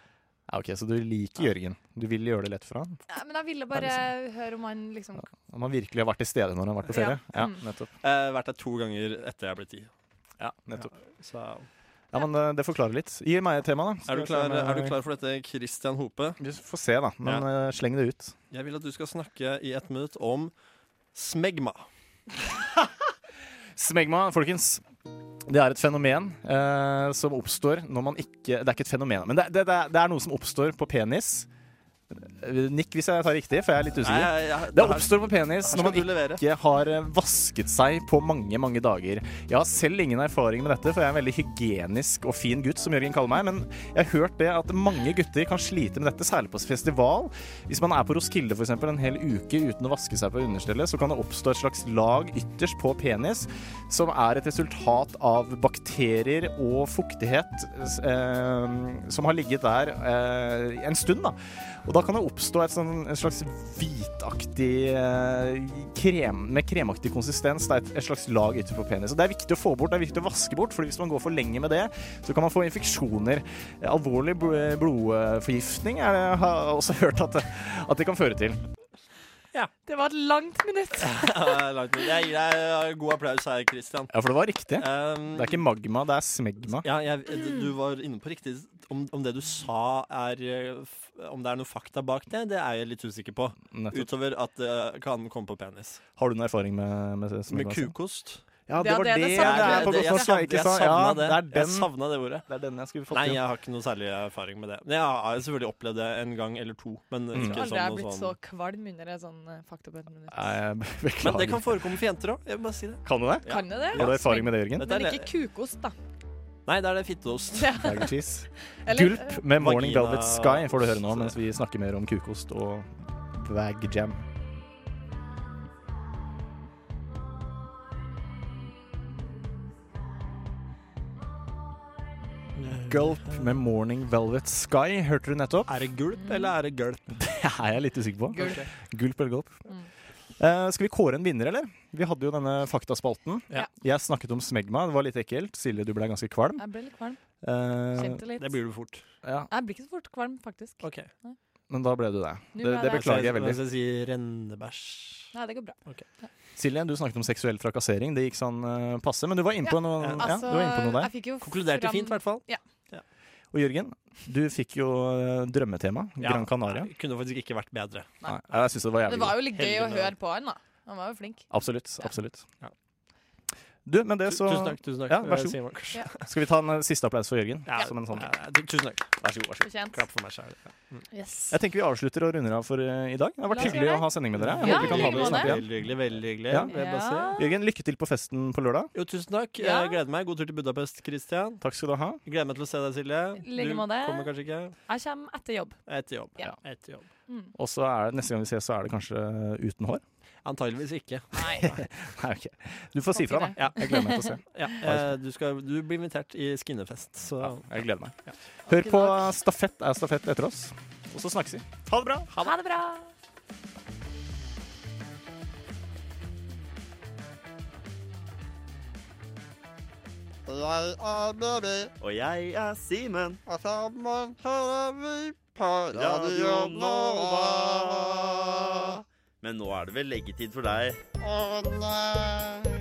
F: ja. Ok, Så du liker Jørgen. Du vil gjøre det lett for han?
E: Nei, Men jeg ville bare høre om han liksom
F: Om han virkelig har vært til stede når han har vært på ferie?
E: Ja.
F: Ja,
E: Mm.
F: nettopp.
G: Eh, vært der to ganger etter jeg ble ti.
F: Ja, nettopp.
G: Så
F: Ja, men eh, det forklarer litt. Gi meg et tema, da. Skal
G: er du,
F: vi se
G: klar,
F: om eh, jeg-
G: er du klar for dette, Christian Hope?
F: Vi får se, da. Men eh, sleng det ut.
G: Jeg vil at du skal snakke i ett minutt om smegma.
F: Smegma, folkens. Det er et fenomen eh, som oppstår når man ikke Det er ikke et fenomen, men det, det, det, er, det er noe som oppstår på penis. Eh, Nikk hvis jeg tar riktig, for jeg er litt
G: Nei,
F: usikker.
G: jeg- jeg-
F: Det
G: her-
F: oppstår på penis
G: her
F: når
G: skal
F: man
G: du levere.
F: ikke har eh, vasket seg på mange, mange dager. Jeg har selv ingen erfaring med dette, for jeg er en veldig hygienisk og fin gutt, som Jørgen kaller meg, men jeg har hørt det at mange gutter kan slite med dette, særlig på festival. Hvis man er på Roskilde f.eks. en hel uke uten å vaske seg på understellet, så kan det oppstå et slags lag ytterst på penis, som er et resultat av bakterier og fuktighet eh, som har ligget der eh, en stund, da. Og da kan det oppstå et, sånn, en slags hvitaktig eh, krem, Med kremaktig konsistens. Det er et, et slags lag utenfor penis. Og det er viktig å få bort, det er viktig å vaske bort, for hvis man går for lenge med det, så kan man få infeksjoner. Eh, Alvorlig bl- blodforgiftning er det, jeg har jeg også hørt at det, at det kan føre til.
E: Det var et langt minutt.
G: Langt ut. Jeg gir deg eh, god applaus her, Christian.
F: Ja, for det var riktig.
G: Um,
F: Det er ikke magma, det er smegma.
G: ja, jeg, d- du var inne på riktig om, om det du sa er eh, f- Om det er noe fakta bak det, det er jeg litt usikker på.
F: Nettopp.
G: Utover at det kan komme på penis.
F: Har du noen erfaring med, med smegma?
G: Med
F: Stian?
G: kukost.
F: Ja,
E: Ja,
F: det var
E: det
F: det,
E: er det
F: jeg
E: samme.
F: er på
E: Det-
F: godt
G: jeg
F: norsk jeg ikke sa.
G: savna
F: Ja,
G: det.
F: det er
G: Jeg
F: den,
G: savna det ordet.
F: det er den jeg skulle fått
G: Nei,
F: til.
G: jeg har ikke noe særlig erfaring med det. Men jeg har selvfølgelig opplevd det en gang eller to. Men
F: Mm.
E: Aldri
G: ikke
E: har jeg
G: sånn,
E: blitt
G: og
E: så
G: sånn.
E: kvalm under et sånn eh, fakta på et minutt.
F: Nei, jeg beklager.
G: Men det kan forekomme for jenter òg. Jeg vil bare si det.
F: Kan du det?
G: ja.
E: Kan jeg det?
F: Har du erfaring med det, Jørgen?
G: Dette er
E: Men
G: le-
E: ikke kukost, da.
G: Nei, det er det fitteost.
E: Ja.
F: Lager cheese.
E: Eller, eh,
F: Gulp med Morning
G: Vagina-
F: Velvet Sky får du høre nå mens vi snakker mer om kukost og vag jam. Gulp med Morning Velvet Sky, hørte du nettopp?
G: Er det gulp, eller er det gulp?
F: Det er jeg litt usikker på.
E: Gulp.
F: Gulp eller gulp.
E: Mm.
F: Eh, skal vi kåre en vinner, eller? Vi hadde jo denne faktaspalten.
G: Ja.
F: Jeg snakket om smegma, det var litt ekkelt. Silje, du ble ganske kvalm.
E: Jeg ble litt kvalm.
F: Eh,
E: Kjente litt.
G: Det blir du fort.
F: ja,
E: Jeg blir ikke så fort kvalm, faktisk.
G: Ok.
F: men da ble du det.
E: Nå
F: Det,
E: ble
F: det
E: jeg det.
F: beklager jeg veldig.
G: Mens jeg sier rennebæsj.
E: Nei, det går bra.
F: Silje, du snakket om seksuell trakassering. Det gikk sånn eh, passe, men du var inne på noe, ja,
E: Altså,
F: du var inne på noe der.
E: jeg fikk jo
G: Konkluderte
E: fram-
G: fint, i hvert fall.
F: Og Jørgen, du fikk jo eh, drømmetema.
G: Ja.
F: Gran Canaria.
G: Det Kunne faktisk ikke vært bedre.
E: Nei.
F: Nei, jeg syns det var
E: Det
F: jævlig
E: var
F: godt.
E: jo litt gøy å
G: Helvende.
E: høre på han, da. Han var jo flink.
F: Absolutt.
E: Ja.
F: absolutt.
G: Ja.
F: Du, med det
G: Tu-
F: så
G: Tusen takk. tusen takk
F: Ja, vær så
G: god.
E: Ja.
F: skal vi ta en eh, siste applaus for Jørgen.
G: Ja.
F: Som en sånn.
G: Tusen takk. Vær så god. vær så god.
E: Fortjent.
G: Klapp for meg sjæl.
E: Yes.
F: Jeg tenker vi avslutter og runder av for eh, i dag. Det har
E: La
F: vært
E: oss
F: hyggelig
E: gjøre
F: å ha sending med dere. Jeg
E: Ja,
F: håper vi kan
E: i
F: ha
E: like
F: dere snart
E: måte.
F: igjen.
G: Veldig hyggelig. veldig hyggelig.
F: Ja.
G: vil jeg bare si.
F: Jørgen, lykke til på festen på lørdag.
G: Jo, tusen takk.
E: Ja.
G: Jeg gleder meg. God tur til Budapest, Christian.
F: Takk skal du ha.
G: Jeg Gleder meg til å se deg, Silje.
E: Like
G: du
E: måte.
G: kommer kanskje ikke?
E: Jeg kommer etter jobb.
G: Etter jobb.
E: Ja.
G: Etter jobb.
E: Mm.
F: Og så er det, neste gang vi ses, så er det kanskje eh, uten hår.
G: Antageligvis ikke.
E: Nei.
F: Nei, ok. Du får si fra, da.
G: Ja.
F: Jeg gleder meg til å se.
G: Ja, eh, du, skal, du blir invitert i skinnefest, så
F: Ja, jeg gleder meg. Hør på Stafett er stafett etter oss, og så snakkes vi. Ha det bra!
E: Ha det bra.
I: Jeg er Mary,
D: Og jeg er Simen.
I: og sammen hører vi på
D: Radio Nova. Men nå er det vel leggetid for deg.
I: Å nei.